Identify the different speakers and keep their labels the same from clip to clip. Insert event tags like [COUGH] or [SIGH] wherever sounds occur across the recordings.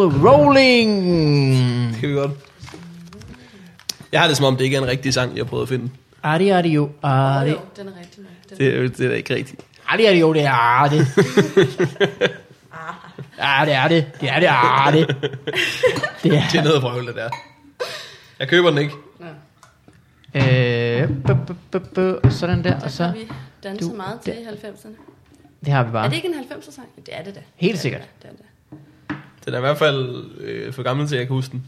Speaker 1: Rolling!
Speaker 2: Kan vi godt. Jeg har det som om, det ikke er en rigtig sang, jeg prøvede at finde.
Speaker 1: Adi, adi, jo.
Speaker 3: Ah,
Speaker 1: Adi,
Speaker 3: jo, den er rigtig nok. Den.
Speaker 2: Det, er jo- det er da ikke rigtigt. [LAUGHS]
Speaker 1: adi, adi, jo, det er arde. Ja, det er det. Det er det, arde. Det
Speaker 2: Det er
Speaker 1: er...
Speaker 2: noget vrøvl, det der. Jeg køber den ikke.
Speaker 3: Nå.
Speaker 1: Øh, bu, bu, bu, bu, og sådan der, og
Speaker 3: Så har
Speaker 1: så...
Speaker 3: vi danset
Speaker 1: du-
Speaker 3: meget til i 90'erne.
Speaker 1: Det har vi bare.
Speaker 3: Er det ikke en 90'er sang? Det er det da.
Speaker 1: Helt
Speaker 3: Det er
Speaker 1: sikkert.
Speaker 3: det da, Det er det.
Speaker 2: Den er i hvert fald øh, for gammel til, at jeg kan huske den.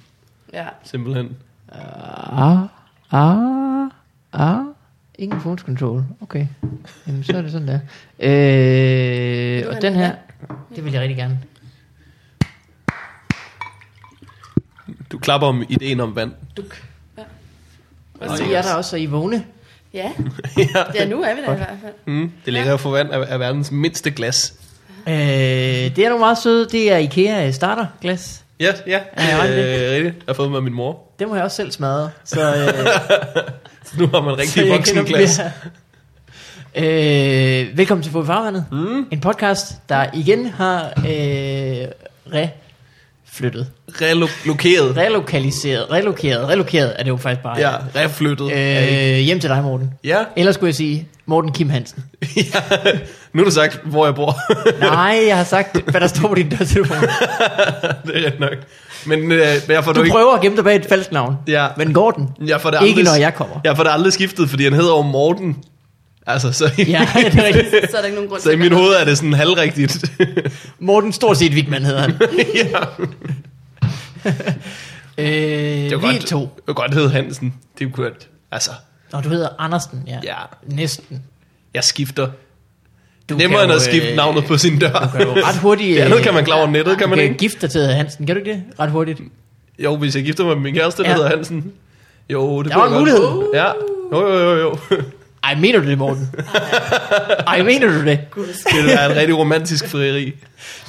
Speaker 3: da. Ja.
Speaker 2: Simpelthen.
Speaker 1: Ah, ah, ah. Ingen phones control. Okay. Jamen, så er det sådan der. Øh,
Speaker 3: du have
Speaker 1: og den
Speaker 3: noget
Speaker 1: her, det vil jeg rigtig gerne.
Speaker 2: Du klapper om ideen om vand. [LAUGHS]
Speaker 3: Duk. Ja.
Speaker 1: Og I er der også, så I er vågne.
Speaker 3: Ja.
Speaker 2: ja.
Speaker 3: ja, nu er vi der i hvert
Speaker 2: [LAUGHS]
Speaker 3: fald.
Speaker 2: Mm, det er lækkert at få vand af, af verdens mindste glas.
Speaker 1: Øh, det er nogle meget søde. Det er IKEA starterglas.
Speaker 2: Ja, ja.
Speaker 1: Ja, jeg har
Speaker 2: det
Speaker 1: det.
Speaker 2: er rigtigt. Jeg har fået med min mor.
Speaker 1: Det må jeg også selv smadre. [LAUGHS] Så, øh,
Speaker 2: Så nu har man
Speaker 1: så
Speaker 2: rigtig
Speaker 1: jeg kender
Speaker 2: voksenglas.
Speaker 1: dem der. [LAUGHS] Øh, velkommen til Fod i Farvandet. Mm. En podcast, der igen har øh, reflyttet.
Speaker 2: Relokeret.
Speaker 1: Relokaliseret. Relokeret. Relokeret er det jo faktisk bare.
Speaker 2: Ja, reflyttet.
Speaker 1: Øh, hjem til dig, Morten.
Speaker 2: Ja. [LAUGHS]
Speaker 1: Eller skulle jeg sige, Morten Kim Hansen.
Speaker 2: ja. Nu har du sagt, hvor jeg bor. [LAUGHS]
Speaker 1: Nej, jeg har sagt, hvad der står på din [LAUGHS] dørtelefon.
Speaker 2: [LAUGHS] det er rigtigt nok. Men øh, jeg får
Speaker 1: Du
Speaker 2: du ikke...
Speaker 1: prøver at gemme dig bag et falsk navn.
Speaker 2: Ja.
Speaker 1: Men går den?
Speaker 2: Jeg får det
Speaker 1: Ikke
Speaker 2: aldrig,
Speaker 1: når jeg kommer.
Speaker 2: Jeg får det aldrig skiftet, fordi han hedder jo Morten. Altså, så i,
Speaker 1: Ja, [LAUGHS] det er rigtigt.
Speaker 3: Så er der ikke nogen grund
Speaker 2: [LAUGHS] så i
Speaker 3: at
Speaker 2: mit
Speaker 3: gøre
Speaker 2: hoved er det sådan halvrigtigt. [LAUGHS]
Speaker 1: Morten stort set Vigman [LAUGHS] hedder han.
Speaker 2: ja.
Speaker 1: Øh,
Speaker 2: Det var
Speaker 1: vi
Speaker 2: godt,
Speaker 1: to.
Speaker 2: det var godt hedde Hansen. Det er jo godt. Altså,
Speaker 1: Nå, du hedder Andersen, ja.
Speaker 2: ja.
Speaker 1: Næsten.
Speaker 2: Jeg skifter.
Speaker 1: Du
Speaker 2: Nemmere
Speaker 1: kan
Speaker 2: end
Speaker 1: jo,
Speaker 2: at skifte
Speaker 1: øh,
Speaker 2: navnet på sin dør.
Speaker 1: Du kan jo ret
Speaker 2: [LAUGHS]
Speaker 1: hurtigt...
Speaker 2: Det andet
Speaker 1: øh,
Speaker 2: kan man klare over nettet, kan
Speaker 1: du
Speaker 2: man
Speaker 1: kan
Speaker 2: ikke?
Speaker 1: gifte dig til at hedde Hansen. Kan du ikke det? Ret hurtigt.
Speaker 2: Jo, hvis jeg gifter mig med min kæreste, der
Speaker 1: Ja.
Speaker 2: hedder Hansen. Jo, det
Speaker 1: Der var
Speaker 2: kunne
Speaker 1: en
Speaker 2: jeg godt.
Speaker 1: mulighed.
Speaker 2: Ja, jo, jo, jo, [LAUGHS] jo.
Speaker 1: Ej, mener du det,
Speaker 2: [LAUGHS]
Speaker 1: Morten? Ej, mener du det?
Speaker 2: Det ville være et rigtig romantisk frieri.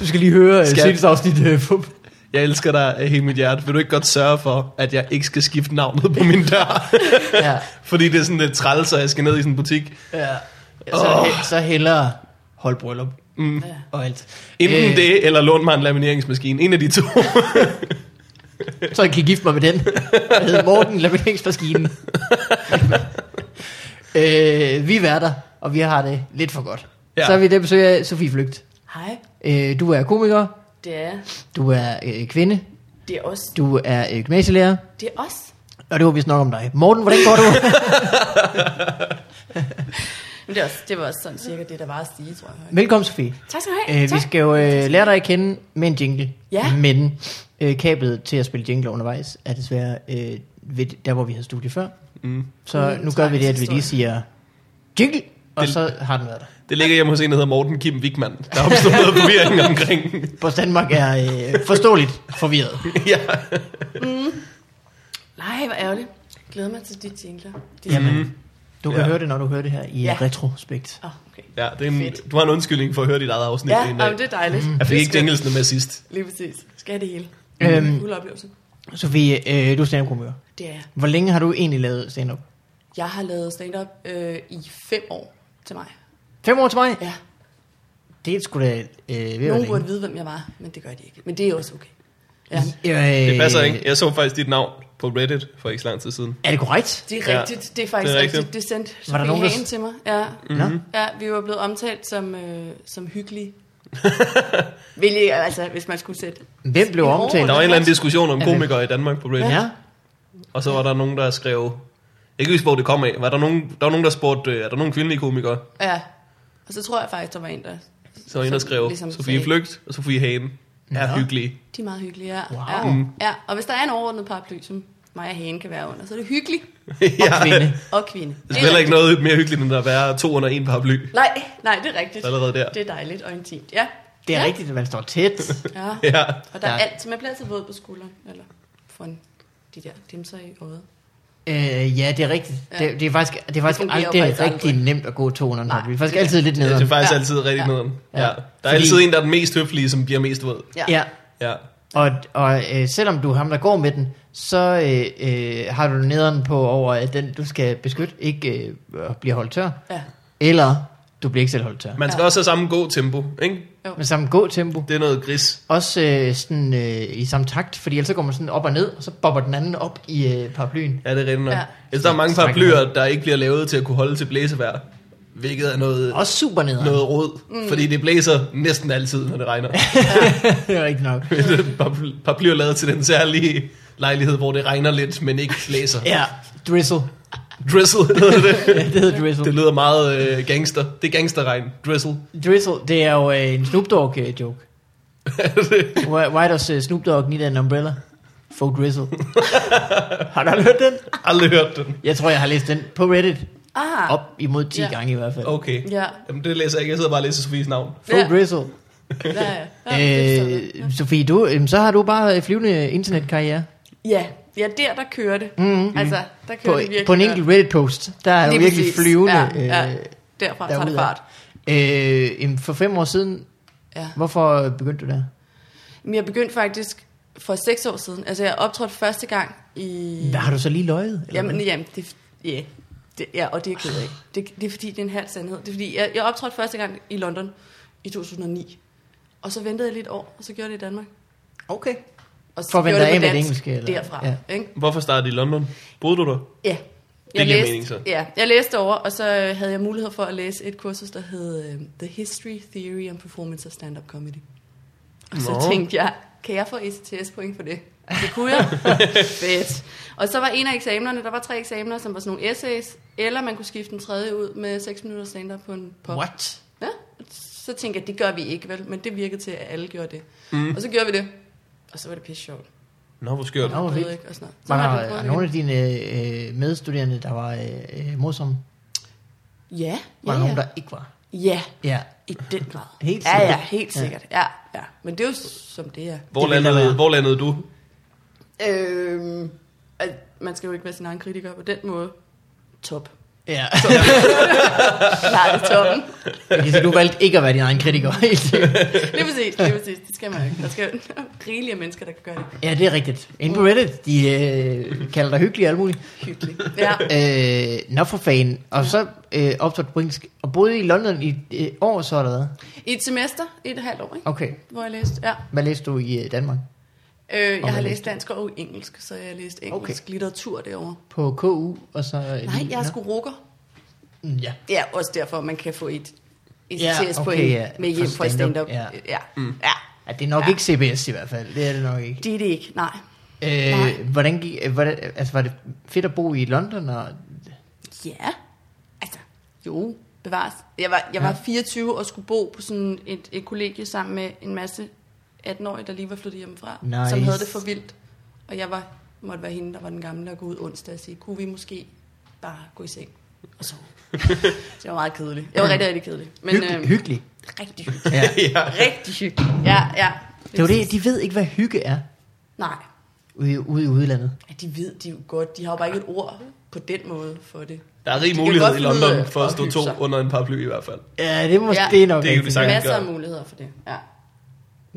Speaker 1: Du skal lige høre øh,
Speaker 2: Skal-
Speaker 1: seneste afsnit. Øh,
Speaker 2: [LAUGHS]
Speaker 1: på-
Speaker 2: Jeg elsker dig af hele mit hjerte. Vil du ikke godt sørge for, at jeg ikke skal skifte navnet på min dør? [LAUGHS]
Speaker 1: ja.
Speaker 2: Fordi det er sådan lidt træls, og jeg skal ned i sådan en butik.
Speaker 1: Ja. Så,
Speaker 2: Åh.
Speaker 1: oh. så hellere hold bryllup
Speaker 2: Mm.
Speaker 3: Ja.
Speaker 1: og alt.
Speaker 2: Enten
Speaker 1: Øh,
Speaker 2: det, eller lån mig en lamineringsmaskine. En af de to. [LAUGHS]
Speaker 1: Så jeg kan gifte mig med den. Jeg hedder Morten
Speaker 2: [LAUGHS]
Speaker 1: Lamineringsmaskinen. øh, vi er værter, og vi har det lidt for godt.
Speaker 2: Ja.
Speaker 1: Ja. Så er vi i det besøg af Sofie Flygt.
Speaker 3: Hej.
Speaker 1: Øh, du er komiker,
Speaker 3: Det er,
Speaker 1: du er øh, kvinde,
Speaker 3: det er os.
Speaker 1: du er øh, gymnasielærer,
Speaker 3: Det er os.
Speaker 1: og det var vist nok om dig. Morten, hvordan går
Speaker 3: [LAUGHS]
Speaker 1: du?
Speaker 3: Men det, er også, det var også sådan cirka det, der var at sige, tror jeg.
Speaker 1: Velkommen, Sofie.
Speaker 3: Tak skal du have.
Speaker 1: Øh, vi
Speaker 3: tak.
Speaker 1: skal jo øh, lære dig at kende med en jingle.
Speaker 3: Ja.
Speaker 1: Men øh, kablet til at spille jingle undervejs er desværre øh, ved, der, hvor vi havde studie før.
Speaker 2: Mm.
Speaker 1: Så
Speaker 3: Mm,
Speaker 1: nu gør vi det, at vi
Speaker 3: historie.
Speaker 1: lige siger jingle, og
Speaker 2: Det-
Speaker 1: så har den været der.
Speaker 2: Det ligger hjemme hos en, der hedder Morten Kim Wigman. Der er opstået noget
Speaker 3: [LAUGHS]
Speaker 2: forvirring omkring.
Speaker 1: Post Danmark er øh, forståeligt
Speaker 2: [LAUGHS]
Speaker 1: forvirret.
Speaker 2: ja.
Speaker 3: Nej, hvor ærgerligt. Jeg glæder mig til de jingler. De
Speaker 1: Jamen, du kan
Speaker 2: Ja.
Speaker 1: ja. høre det, når du hører det her i
Speaker 3: Ja.
Speaker 1: ja. retrospekt.
Speaker 3: Åh, oh, okay.
Speaker 2: ja det er en,
Speaker 3: Fedt.
Speaker 2: du har en undskyldning for at høre dit eget afsnit.
Speaker 3: Ja,
Speaker 2: en øh, dag.
Speaker 3: jamen, det er dejligt. Mm.
Speaker 2: Jeg fik ikke engelsene med sidst.
Speaker 3: Lige præcis. Skal jeg det hele.
Speaker 1: Øhm.
Speaker 3: Øhm. Fuld oplevelse.
Speaker 1: Sofie, øh, du er stand up
Speaker 3: Det er jeg.
Speaker 1: Hvor længe har du egentlig lavet stand-up?
Speaker 3: Jeg har lavet stand-up øh, i fem år til mig.
Speaker 1: Fem år til mig?
Speaker 3: Ja.
Speaker 1: Det er sgu da øh, ved at
Speaker 3: Nogen
Speaker 1: være
Speaker 3: burde
Speaker 1: længe.
Speaker 3: vide, hvem jeg var, men det gør de ikke. Men det er også okay. Ja.
Speaker 1: Øh,
Speaker 2: Det passer ikke. Jeg så faktisk dit navn på Reddit for ikke så lang tid siden.
Speaker 1: Er det korrekt?
Speaker 3: Det er
Speaker 2: Ja.
Speaker 3: rigtigt. Det er
Speaker 2: Det
Speaker 3: faktisk det
Speaker 2: er
Speaker 3: er
Speaker 2: rigtigt.
Speaker 3: rigtigt. Det sendte
Speaker 1: Var der
Speaker 3: Sofie
Speaker 1: nogen, der-
Speaker 3: Hagen til mig. Ja.
Speaker 2: Mhm.
Speaker 1: Nå?
Speaker 3: ja, vi var blevet omtalt som, øh, som
Speaker 2: [LAUGHS]
Speaker 3: hyggelige. Hvilket, altså, hvis man skulle sætte...
Speaker 1: Hvem blev
Speaker 3: I
Speaker 1: omtalt?
Speaker 2: Der var en eller anden diskussion om
Speaker 1: Ja, men-
Speaker 2: komikere i Danmark på Reddit.
Speaker 1: Ja.
Speaker 2: Og så var der nogen, der skrev... Jeg kan ikke huske, hvor det kom af. Var der, nogen, der var nogen, der spurgte, øh, er der nogen kvindelige komikere?
Speaker 3: Ja. Og så tror jeg faktisk, der var en, der...
Speaker 2: Så var en, der
Speaker 3: som
Speaker 2: skrev,
Speaker 3: ligesom
Speaker 2: Sofie
Speaker 3: sagde,
Speaker 2: Flygt og Sofie Hagen er
Speaker 1: Nå.
Speaker 2: hyggelige.
Speaker 3: De er meget hyggelige, ja.
Speaker 1: Wow.
Speaker 3: ja. ja. Og hvis der er en overordnet paraply, som mig og Hagen kan være under, så er det hyggelig
Speaker 2: [LAUGHS] ja.
Speaker 1: Kvinde.
Speaker 3: og kvinde. Det
Speaker 2: Det er heller ikke
Speaker 3: rigtigt.
Speaker 2: noget mere hyggeligt, end at være to under en paraply.
Speaker 3: Nej, nej, det er rigtigt.
Speaker 2: Allerede der.
Speaker 3: Det er dejligt og intimt, ja.
Speaker 1: Det er
Speaker 3: ja.
Speaker 1: rigtigt, at man står tæt.
Speaker 3: Ja.
Speaker 2: Ja.
Speaker 3: Og der er
Speaker 1: Ja.
Speaker 3: altid, man bliver altid våd på skulderen, eller foran de der dimser i øjet.
Speaker 1: Øh, ja, det er rigtigt.
Speaker 3: Ja.
Speaker 1: Det, det, er faktisk, det er faktisk
Speaker 3: Det fungerer
Speaker 1: aldrig
Speaker 3: jo faktisk
Speaker 1: rigtig
Speaker 3: aldrig.
Speaker 1: nemt at gå 200
Speaker 3: Nej,
Speaker 1: Nej, Vi er faktisk
Speaker 3: det er-
Speaker 1: altid lidt
Speaker 2: Det er
Speaker 1: nederen.
Speaker 2: faktisk
Speaker 3: Ja.
Speaker 2: altid rigtig
Speaker 3: Ja.
Speaker 2: nederen. Ja.
Speaker 1: Ja.
Speaker 2: Der er
Speaker 1: Fordi-
Speaker 2: altid en, der er den mest høflige, som bliver mest våd.
Speaker 1: Ja.
Speaker 2: Ja.
Speaker 1: Og, og øh, selvom du er ham, der går med den, så øh, øh, har du nederen på over, at den, du skal beskytte, ikke øh, bliver holdt tør.
Speaker 3: ja.
Speaker 1: Eller Du bliver ikke selv holdt tør.
Speaker 2: Man skal ja. også have samme god tempo, ikke?
Speaker 1: Men samme gå tempo.
Speaker 2: Det er noget gris.
Speaker 1: Også øh, sådan, øh, i samme takt, fordi ellers så går man sådan op og ned, og så bobber den anden op i øh, paraplyen.
Speaker 2: Ja, det er rigtigt.
Speaker 3: Ja.
Speaker 2: Ja. Ellers der er mange
Speaker 1: Strækker
Speaker 2: paraplyer, der ikke bliver lavet til at kunne holde til blæsevejr. Hvilket er noget,
Speaker 1: Også super ned. [LAUGHS]
Speaker 2: noget råd. Mm. Fordi det blæser næsten altid, når det regner.
Speaker 1: det er rigtigt nok.
Speaker 2: Paraply- Paraplyer er lavet til den særlige lejlighed, hvor det regner lidt, men ikke blæser.
Speaker 1: Ja, drizzle.
Speaker 2: Drizzle hedder
Speaker 1: Ja,
Speaker 2: det.
Speaker 1: det hedder drizzle.
Speaker 2: Det lyder meget øh, gangster. Det er gangsterregn. Drizzle.
Speaker 1: Drizzle, det er jo øh, en Snoop Dogg øh, joke. Why, why does øh, Snoop Dogg need an umbrella? For drizzle. har du aldrig hørt den?
Speaker 2: Aldrig hørt den.
Speaker 1: Jeg tror, jeg har læst den på Reddit.
Speaker 3: Ah,
Speaker 1: Op imod 10
Speaker 3: Ja.
Speaker 1: gange i hvert fald.
Speaker 2: Okay.
Speaker 3: ja.
Speaker 2: Jamen, det læser jeg ikke. Jeg sidder bare og læser Sofies navn.
Speaker 1: For
Speaker 3: Ja.
Speaker 1: drizzle.
Speaker 3: Ja, ja. Ja, det forstår jeg.
Speaker 1: Øh, Sofie, du, øh, så har du bare øh, flyvende internetkarriere.
Speaker 3: ja. ja, der, der kører det.
Speaker 1: Mm.
Speaker 3: Altså, der kører
Speaker 1: På,
Speaker 3: Mm-hmm. det virkelig.
Speaker 1: på en
Speaker 3: godt.
Speaker 1: enkelt Reddit-post, der er jo
Speaker 3: Lige
Speaker 1: virkelig
Speaker 3: præcis.
Speaker 1: flyvende.
Speaker 3: Ja, ja.
Speaker 1: øh,
Speaker 3: Derfra tager det
Speaker 1: derudad.
Speaker 3: fart.
Speaker 1: Øh, jamen, for fem år siden,
Speaker 3: Ja.
Speaker 1: hvorfor begyndte du der?
Speaker 3: Men jeg begyndte faktisk for seks år siden. Altså, jeg optrådte første gang i...
Speaker 1: Hvad har du så lige løjet? Eller
Speaker 3: Jamen,
Speaker 1: hvad?
Speaker 3: jamen det, ja, det, ja, og det er jeg ked af. Det, det er fordi, det er en halv sandhed. Det er fordi, jeg, jeg optrådte første gang i London i 2009. Og så ventede jeg lidt år, og så gjorde jeg det i Danmark.
Speaker 1: okay.
Speaker 3: Og så
Speaker 1: For at vente
Speaker 3: gjorde jeg
Speaker 1: af
Speaker 3: på
Speaker 1: med det
Speaker 3: dansk
Speaker 1: engelske, eller?
Speaker 3: Derfra,
Speaker 1: Ja.
Speaker 3: ja. ikke?
Speaker 2: Hvorfor startede I i London? Boede du der?
Speaker 3: Ja.
Speaker 2: giver mening, så.
Speaker 3: Ja, jeg læste over, og så øh, havde jeg mulighed for at læse et kursus, der hed øh, The History, Theory and Performance of Stand-Up Comedy. Og så
Speaker 2: Nå.
Speaker 3: tænkte jeg, kan jeg få ECTS-point for det? Det kunne
Speaker 1: [LAUGHS]
Speaker 3: jeg. Fedt. Og så var en af eksamenerne, der var tre eksamener, som var sådan nogle essays, eller man kunne skifte den tredje ud med 6 minutter stand-up på en pop.
Speaker 1: What?
Speaker 3: Ja, så tænkte jeg, det gør vi ikke, vel? Men det virkede til, at alle gjorde det. Mm. Og så gjorde vi det. Og så var det pisse sjovt.
Speaker 2: Nå, hvor skørt.
Speaker 1: Nå, hvor
Speaker 3: Jeg ved
Speaker 1: vildt.
Speaker 3: ikke, og sådan noget. Så
Speaker 1: Var
Speaker 3: har vi
Speaker 1: der
Speaker 3: prøvet
Speaker 1: var
Speaker 3: det
Speaker 1: nogle af dine øh, medstuderende, der var øh, øh, morsomme?
Speaker 3: igen. Ja,
Speaker 1: Var der
Speaker 3: ja, ja.
Speaker 1: nogen, der ikke var?
Speaker 3: Ja,
Speaker 1: Ja.
Speaker 3: I den grad.
Speaker 1: Helt
Speaker 3: ja,
Speaker 1: sikkert.
Speaker 3: ja, helt
Speaker 1: Ja.
Speaker 3: sikkert. Ja. ja, Men det er jo som det er.
Speaker 2: Hvor
Speaker 1: Det ville der
Speaker 2: landede,
Speaker 1: være.
Speaker 2: hvor landede du? [LAUGHS]
Speaker 3: Øhm, al- man skal jo ikke være sin egen kritiker på den måde. Top.
Speaker 1: ja. [LAUGHS]
Speaker 3: Klart i toppen.
Speaker 1: Okay, så du valgte ikke at være din egen kritiker. helt [LAUGHS] sikkert.
Speaker 3: Lige præcis, lige præcis. Det skal man ikke. Der skal [LAUGHS] jo rigelige mennesker, der kan gøre det
Speaker 1: ja, det er rigtigt. Inde på Reddit, de øh, kalder dig hyggelig og alt muligt.
Speaker 3: hyggeligt. Ja.
Speaker 1: Øh, nå for fanden. Og så øh, optrådte du på engelsk. Og boede i London i et øh, år, så eller hvad?
Speaker 3: I et semester, i et halvt år, ikke?
Speaker 1: Okay.
Speaker 3: hvor jeg læste. Ja.
Speaker 1: Hvad læste du i øh, Danmark?
Speaker 3: Øh,
Speaker 1: hvad
Speaker 3: jeg har
Speaker 1: læste
Speaker 3: læst dansk og engelsk, så jeg har læst engelsk okay. litteratur derovre.
Speaker 1: På KU, og så... Øh,
Speaker 3: Nej,
Speaker 1: lige-
Speaker 3: jeg er
Speaker 1: Nå. Mm,
Speaker 3: sgu rukker.
Speaker 1: Ja.
Speaker 3: Ja, også derfor, man kan få et
Speaker 1: Ja,
Speaker 3: ECTS point
Speaker 1: okay, ja.
Speaker 3: med hjem
Speaker 1: For
Speaker 3: fra
Speaker 1: stand-up,
Speaker 3: stand-up.
Speaker 1: ja.
Speaker 3: ja. Mm. ja.
Speaker 1: ja. Det er nok ja.
Speaker 3: Ja.
Speaker 1: ikke CBS i hvert fald. Det er det nok ikke.
Speaker 3: Det er det ikke, nej. Nej.
Speaker 1: Øh, hvordan gik, øh, hvordan, altså, var det fedt at bo i London? Og,
Speaker 3: Ja, altså,
Speaker 1: jo.
Speaker 3: bevares. Jeg var, jeg var
Speaker 1: Ja.
Speaker 3: 24 og skulle bo på sådan et, et kollegie sammen med en masse 18-årige, der lige var flyttet hjemmefra,
Speaker 1: Nice.
Speaker 3: som havde det for vildt. Og jeg var, måtte være hende, der var den gamle, og gå ud onsdag og sige, kunne vi måske bare gå i seng og
Speaker 1: [LAUGHS]
Speaker 3: sove? Så det var meget kedeligt. Jeg var rigtig, rigtig kedelig. Men,
Speaker 1: Hyggelig,
Speaker 3: øhm,
Speaker 1: hyggelig.
Speaker 3: Rigtig hyggeligt.
Speaker 1: Ja.
Speaker 2: ja.
Speaker 3: Rigtig hyggeligt. Ja, ja.
Speaker 1: Det er jo det, de ved ikke, hvad hygge er
Speaker 3: Nej.
Speaker 1: ude, ude i udlandet.
Speaker 3: Ja, de ved de jo godt. De har jo bare ikke et ord på den måde for det.
Speaker 2: Der er rig
Speaker 3: kan
Speaker 2: mulighed
Speaker 3: godt
Speaker 2: i
Speaker 3: finde ud
Speaker 2: London
Speaker 3: af
Speaker 2: for at
Speaker 3: at
Speaker 2: stå
Speaker 3: hygge
Speaker 2: to
Speaker 3: sig.
Speaker 2: under en paraply i hvert fald.
Speaker 1: Ja, det er måske
Speaker 3: Ja.
Speaker 1: det er nok.
Speaker 2: Det er jo
Speaker 1: rigtigt.
Speaker 2: det samme.
Speaker 3: Masser af
Speaker 2: gør.
Speaker 3: muligheder for det. Ja.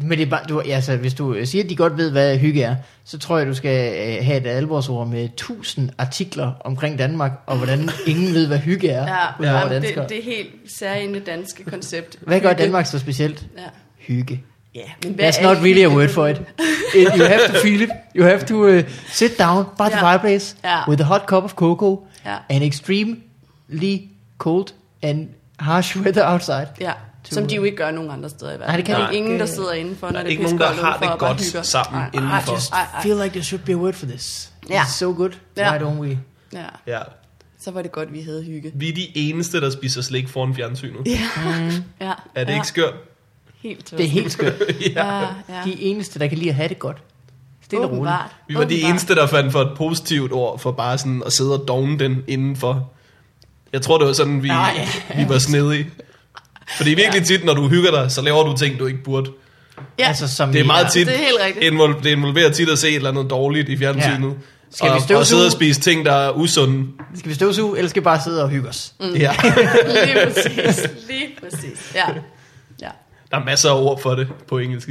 Speaker 1: Men det er bare, du, altså, hvis du øh, siger, at de godt ved, hvad hygge er, så tror jeg, du skal øh, have et alvorsord med tusind artikler omkring Danmark, og
Speaker 3: [LAUGHS]
Speaker 1: hvordan ingen ved, hvad hygge er,
Speaker 3: Ja,
Speaker 1: udover
Speaker 3: ja det,
Speaker 1: danskere.
Speaker 3: det er helt særligt danske koncept.
Speaker 1: Hvad gør
Speaker 3: Hygge.
Speaker 1: Danmark så specielt?
Speaker 3: Ja.
Speaker 1: Hygge.
Speaker 3: Ja, men hvad
Speaker 1: That's
Speaker 3: er
Speaker 1: not
Speaker 3: det?
Speaker 1: really a word for it.
Speaker 3: [LAUGHS]
Speaker 1: It- You have to feel it. You have to uh, sit down by the
Speaker 3: Ja.
Speaker 1: fireplace
Speaker 3: Ja.
Speaker 1: with a hot cup of cocoa
Speaker 3: Ja.
Speaker 1: and extremely cold and harsh weather outside.
Speaker 3: Ja, som de jo ikke gør nogen andre steder i verden.
Speaker 1: Nej, det kan
Speaker 3: der
Speaker 1: de
Speaker 3: er ingen,
Speaker 1: ikke.
Speaker 3: der sidder indenfor,
Speaker 2: Der
Speaker 3: når
Speaker 2: er
Speaker 3: det
Speaker 2: ikke nogen, der
Speaker 3: pissekoldt
Speaker 2: har
Speaker 3: udenfor
Speaker 2: det
Speaker 3: og bare
Speaker 2: godt
Speaker 3: hygger.
Speaker 2: sammen
Speaker 3: Nej,
Speaker 1: I
Speaker 2: indenfor.
Speaker 1: just
Speaker 3: Ej, ej.
Speaker 1: feel like there should be a word for this.
Speaker 3: Ja.
Speaker 1: It's so good.
Speaker 3: Ja.
Speaker 1: Why don't we?
Speaker 3: Ja,
Speaker 2: Ja.
Speaker 3: så var det godt, vi havde hygge.
Speaker 2: Vi er de eneste, der spiser slik foran fjernsynet.
Speaker 3: Ja, ja.
Speaker 2: Er det
Speaker 3: ja.
Speaker 2: ikke skørt? [LAUGHS]
Speaker 3: helt
Speaker 1: Mm. Det er helt skørt.
Speaker 3: ja, ja.
Speaker 1: De eneste, der kan lide at have det godt. Stille og roligt.
Speaker 3: Åbenbart.
Speaker 2: Vi var de
Speaker 3: Åbenbart.
Speaker 2: eneste, der fandt for et positivt ord for bare sådan at sidde og dogne den indenfor. Jeg tror, det var sådan, vi,
Speaker 1: Nej.
Speaker 2: vi var snedige. Fordi virkelig tit, når du hygger dig, så laver du ting, du ikke burde.
Speaker 3: Ja,
Speaker 1: Altså, som
Speaker 2: Det er
Speaker 1: vi
Speaker 2: meget
Speaker 1: har-
Speaker 2: tit,
Speaker 3: Det er helt rigtigt.
Speaker 2: invol- det involverer tit at se et eller andet dårligt i fjernsynet.
Speaker 1: Ja.
Speaker 2: Ja.
Speaker 1: Skal vi
Speaker 2: og,
Speaker 1: støvsuge?
Speaker 2: og sidde og spise ting, der er usunde.
Speaker 1: Skal vi støvsuge, eller skal vi bare sidde og hygge os?
Speaker 2: Mm. Ja.
Speaker 3: [LAUGHS]
Speaker 2: [LAUGHS]
Speaker 3: lige præcis. Lige præcis. Ja. ja.
Speaker 2: Der er masser af ord for det på engelsk.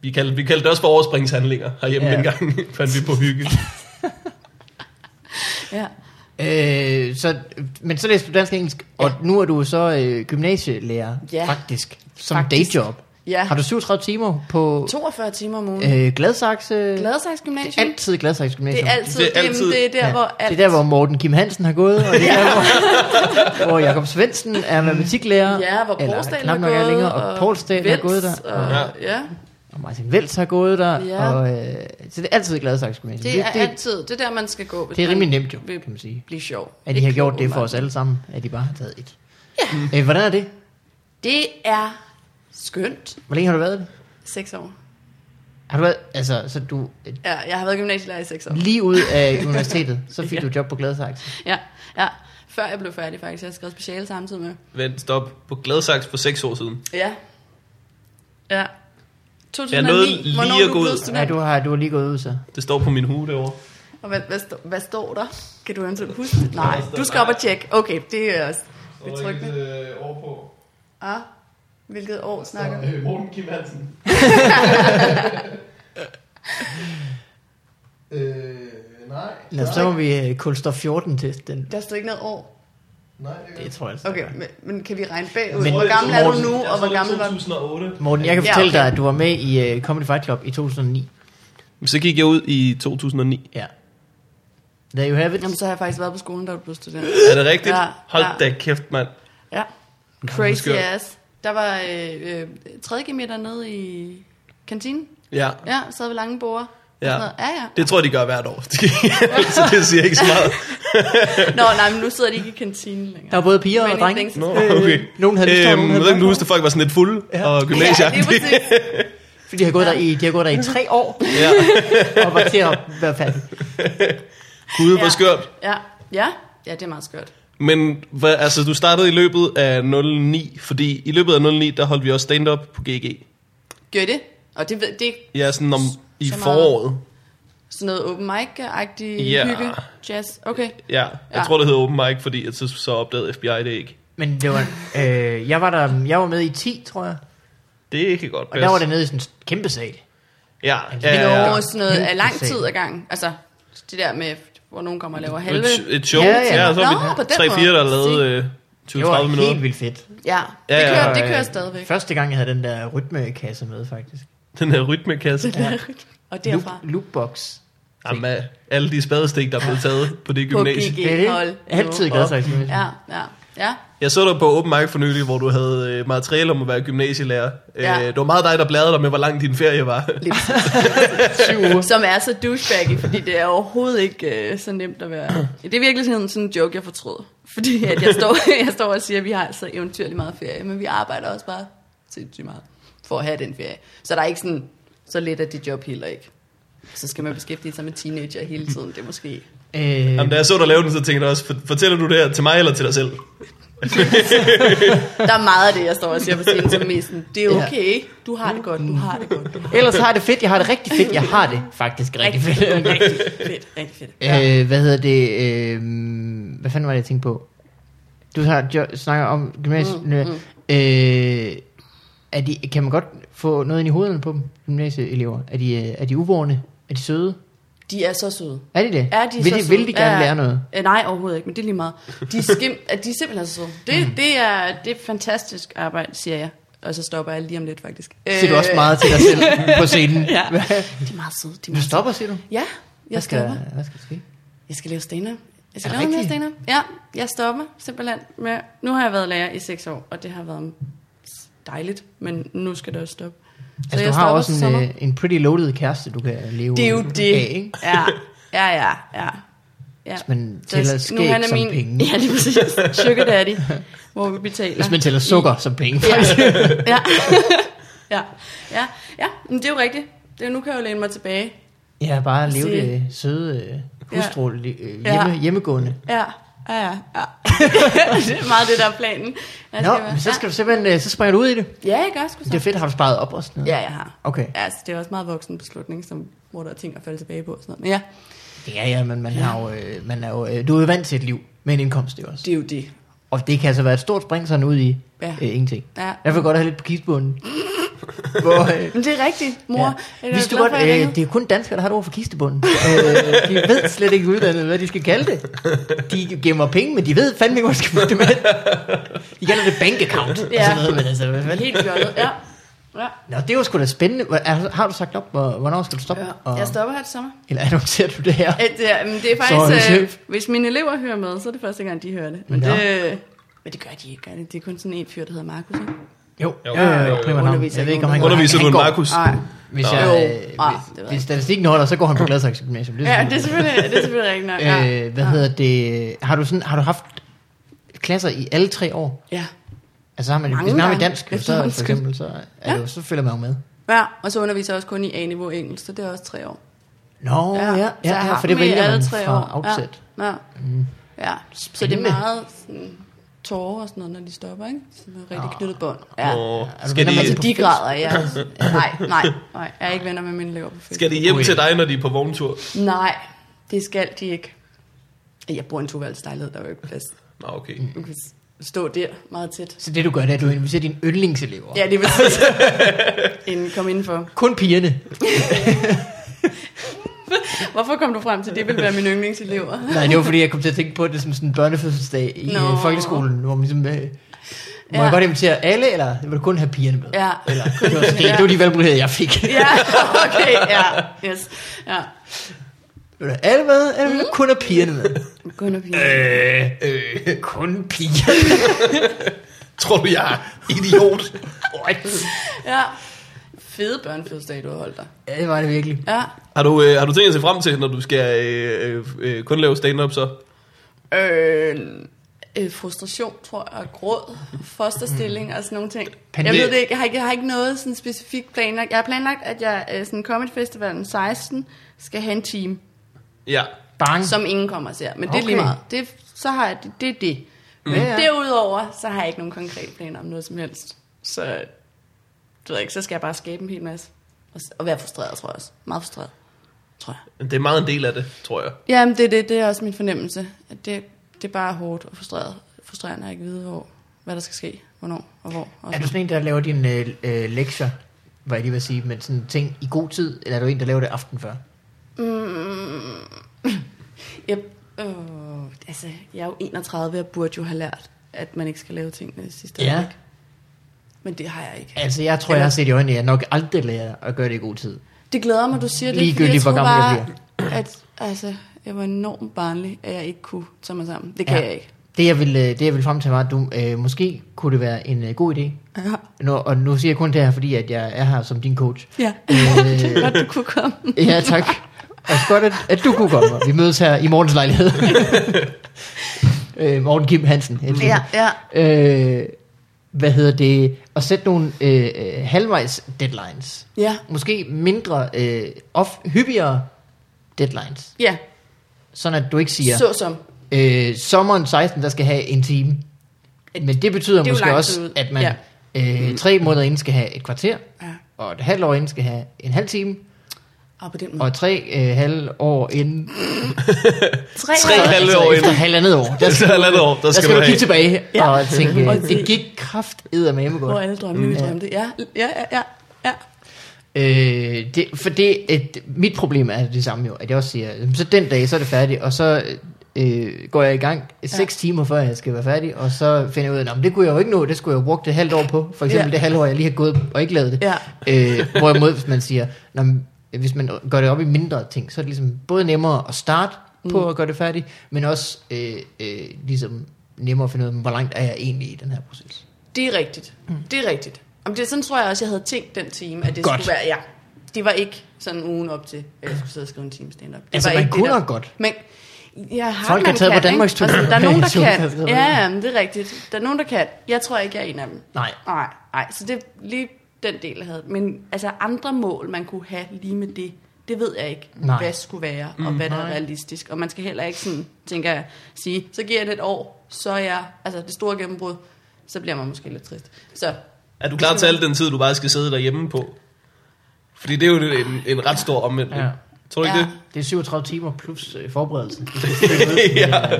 Speaker 2: Vi kaldte, vi kaldte det også for [LAUGHS] overspringshandlinger herhjemme
Speaker 1: Ja.
Speaker 2: ja. en gang, fandt vi på hygge.
Speaker 3: ja.
Speaker 1: Øh, så, men så læste du dansk og engelsk, og
Speaker 3: Ja.
Speaker 1: nu er du så øh, gymnasielærer,
Speaker 3: Ja.
Speaker 1: faktisk, som
Speaker 3: Faktisk.
Speaker 1: dayjob.
Speaker 3: Ja,
Speaker 1: Har du 37 timer på
Speaker 3: 42 timer om ugen. Øh,
Speaker 1: øh, Gladsaxe?
Speaker 3: Gladsaxe Gymnasium.
Speaker 1: Altid Gladsaxe Gymnasium.
Speaker 3: Det er altid,
Speaker 2: Det er
Speaker 3: det er,
Speaker 2: altid-
Speaker 3: altid. det er der, hvor alt...
Speaker 1: det er der, hvor Morten Kim Hansen har gået, og det er der, hvor, hvor Jakob Svendsen er matematiklærer.
Speaker 3: Ja, hvor
Speaker 1: eller
Speaker 3: Poulsdalen
Speaker 1: knap
Speaker 3: har
Speaker 1: nok er
Speaker 3: gået,
Speaker 1: længere, og Poulsdalen har
Speaker 3: Vels,
Speaker 1: gået der,
Speaker 3: Og,
Speaker 2: Ja.
Speaker 3: ja. ja.
Speaker 1: Og Martin Vels har gået der,
Speaker 3: Ja.
Speaker 1: og, øh, så det er altid Gladsaxe Gymnasium.
Speaker 3: Det, er altid, det er der, man skal gå, hvis
Speaker 1: det er rimelig
Speaker 3: man
Speaker 1: nemt jo,
Speaker 3: vil
Speaker 1: kan man sige.
Speaker 3: blive sjov.
Speaker 1: At de
Speaker 3: Ikke
Speaker 1: har gjort det for
Speaker 3: åbenbart.
Speaker 1: os alle sammen, at de bare har taget et. Ja. Øh, hvordan er det?
Speaker 3: Det er skønt.
Speaker 1: Hvor længe har du været det?
Speaker 3: Seks år.
Speaker 1: Har du været, altså, så du, øh,
Speaker 3: Ja, jeg har været gymnasielærer i seks år.
Speaker 1: lige ud
Speaker 3: [LAUGHS]
Speaker 1: af universitetet, så fik ja. du job på Gladsaxe.
Speaker 3: Ja, ja. Før jeg blev færdig faktisk. Jeg har skrevet speciale samtidig med.
Speaker 2: Vent, stop. På Gladsaks for 6 år siden.
Speaker 3: Ja. Ja. 2009,
Speaker 2: Jeg nåede lige
Speaker 3: hvornår
Speaker 2: at
Speaker 3: du
Speaker 2: gå ud.
Speaker 3: blev
Speaker 1: Ja,
Speaker 3: student.
Speaker 1: du har, du har lige gået ud, så.
Speaker 2: Det står på min hue derovre.
Speaker 3: Og hvad, hvad, stå, hvad står der? Kan du eventuelt huske det? Nej,
Speaker 2: står-
Speaker 3: du skal op og tjekke. Okay, det er også betryggende.
Speaker 2: øh, over på. øh,
Speaker 3: Ah, hvilket år snakker vi?
Speaker 2: Morten Kim
Speaker 3: [LAUGHS]
Speaker 2: Hansen. øh, nej.
Speaker 1: Nå, så må vi øh, kulstof 14 til den.
Speaker 3: Der står ikke noget år.
Speaker 2: Nej,
Speaker 1: Det tror jeg altså.
Speaker 3: Okay, men, men kan vi regne bagud?
Speaker 1: Men-
Speaker 3: Hvor gammel er du nu, og
Speaker 2: altså,
Speaker 3: hvor gammel var du?
Speaker 2: 2008.
Speaker 1: Morten, jeg kan
Speaker 3: Ja,
Speaker 1: fortælle
Speaker 3: okay.
Speaker 1: dig, at du var med i uh, Comedy Fight Club i 2009.
Speaker 2: Så gik jeg ud i 2009.
Speaker 1: Ja. There you have it.
Speaker 3: Jamen, så har jeg faktisk været på skolen, da du blev student.
Speaker 2: Er det rigtigt?
Speaker 3: Ja,
Speaker 2: Hold
Speaker 3: ja.
Speaker 2: da kæft, mand.
Speaker 3: Ja.
Speaker 2: Crazy
Speaker 3: Crazy
Speaker 2: skørt.
Speaker 3: ass. Der var øh, øh, 3. G meter nede i kantinen.
Speaker 2: Ja.
Speaker 3: Ja, sad ved lange borer.
Speaker 2: Ja.
Speaker 3: Ja. ja, ja.
Speaker 2: Det tror jeg, de gør hvert år. [LAUGHS] så det siger ikke så meget.
Speaker 3: Nå, nej, men nu sidder de ikke i kantinen længere.
Speaker 1: Der var både piger og
Speaker 3: Many
Speaker 1: drenge.
Speaker 3: things.
Speaker 2: Nå, okay.
Speaker 1: Øh, Nogen havde lyst til, og
Speaker 2: øhm,
Speaker 1: nogen
Speaker 2: jeg ved
Speaker 1: havde
Speaker 2: ikke, om du
Speaker 1: lyst
Speaker 2: husker, at folk var sådan lidt fulde
Speaker 1: Ja.
Speaker 2: og
Speaker 3: Ja, det er
Speaker 2: gymnasieagtige.
Speaker 3: præcis.
Speaker 1: Fordi de har gået, der i, de har gået der i
Speaker 3: [LAUGHS]
Speaker 1: tre år,
Speaker 2: Ja,
Speaker 1: [LAUGHS] og var til at være fattig.
Speaker 2: [LAUGHS] Gud, hvor
Speaker 3: Ja.
Speaker 2: skørt.
Speaker 3: Ja, ja. Ja, det er meget skørt.
Speaker 2: Men hvad, altså, du startede i løbet af 09, fordi i løbet af 09, der holdt vi også stand-up på GG.
Speaker 3: Gør det? Og det, ved- det er
Speaker 2: Ja, sådan om i
Speaker 3: Så meget.
Speaker 2: foråret.
Speaker 3: sådan noget open mic-agtig
Speaker 2: Ja.
Speaker 3: hygge, jazz. Okay.
Speaker 2: Ja, jeg
Speaker 3: Ja.
Speaker 2: tror, det hedder open mic, fordi at så, så opdagede FBI det ikke.
Speaker 1: Men det var, øh, jeg, var der, jeg var med i 10, tror jeg.
Speaker 2: Det kan godt
Speaker 1: Og der var det nede i sådan en kæmpe sal.
Speaker 2: Ja, ja,
Speaker 1: det Altså,
Speaker 3: Det
Speaker 2: ja,
Speaker 3: er
Speaker 2: ja.
Speaker 3: jo sådan noget af lang
Speaker 1: Helt
Speaker 3: tid ad gang. Altså, det der med, hvor nogen kommer og laver halve.
Speaker 2: Et, et show. Ja,
Speaker 1: Ja,
Speaker 2: ja.
Speaker 1: ja.
Speaker 2: ja så
Speaker 3: Nå,
Speaker 2: har
Speaker 3: på
Speaker 2: vi
Speaker 3: den
Speaker 2: tre-fire, der
Speaker 3: måde.
Speaker 2: lavede øh,
Speaker 1: Det var
Speaker 2: 20-30 minutter.
Speaker 1: helt vildt fedt.
Speaker 3: Ja,
Speaker 2: Ja,
Speaker 3: det
Speaker 2: ja,
Speaker 3: kører,
Speaker 1: Og,
Speaker 3: det
Speaker 1: øh,
Speaker 3: kører stadigvæk.
Speaker 1: Første gang, jeg havde den der rytmekasse med, faktisk.
Speaker 2: Den her
Speaker 3: [LAUGHS]
Speaker 2: rytmekasse.
Speaker 1: Ja.
Speaker 3: Og
Speaker 1: Loop,
Speaker 3: derfra
Speaker 1: loopbox.
Speaker 2: Jamen, øh, alle de spadestik, der blev taget på det
Speaker 3: på
Speaker 2: gymnasie.
Speaker 1: Det er det.
Speaker 3: GG. Hold
Speaker 1: Altid
Speaker 3: nu
Speaker 1: glad
Speaker 3: op.
Speaker 1: sig.
Speaker 3: Ja, ja, ja.
Speaker 2: Jeg så dig på Open Mic for nylig, hvor du havde øh, materiale om at være gymnasielærer. Ja.
Speaker 3: Ja.
Speaker 2: Øh, det var meget dig, der bladrede dig med, hvor lang din ferie var.
Speaker 3: [LAUGHS]
Speaker 1: Syv uger.
Speaker 3: Som er så douchebaggy, fordi det er overhovedet ikke øh, så nemt at være. Det er virkelig sådan, sådan en joke, jeg fortrød. [LAUGHS] Fordi at jeg, står, [LAUGHS] jeg står og siger, at vi har så eventyrligt meget ferie, men vi arbejder også bare sindssygt meget for at have den ferie. Så der er ikke sådan, så lidt af dit job heller ikke. Så skal man beskæftige sig med teenager hele tiden, det er måske...
Speaker 1: Øh,
Speaker 2: Jamen, da jeg så dig lave den, så tænkte jeg også, "For- fortæller du det her til mig eller til dig selv?
Speaker 3: Der er meget af det, jeg står og siger på scenen som mest sådan, det er
Speaker 1: Ja.
Speaker 3: okay, du har det godt, du har det godt, du har
Speaker 1: Ellers har jeg det fedt. Jeg har det rigtig fedt. Jeg
Speaker 3: [LAUGHS]
Speaker 1: har det faktisk
Speaker 3: det
Speaker 1: rigtig fedt.
Speaker 3: rigtig fedt, rigtig fedt. Ja.
Speaker 1: [LAUGHS] Øh, hvad hedder det? Øh, hvad fanden var det, jeg tænkte på? Du har jo, snakker om gymnasiet. Mm, mm. Øh, er de, kan man godt få noget ind i hovederne på dem, gymnasieelever? Er de, øh, er de uvorne? Er de søde?
Speaker 3: De er så søde.
Speaker 1: Er de det?
Speaker 3: Er de
Speaker 1: vil,
Speaker 3: så
Speaker 1: de,
Speaker 3: søde?
Speaker 1: vil de gerne
Speaker 3: Ja.
Speaker 1: lære noget?
Speaker 3: Øh, nej, overhovedet ikke, men det er lige meget. De er, skim, at [LAUGHS] de er simpelthen så søde. Det,
Speaker 1: Mm.
Speaker 3: det, er, det er fantastisk arbejde, siger jeg. Og så stopper jeg lige om lidt, faktisk.
Speaker 1: Siger du også meget til dig
Speaker 3: [LAUGHS]
Speaker 1: selv på scenen?
Speaker 3: Ja.
Speaker 1: Hvad?
Speaker 3: De er meget søde. De er
Speaker 1: Du
Speaker 3: meget søde.
Speaker 1: stopper, siger du?
Speaker 3: Ja, jeg
Speaker 1: Hvad skal,
Speaker 3: stopper.
Speaker 1: hvad skal der ske?
Speaker 3: Jeg skal lave stand Jeg skal
Speaker 1: Er det
Speaker 3: lave mere
Speaker 1: rigtigt?
Speaker 3: stand Ja, jeg stopper simpelthen med... Nu har jeg været lærer i seks år, og det har været dejligt, men nu skal det også stoppe. Så
Speaker 1: Altså, du har
Speaker 3: stopper
Speaker 1: også
Speaker 3: til
Speaker 1: en,
Speaker 3: sommer.
Speaker 1: øh, en pretty loaded kæreste, du kan leve
Speaker 3: Det er jo det.
Speaker 1: af, ikke?
Speaker 3: Ja, ja, ja, ja. ja.
Speaker 1: Hvis man
Speaker 3: Så jeg-
Speaker 1: tæller skæg
Speaker 3: han er
Speaker 1: som penge.
Speaker 3: Ja, det er præcis. Sugar daddy, hvor vi betaler.
Speaker 1: Hvis man tæller sukker som penge, [LAUGHS] faktisk.
Speaker 3: Ja, ja, ja, ja. Men det er jo rigtigt. Det, er- nu kan jeg jo læne mig tilbage.
Speaker 1: Ja, bare leve
Speaker 3: Se.
Speaker 1: det søde øh, hustru, ja. hjemme,
Speaker 3: Altså, Ja.
Speaker 1: hjemmegående.
Speaker 3: Ja, ja, ja. ja. [LAUGHS] det er meget det, der er planen. Jeg
Speaker 1: Nå,
Speaker 3: være-
Speaker 1: men så skal du simpelthen, øh, så springer du ud i det.
Speaker 3: Ja, jeg gør sgu
Speaker 1: Det er
Speaker 3: så.
Speaker 1: fedt, har du sparet op og sådan noget.
Speaker 3: Ja, jeg har.
Speaker 1: Okay.
Speaker 3: Ja, altså, det er også meget voksen beslutning, som, hvor der er ting at falde tilbage på og sådan noget. Men ja,
Speaker 1: Ja, ja, men man har jo, øh, man er jo, øh, du er jo vant til et liv med en indkomst, det er også.
Speaker 3: det er jo det.
Speaker 1: Og det kan altså være et stort spring sådan ud i
Speaker 3: Ja.
Speaker 1: øh, ingenting.
Speaker 3: Ja. [LAUGHS]
Speaker 1: Jeg vil godt have lidt på kisbunden. hvor, øh,
Speaker 3: Men det er rigtigt, mor. Ja.
Speaker 1: Ja. Vidste du godt, øh, det er kun danskere, der har et ord for kistebunden. øh, de ved slet ikke uddannet, hvad de skal kalde det. De gemmer penge, men de ved fandme ikke, hvor de skal putte dem hen. De kalder det bank account. Ja. Og sådan noget, men altså, hvad fanden?
Speaker 3: Helt fjollet, ja. Ja.
Speaker 1: Nå, det var sgu da spændende. Hvor- er- Har du sagt op, hvor- hvornår skal du stoppe?
Speaker 3: ja.
Speaker 1: Og,
Speaker 3: Jeg stopper her til sommer.
Speaker 1: eller annoncerer du det her?
Speaker 3: At, ja, men det er
Speaker 1: Sorry,
Speaker 3: faktisk, øh,
Speaker 1: chef.
Speaker 3: hvis mine elever hører med, så er det første gang, de hører det. Men,
Speaker 1: Nå.
Speaker 3: det, men det gør de ikke, gør det. Det er kun sådan en fyr, der hedder Markus. ikke?
Speaker 1: Jo,
Speaker 2: Jo.
Speaker 1: jo, jo, jo, jo, jo.
Speaker 3: Underviser
Speaker 1: Jeg ved ikke, om han går.
Speaker 2: Underviser du
Speaker 1: han
Speaker 2: en
Speaker 1: går.
Speaker 2: Markus?
Speaker 3: Nej.
Speaker 1: Hvis,
Speaker 2: Nå.
Speaker 1: jeg,
Speaker 3: Jo.
Speaker 1: øh,
Speaker 3: Ah, det ved
Speaker 1: hvis,
Speaker 3: jeg
Speaker 1: hvis
Speaker 3: ikke.
Speaker 1: statistikken holder, så går han på Gladsaxe Gymnasium. Det er
Speaker 3: Ja,
Speaker 1: sådan-
Speaker 3: det er selvfølgelig, det er selvfølgelig rigtigt nok. Ja.
Speaker 1: Øh, hvad hedder det? Har du, sådan, har du haft klasser i alle tre år?
Speaker 3: ja.
Speaker 1: Altså har man,
Speaker 3: Mange
Speaker 1: hvis man har med
Speaker 3: gange.
Speaker 1: dansk, jo, så,
Speaker 3: Efterhånden
Speaker 1: for eksempel, så, er det, jo- så følger man jo med.
Speaker 3: Ja, og så underviser jeg også kun i A-niveau engelsk, så det er også tre år.
Speaker 1: Nå, ja, ja,
Speaker 3: så jeg
Speaker 1: ja,
Speaker 3: har
Speaker 1: for det
Speaker 3: dem i
Speaker 1: vælger
Speaker 3: alle
Speaker 1: man
Speaker 3: tre
Speaker 1: fra
Speaker 3: år.
Speaker 1: outset. Mm.
Speaker 3: Ja, ja. ja. så det
Speaker 1: Spændende.
Speaker 3: er meget sådan, tårer og sådan noget, når de stopper, ikke? Så det er rigtig
Speaker 1: Ah.
Speaker 3: knyttet bånd. Ja.
Speaker 2: Åh,
Speaker 1: Er du
Speaker 2: skal,
Speaker 1: venner med
Speaker 2: de,
Speaker 1: på
Speaker 3: Altså, de
Speaker 1: Facebook?
Speaker 3: græder, ja. [LAUGHS] Nej, nej, nej. Jeg er ikke venner med mine elever på Facebook.
Speaker 2: skal de hjem til dig, når de er på vogntur?
Speaker 3: Nej, det skal de ikke. Jeg bor i en toværelseslejlighed, der er jo ikke plads.
Speaker 2: Nå, okay.
Speaker 3: Du kan stå der meget tæt.
Speaker 1: Så det du gør, det er, at du inviterer dine yndlingselever.
Speaker 3: Ja, det vil sige. Inden kom indenfor.
Speaker 1: Kun pigerne.
Speaker 3: Hvorfor kom du frem til, det vil være mine yndlingselever?
Speaker 1: Nej, det var fordi, jeg kom til at tænke på det som sådan en børnefødselsdag i
Speaker 3: Nå.
Speaker 1: no. folkeskolen, hvor man ligesom... Øh, må
Speaker 3: Ja.
Speaker 1: jeg godt invitere alle, eller vil du kun have pigerne med?
Speaker 3: Ja.
Speaker 1: Eller, det, var, sådan- det, det var de valgmuligheder, jeg fik.
Speaker 3: Ja, okay, ja. Yes. Ja.
Speaker 1: Vil du have alle med, eller vil
Speaker 3: Mm.
Speaker 1: du kun have pigerne
Speaker 3: [LAUGHS]
Speaker 1: med?
Speaker 3: Gunnar Pia.
Speaker 1: Øh, øh, kun piger.
Speaker 2: Tror du, jeg er idiot?
Speaker 1: What?
Speaker 3: Ja. Fede børnefødselsdag, du har holdt dig.
Speaker 1: Ja, det var det virkelig.
Speaker 3: Ja.
Speaker 2: Har du, øh, har du tænkt at se frem til, når du skal øh, øh, øh, kun lave stand-up så?
Speaker 3: Øh, øh, frustration, tror jeg, og gråd, fosterstilling og sådan nogle ting.
Speaker 1: Panik.
Speaker 3: Jeg ved det ikke, jeg har ikke, jeg har ikke noget sådan specifikt planlagt. Jeg har planlagt, at jeg øh, sådan Comedy Festivalen 16 skal have en time,
Speaker 2: Ja.
Speaker 1: Bang.
Speaker 3: som ingen kommer og ser. Men det er
Speaker 1: Okay.
Speaker 3: lige meget. Det, så har jeg det, det er det. Men
Speaker 1: Ja, ja.
Speaker 3: derudover, så har jeg ikke nogen konkrete planer om noget som helst. Så, det ved jeg ikke, så skal jeg bare skabe en hel masse. Og, s- og være frustreret, tror jeg også. Meget frustreret, tror jeg.
Speaker 2: Det er meget en del af det, tror jeg.
Speaker 3: Jamen, det er det. Det er også min fornemmelse. At det, det er bare hårdt og frustreret. frustrerende at ikke vide, hvor, hvad der skal ske, hvornår og hvor. Og
Speaker 1: Er du sådan en, der laver dine øh, øh, lektier, hvad jeg lige vil sige, men sådan ting i god tid, eller er du en, der laver det aften før?
Speaker 3: jeg, øh, Mm. altså, jeg er jo 31, og jeg burde jo have lært, at man ikke skal lave tingene i sidste
Speaker 1: Ja.
Speaker 3: øjeblik. Men det har jeg ikke.
Speaker 1: Altså, jeg tror, jeg har set i øjnene, at jeg nok aldrig lærer at gøre det i god tid.
Speaker 3: Det glæder mig, du siger det. fordi
Speaker 1: Ligegyldigt,
Speaker 3: jeg
Speaker 1: hvor
Speaker 3: troede
Speaker 1: gammel jeg
Speaker 3: bare, At, altså, jeg var enormt barnlig, at jeg ikke kunne tage mig sammen. Det kan
Speaker 1: Ja.
Speaker 3: ja. jeg ikke.
Speaker 1: Det jeg, vil, øh, det, jeg vil frem til, var, at du, øh, måske kunne det være en øh, god idé.
Speaker 3: Ja.
Speaker 1: Nu, og nu siger jeg kun det her, fordi at jeg er her som din coach.
Speaker 3: [LAUGHS] Ja,
Speaker 1: Øh.
Speaker 3: det er godt, du kunne komme.
Speaker 1: Ja, tak. Og så godt, at, at du kunne komme. Vi mødes her i morgens lejlighed. øh, Morten Kim Hansen. helt
Speaker 3: Ja, ja.
Speaker 1: Øh, hvad hedder det? Og sætte nogle øh, øh, halvvejs deadlines.
Speaker 3: Ja.
Speaker 1: Måske mindre, øh, off, hyppigere deadlines.
Speaker 3: Ja,
Speaker 1: Sådan at du ikke siger,
Speaker 3: så som.
Speaker 1: øh, sommeren 16, der skal have en time. Men det betyder
Speaker 3: Det er jo
Speaker 1: måske
Speaker 3: lang
Speaker 1: også,
Speaker 3: tid ud.
Speaker 1: at man øh, tre
Speaker 2: Mm.
Speaker 1: måneder inden skal have et kvarter,
Speaker 3: Ja.
Speaker 1: og et halvt år inden skal have en halv time,
Speaker 3: Mm. Og på den måde.
Speaker 1: og tre øh, halv år inden
Speaker 3: Tre,
Speaker 2: Tre
Speaker 3: år.
Speaker 2: halve
Speaker 1: altså,
Speaker 2: år
Speaker 1: efter
Speaker 2: inden.
Speaker 1: halvandet år, der
Speaker 2: Efter
Speaker 1: skal,
Speaker 2: halvandet år, [LAUGHS] der
Speaker 1: der
Speaker 2: skal,
Speaker 1: skal du
Speaker 2: have.
Speaker 1: kigge tilbage ja.
Speaker 3: Ja.
Speaker 1: og tænke,
Speaker 3: Og
Speaker 1: det gik kraft eddermame
Speaker 3: Hvor
Speaker 1: godt.
Speaker 3: alle drømmene, vi drømte. Ja, ja, ja, ja. ja.
Speaker 1: Øh, det, for det, et, mit problem er det samme jo, at jeg også siger, "Jamen, så den dag, så er det færdigt, og så øh, går jeg i gang 6 timer før jeg skal være færdig, og så finder jeg ud af, "Nå, men det kunne jeg jo ikke nå, det skulle jeg jo bruge det halvt år på, for eksempel
Speaker 3: Ja.
Speaker 1: det halve år, jeg lige har gået og ikke lavet det.
Speaker 3: Ja.
Speaker 1: Øh, hvorimod, hvis man siger, "Nå, men hvis man gør det op i mindre ting, så er det ligesom både nemmere at starte på
Speaker 3: Mm.
Speaker 1: at gøre det færdigt, men også øh, øh, ligesom nemmere at finde ud af, hvor langt er jeg egentlig i den her proces.
Speaker 3: Det er rigtigt. Det er rigtigt. Om det, er sådan tror jeg også, jeg havde tænkt den time, at det
Speaker 1: Mm. Godt.
Speaker 3: Godt. skulle være, ja. Det var ikke sådan ugen op til, at jeg skulle sidde og skrive en time stand-up. Det
Speaker 1: Altså,
Speaker 3: var
Speaker 1: man
Speaker 3: ikke
Speaker 1: kunne
Speaker 3: det der.
Speaker 1: nok godt.
Speaker 3: Men, ja,
Speaker 1: Folk har
Speaker 3: Hartmann
Speaker 1: taget på
Speaker 3: kan, ikke?
Speaker 1: Danmarks tur.
Speaker 3: Og sådan, Der er nogen,
Speaker 1: [LAUGHS]
Speaker 3: der
Speaker 1: Så kan
Speaker 3: kan.
Speaker 1: jeg-
Speaker 3: Ja, men det er rigtigt. Der er nogen, der kan. Jeg tror ikke, jeg er en af dem.
Speaker 1: Nej.
Speaker 3: Nej, nej. Så det er lige den del, jeg havde. Men altså andre mål, man kunne have lige med det, det ved jeg ikke,
Speaker 1: Nej. Mm,
Speaker 3: nej. hvad skulle være, og hvad der er realistisk. Og man skal heller ikke sådan, tænker jeg, sige, så giver jeg det et år, så er jeg, altså det store gennembrud, så bliver man måske lidt trist. Så
Speaker 2: Er du klar til al den tid, du bare skal sidde derhjemme på? Fordi det er jo en, en ret stor omvendtning.
Speaker 1: Ja.
Speaker 2: Ja. Tror du ikke
Speaker 3: Ja.
Speaker 2: det?
Speaker 1: Det er 37 timer plus øh,
Speaker 2: [LAUGHS]
Speaker 1: forberedelse.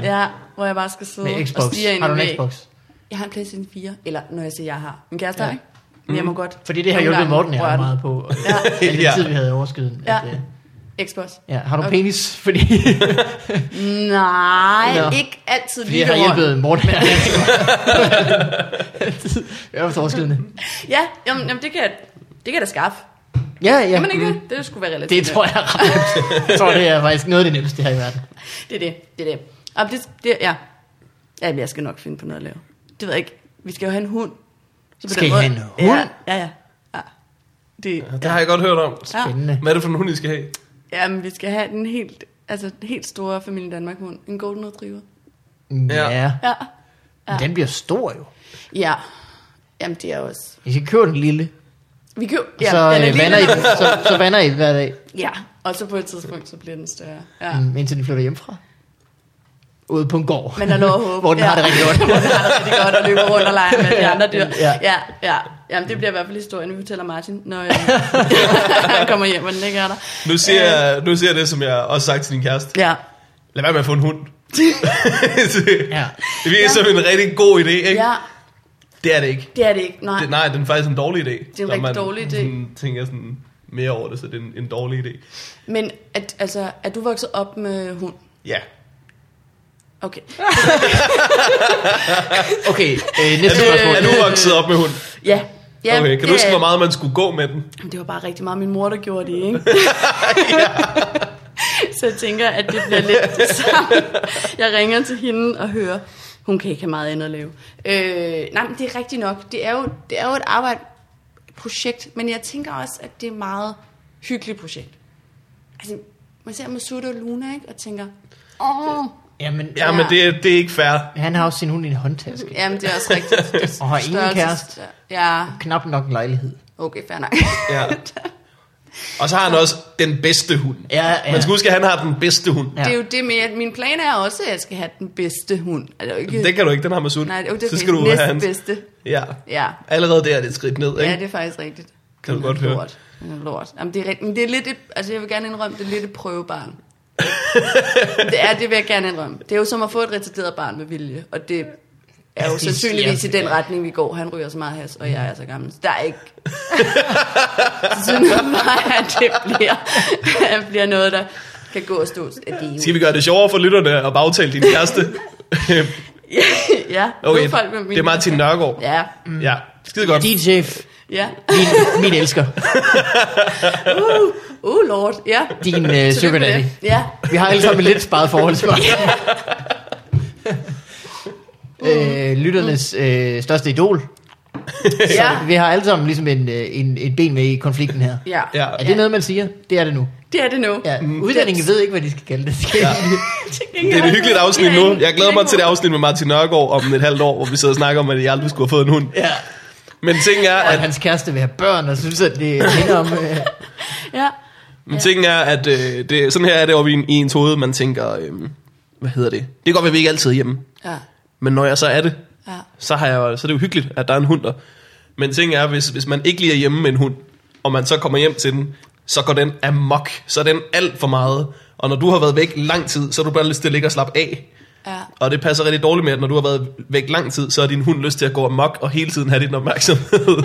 Speaker 3: ja, hvor jeg bare skal sidde
Speaker 1: Med
Speaker 3: og
Speaker 1: Xbox.
Speaker 3: stige ind
Speaker 1: Har du en
Speaker 3: i væg.
Speaker 1: Xbox?
Speaker 3: Jeg har en PlayStation 4, eller når jeg siger, jeg har. Min kæreste ja.
Speaker 1: Ja. Mm.
Speaker 3: ikke? Men jeg må godt.
Speaker 1: Fordi det har
Speaker 3: nogle
Speaker 1: hjulpet
Speaker 3: gange
Speaker 1: Morten jeg
Speaker 3: røre
Speaker 1: har
Speaker 3: den.
Speaker 1: meget på.
Speaker 3: Ja.
Speaker 1: Ja. den
Speaker 2: Ja.
Speaker 1: tid, vi havde i overskyden.
Speaker 3: Ja.
Speaker 1: At, øh,
Speaker 3: Xbox.
Speaker 1: ja. Har du
Speaker 3: Okay.
Speaker 1: penis? [LAUGHS] Fordi,
Speaker 3: Nej,
Speaker 1: Nå.
Speaker 3: ikke altid
Speaker 1: fordi jeg
Speaker 3: lige
Speaker 1: har
Speaker 3: over.
Speaker 1: hjulpet Morten. [LAUGHS] Jeg var overskydende.
Speaker 3: Ja, jamen, jamen, det kan jeg, det kan jeg da skaffe.
Speaker 1: Ja, ja.
Speaker 3: Ja, Jamen ikke
Speaker 1: mm.
Speaker 3: det? Det skulle være relativt.
Speaker 1: Det tror jeg er ret nemt. Jeg tror, det er faktisk noget af det nemmeste her i verden.
Speaker 3: Det er det, det er det. Og det, det ja. ja, men jeg skal nok finde på noget at lave. Det ved jeg ikke. Vi skal jo have en hund. Så på
Speaker 1: Skal
Speaker 3: den
Speaker 1: I
Speaker 3: måde-
Speaker 1: have en hund?
Speaker 3: Ja, ja, ja. ja. Det,
Speaker 2: Det har jeg godt hørt om.
Speaker 3: ja.
Speaker 1: Spændende.
Speaker 2: Hvad er det for en hund, I skal have?
Speaker 3: ja, men vi skal have den helt, altså den helt store familie Danmark hund. En golden retriever.
Speaker 1: Ja.
Speaker 2: Ja.
Speaker 1: ja.
Speaker 3: Ja.
Speaker 1: Men den bliver stor jo.
Speaker 3: Ja. Jamen det er også.
Speaker 1: Hvis I køber den lille,
Speaker 3: Vi køber,
Speaker 1: ja,
Speaker 3: ja,
Speaker 1: så,
Speaker 3: den er
Speaker 1: øh,
Speaker 3: lille,
Speaker 1: vander I,
Speaker 3: den er-
Speaker 1: den- så, så vander I den hver dag,
Speaker 3: Ja, og så på et tidspunkt, så bliver den større. Ja.
Speaker 1: mm, indtil den flytter hjemmefra. Ude på en gård.
Speaker 3: Men der er lov at håbe.
Speaker 1: [LAUGHS] Hvor den
Speaker 3: ja.
Speaker 1: har det rigtig godt.
Speaker 3: [LAUGHS] Hvor den har det rigtig godt og løber rundt og leger med de andre dyr.
Speaker 1: Ja.
Speaker 3: Ja. ja, ja. Jamen, det bliver i hvert fald historien, vi fortæller Martin, når jeg, han [LAUGHS] kommer hjem, og den ikke er der.
Speaker 2: Nu
Speaker 1: Øh.
Speaker 2: siger, jeg, nu siger jeg det, som jeg også har sagt til din kæreste.
Speaker 3: Ja.
Speaker 2: Lad være med at få en
Speaker 3: [LAUGHS]
Speaker 2: hund.
Speaker 1: Ja.
Speaker 2: Det virker ja. som en rigtig god idé, ikke?
Speaker 3: ja,
Speaker 2: Det er det ikke.
Speaker 3: det er det ikke. Nej.
Speaker 2: Det, nej, den er faktisk en dårlig idé. Det
Speaker 3: rigtig dårlig idé.
Speaker 2: Sådan, tænker sådan mere over det, så det er en, en dårlig idé.
Speaker 3: Men at, altså, er du vokset op med hund?
Speaker 2: Ja.
Speaker 3: Okay.
Speaker 1: Okay,
Speaker 3: [LAUGHS]
Speaker 1: øh,
Speaker 2: Er
Speaker 1: næste
Speaker 2: du,
Speaker 1: spørgsmål.
Speaker 2: er du vokset op med hund?
Speaker 3: Ja. ja
Speaker 2: okay, kan
Speaker 3: det
Speaker 2: du huske,
Speaker 3: er-
Speaker 2: hvor meget man skulle gå med den?
Speaker 3: Det var bare rigtig meget min mor, der gjorde det, ikke? så jeg tænker, at det bliver lidt det samme. Jeg ringer til hende og hører, hun kan ikke have meget andet at lave. Øh, nej, men det er rigtigt nok. Det er jo, det er jo et arbejde, et projekt, men jeg tænker også, at det er et meget hyggeligt projekt. Altså, man ser Masuda og Luna, ikke? Og tænker, åh, oh,
Speaker 1: Jamen,
Speaker 2: Ja,
Speaker 1: ja.
Speaker 2: men det, det er ikke fair.
Speaker 1: han har også sin hund i en håndtaske.
Speaker 3: jamen det er også rigtigt. Det er
Speaker 1: Og har ingen
Speaker 3: størrelses-
Speaker 1: kæreste.
Speaker 3: Ja,
Speaker 1: Knap nok en lejlighed.
Speaker 3: okay, fair nok. [LAUGHS]
Speaker 2: Ja. Og så har han også den bedste hund.
Speaker 1: Ja, ja.
Speaker 2: Man skal huske, at han har den bedste hund.
Speaker 1: Ja.
Speaker 3: Ja. Det er jo det med, at min plan er også, at jeg skal have den bedste hund. Er det jo ikke...
Speaker 2: Den kan du ikke, den har Masud.
Speaker 3: Nej, okay,
Speaker 2: så skal du have
Speaker 3: næste
Speaker 2: hans.
Speaker 3: bedste.
Speaker 2: Ja.
Speaker 3: Ja.
Speaker 2: Allerede der er det et skridt ned, ikke?
Speaker 3: ja, det er faktisk rigtigt.
Speaker 2: Kan du
Speaker 3: Den er
Speaker 2: godt høre.
Speaker 3: Lort. Den er lort. Jamen, det er rigtigt. Men det er lidt et, altså jeg vil gerne indrømme, det er lidt et
Speaker 2: [LAUGHS]
Speaker 3: prøvebarn. det er, det vil jeg gerne indrømme. Det er jo som at få et retarderet barn med vilje, og det er jo
Speaker 1: Ja,
Speaker 3: sandsynligvis i
Speaker 1: ja.
Speaker 3: den retning, vi går. Han ryger så meget has, og jeg er så gammel. Så der er ikke...
Speaker 2: [LAUGHS]
Speaker 3: Sådan mig, at det bliver, at bliver noget, der kan gå og stå. Det er jo-
Speaker 2: Skal vi gøre det sjovere for lytterne og bagtale din kæreste?
Speaker 3: [LAUGHS] ja,
Speaker 2: okay,
Speaker 3: nu folk med min-
Speaker 2: det er Martin Nørgaard. Ja.
Speaker 3: Ja,
Speaker 2: ja. Skide godt.
Speaker 1: Din chef,
Speaker 3: ja.
Speaker 1: min, min elsker,
Speaker 3: Uh, lord, ja.
Speaker 1: din øh,
Speaker 3: Tillykke
Speaker 1: sugar
Speaker 3: med
Speaker 1: daddy.
Speaker 3: det. [LAUGHS] Ja,
Speaker 1: Vi har alle sammen et lidt sparet forhold til mig.
Speaker 3: [LAUGHS]
Speaker 1: [LAUGHS] øh, lytternes øh, største idol. Så
Speaker 3: ja,
Speaker 1: vi har alle sammen ligesom en, øh, en, et ben med i konflikten her.
Speaker 3: ja.
Speaker 2: Ja.
Speaker 1: Er det noget, man siger? Det er det nu.
Speaker 3: Det er det nu.
Speaker 1: Ja, udlændinge ved ikke, hvad de skal kalde det. Skal ja.
Speaker 2: Mm. Det er et hyggeligt afsnit nu. Jeg glæder mig til det afsnit med Martin Nørgaard om et halvt år, hvor vi sidder og snakker om, at jeg aldrig skulle have fået en hund.
Speaker 1: [LAUGHS] ja.
Speaker 2: Men ting er,
Speaker 1: Og at
Speaker 2: at,
Speaker 1: hans kæreste vil have børn, og synes, at det minder om... Øh,
Speaker 3: Ja.
Speaker 2: men ting er, at øh, det, sådan her er det over i, en- i ens hoved, man tænker, øh, hvad hedder det? Det kan godt være, at vi ikke altid er hjemme.
Speaker 3: Ja.
Speaker 2: Men når jeg så er det,
Speaker 3: Ja.
Speaker 2: så, har jeg, jo- så er det jo hyggeligt, at der er en hund der. Men ting er, hvis, hvis man ikke lige er hjemme med en hund, og man så kommer hjem til den, så går den amok. Så er den alt for meget. Og når du har været væk lang tid, så er du bare lyst til at ligge og slappe af.
Speaker 3: Ja.
Speaker 2: Og det passer rigtig dårligt med, at når du har været væk lang tid, så har din hund lyst til at gå amok og hele tiden have din opmærksomhed.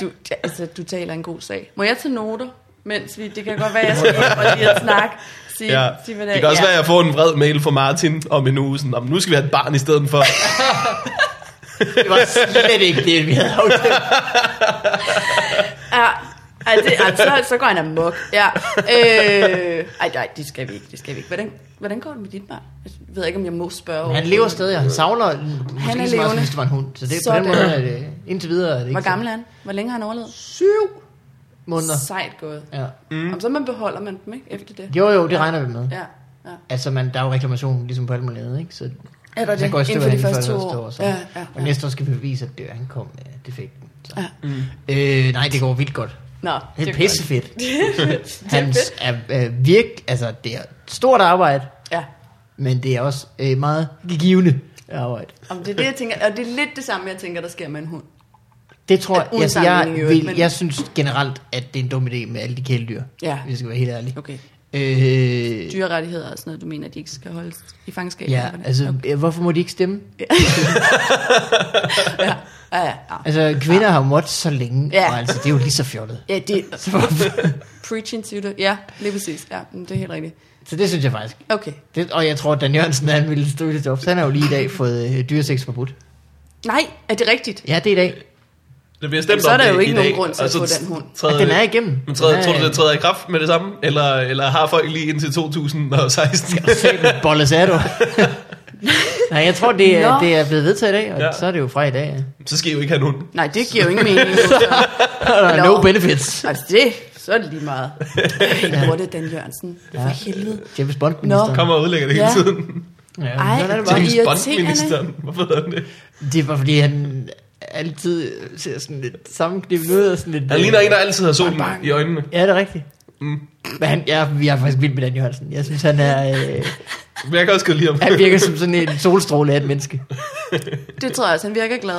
Speaker 3: Du, ja, altså, du taler en god sag. Må jeg tage noter, mens vi... Det kan godt være, jeg skal hjem og lige at snakke. Sige,
Speaker 2: ja.
Speaker 3: sige, hvad
Speaker 2: Det kan også
Speaker 3: [LAUGHS] ja.
Speaker 2: være, at jeg får en vred mail fra Martin om en uge. Sådan, "Nå, men nu skal vi have et barn i stedet
Speaker 3: [LAUGHS]
Speaker 2: for.
Speaker 1: det var slet ikke det, vi havde aftalt.
Speaker 3: Ja. Ej, det, ej, så, så går han amok. Ja. Øh, ej, nej, det skal vi ikke. Det skal vi ikke. Hvordan, hvordan går det med dit barn? Jeg ved ikke, om jeg må spørge.
Speaker 1: Han lever stadig, og han savner den, måske han
Speaker 3: er
Speaker 1: er så meget, som
Speaker 3: levende.
Speaker 1: hvis det var en hund. Så det, på
Speaker 3: Sådan.
Speaker 1: den måde er det indtil videre... Er det ikke
Speaker 3: Hvor gammel er han? Hvor længe har han overlevet?
Speaker 1: Syv måneder.
Speaker 3: Sejt gået.
Speaker 1: Ja.
Speaker 3: Mm. Om så man beholder man dem, ikke? Efter det.
Speaker 1: Jo, jo, det regner vi med.
Speaker 3: Ja. ja.
Speaker 1: Altså, man, der er jo reklamation, ligesom på alt muligt andet, ikke? Så
Speaker 3: Er der
Speaker 1: så
Speaker 3: det?
Speaker 1: går jeg
Speaker 3: Inden
Speaker 1: støv
Speaker 3: for de
Speaker 1: inden for
Speaker 3: første
Speaker 1: det
Speaker 3: to
Speaker 1: første
Speaker 3: år.
Speaker 1: år. Så.
Speaker 3: Ja, ja,
Speaker 1: Og
Speaker 3: ja.
Speaker 1: næste år skal vi bevise, at det, han kom med defekten. Så.
Speaker 3: Ja.
Speaker 1: Øh, nej, det går vildt godt.
Speaker 3: Nå,
Speaker 1: Det er
Speaker 3: godt. [LAUGHS]
Speaker 1: pissefedt.
Speaker 3: er
Speaker 1: Han er, er virkelig, altså det er et stort arbejde,
Speaker 3: Ja.
Speaker 1: men det er også øh, meget givende arbejde.
Speaker 3: Om det er det, jeg tænker, og det er lidt det samme, jeg tænker, der sker med en hund.
Speaker 1: Det tror jeg,
Speaker 3: Uden
Speaker 1: altså, jeg,
Speaker 3: sammenligning i øvrigt,
Speaker 1: vil,
Speaker 3: men-
Speaker 1: jeg synes generelt, at det er en dum idé med alle de kæledyr.
Speaker 3: Ja.
Speaker 1: Vi skal være helt ærlige.
Speaker 3: Okay.
Speaker 1: Øh,
Speaker 3: Dyrerettigheder og sådan noget, du mener, de ikke skal holdes i fangenskab?
Speaker 1: ja,
Speaker 3: eller hvordan?
Speaker 1: altså,
Speaker 3: Okay.
Speaker 1: øh, hvorfor må de ikke stemme?
Speaker 3: Ja, ja, ja. ja.
Speaker 1: Altså, kvinder har måttet så længe,
Speaker 3: Ja.
Speaker 1: og altså, det er jo lige så fjollet.
Speaker 3: Ja, det Preaching to the... Ja, lige præcis. Ja, men det er helt rigtigt.
Speaker 1: Så det synes jeg faktisk.
Speaker 3: Okay.
Speaker 1: Det, og jeg tror, at Dan Jørgensen han ville stå i det job. Så han har jo lige i dag fået øh, dyresex forbudt.
Speaker 3: Nej, er det rigtigt?
Speaker 1: Ja, det er i dag.
Speaker 2: Det bliver stemt
Speaker 3: Så er
Speaker 2: om
Speaker 3: der
Speaker 2: det
Speaker 3: jo ikke
Speaker 2: i
Speaker 3: nogen
Speaker 2: dag,
Speaker 3: grund til
Speaker 2: og
Speaker 3: at
Speaker 2: så
Speaker 3: få den hund.
Speaker 2: træder-
Speaker 1: At den er igennem.
Speaker 2: Men træder,
Speaker 1: Den er- øh,
Speaker 2: tror du, det træder i kraft med det samme? Eller, eller har folk lige indtil 2016?
Speaker 1: Sæt bolles er du. Nej, jeg tror, det er,
Speaker 3: Nå.
Speaker 1: det er blevet vedtaget i dag, og
Speaker 2: Ja.
Speaker 1: ja. så er det jo fra i dag. Ja.
Speaker 2: [LAUGHS] så skal I jo ikke have en hund.
Speaker 3: Nej, det giver jo ingen [LAUGHS] mening.
Speaker 1: Og der er
Speaker 3: Nå.
Speaker 1: no benefits.
Speaker 3: Altså det, så er det lige [LAUGHS] meget. Helt hurtigt, Dan Jørgensen. Ja. For helvede.
Speaker 1: James Bond minister.
Speaker 2: Kommer og ødelægger det
Speaker 3: Ja.
Speaker 2: hele tiden.
Speaker 1: Ja,
Speaker 3: Ej,
Speaker 1: sådan er det,
Speaker 3: Hvor
Speaker 2: James
Speaker 3: irriterende.
Speaker 2: Bond-ministeren. Hvorfor hedder han det?
Speaker 1: bare. det er bare fordi, han altid ser sådan lidt sammenknippet ud og sådan lidt... øh,
Speaker 2: Han ligner en, der altid har solen i øjnene.
Speaker 1: Ja, det er rigtigt.
Speaker 2: Mm.
Speaker 1: Men han, ja, vi er faktisk vild med Dan Jørgensen. Jeg synes, han, er, øh,
Speaker 2: Men jeg kan også godt lide ham.
Speaker 1: han virker som sådan en solstråle af et menneske.
Speaker 3: Det tror jeg også. Han virker glad.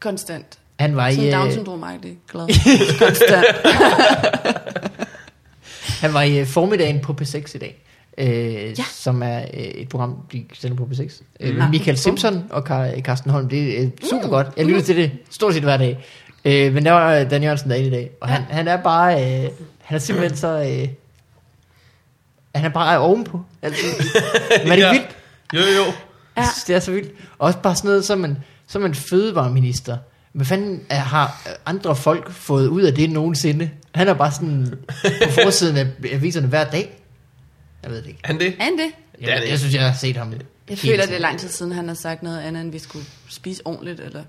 Speaker 3: Konstant.
Speaker 1: Han var i,
Speaker 3: Sådan Down
Speaker 1: øh,
Speaker 3: syndrom glad. Konstant.
Speaker 1: han var i øh, formiddagen på P6 i dag. Øh,
Speaker 3: Ja.
Speaker 1: ja. Som er øh, et program, de sender på P6. Øh,
Speaker 3: Mm.
Speaker 1: med Michael Simpson og Kar- Carsten Holm. Det er øh, super godt. Jeg lytter til det stort set hver dag. Øh, men der var øh, Dan Jørgensen derinde i dag. Og han, han er bare... Øh, han er simpelthen så... Øh, han er bare ovenpå. Altså, men er det
Speaker 2: Ja.
Speaker 1: ja. vildt?
Speaker 2: Jo, jo, jo.
Speaker 1: Ja.
Speaker 3: Ja.
Speaker 1: Jeg synes, det er så vildt. Også bare sådan noget som en, som en fødevareminister. Hvad fanden er, har andre folk fået ud af det nogensinde? Han er bare sådan på forsiden af aviserne hver dag. Jeg ved det ikke.
Speaker 2: Han det?
Speaker 3: Er han det?
Speaker 1: Jeg,
Speaker 2: Det er
Speaker 1: jeg,
Speaker 2: det
Speaker 1: jeg synes, jeg har set ham.
Speaker 3: Jeg
Speaker 1: hele
Speaker 3: føler,
Speaker 1: tiden.
Speaker 3: det er lang tid siden, han har sagt noget andet, end vi skulle spise ordentligt, eller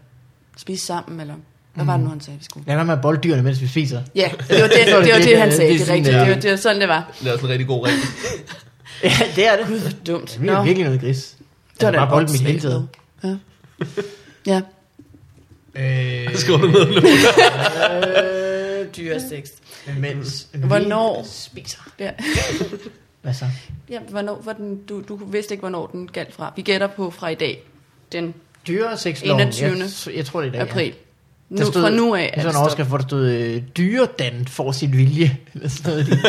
Speaker 3: spise sammen, eller hvad var det nu, han sagde, vi skulle?
Speaker 1: Lad være med at bolde dyrene, mens vi spiser.
Speaker 3: Ja,
Speaker 1: [LAUGHS]
Speaker 3: det var det, det, var det han sagde,
Speaker 1: Det er
Speaker 3: det er
Speaker 1: sådan, øh,
Speaker 3: rigtigt.
Speaker 1: ja.
Speaker 3: Det var, det var sådan, det var.
Speaker 2: Det er også en rigtig god regel.
Speaker 1: Ja, det er det.
Speaker 3: Gud, hvor dumt.
Speaker 1: Vi er
Speaker 3: Nå.
Speaker 1: virkelig noget gris.
Speaker 3: Det var da
Speaker 1: bare
Speaker 3: et
Speaker 1: bolde mit
Speaker 3: åndssvagt
Speaker 1: hele tiden.
Speaker 3: noget.
Speaker 1: [LAUGHS]
Speaker 3: Ja. ja.
Speaker 1: Øh,
Speaker 2: Så skriver du ned nu.
Speaker 1: øh,
Speaker 3: Dyresex.
Speaker 1: mens vi
Speaker 3: Hvornår?
Speaker 1: spiser.
Speaker 3: Ja.
Speaker 1: Hvad så?
Speaker 3: ja hvornår var den, du, du vidste ikke, hvornår den galt fra. Vi gætter på fra i dag, den
Speaker 1: Dyresexloven.
Speaker 3: 21.
Speaker 1: Jeg, jeg tror, det er i dag.
Speaker 3: april. Nu,
Speaker 1: Der stod,
Speaker 3: fra nu af
Speaker 1: er sådan en
Speaker 3: stop.
Speaker 1: overskrift, hvor der stod, øh, dyredan får sin vilje, eller sådan noget.
Speaker 3: [LAUGHS]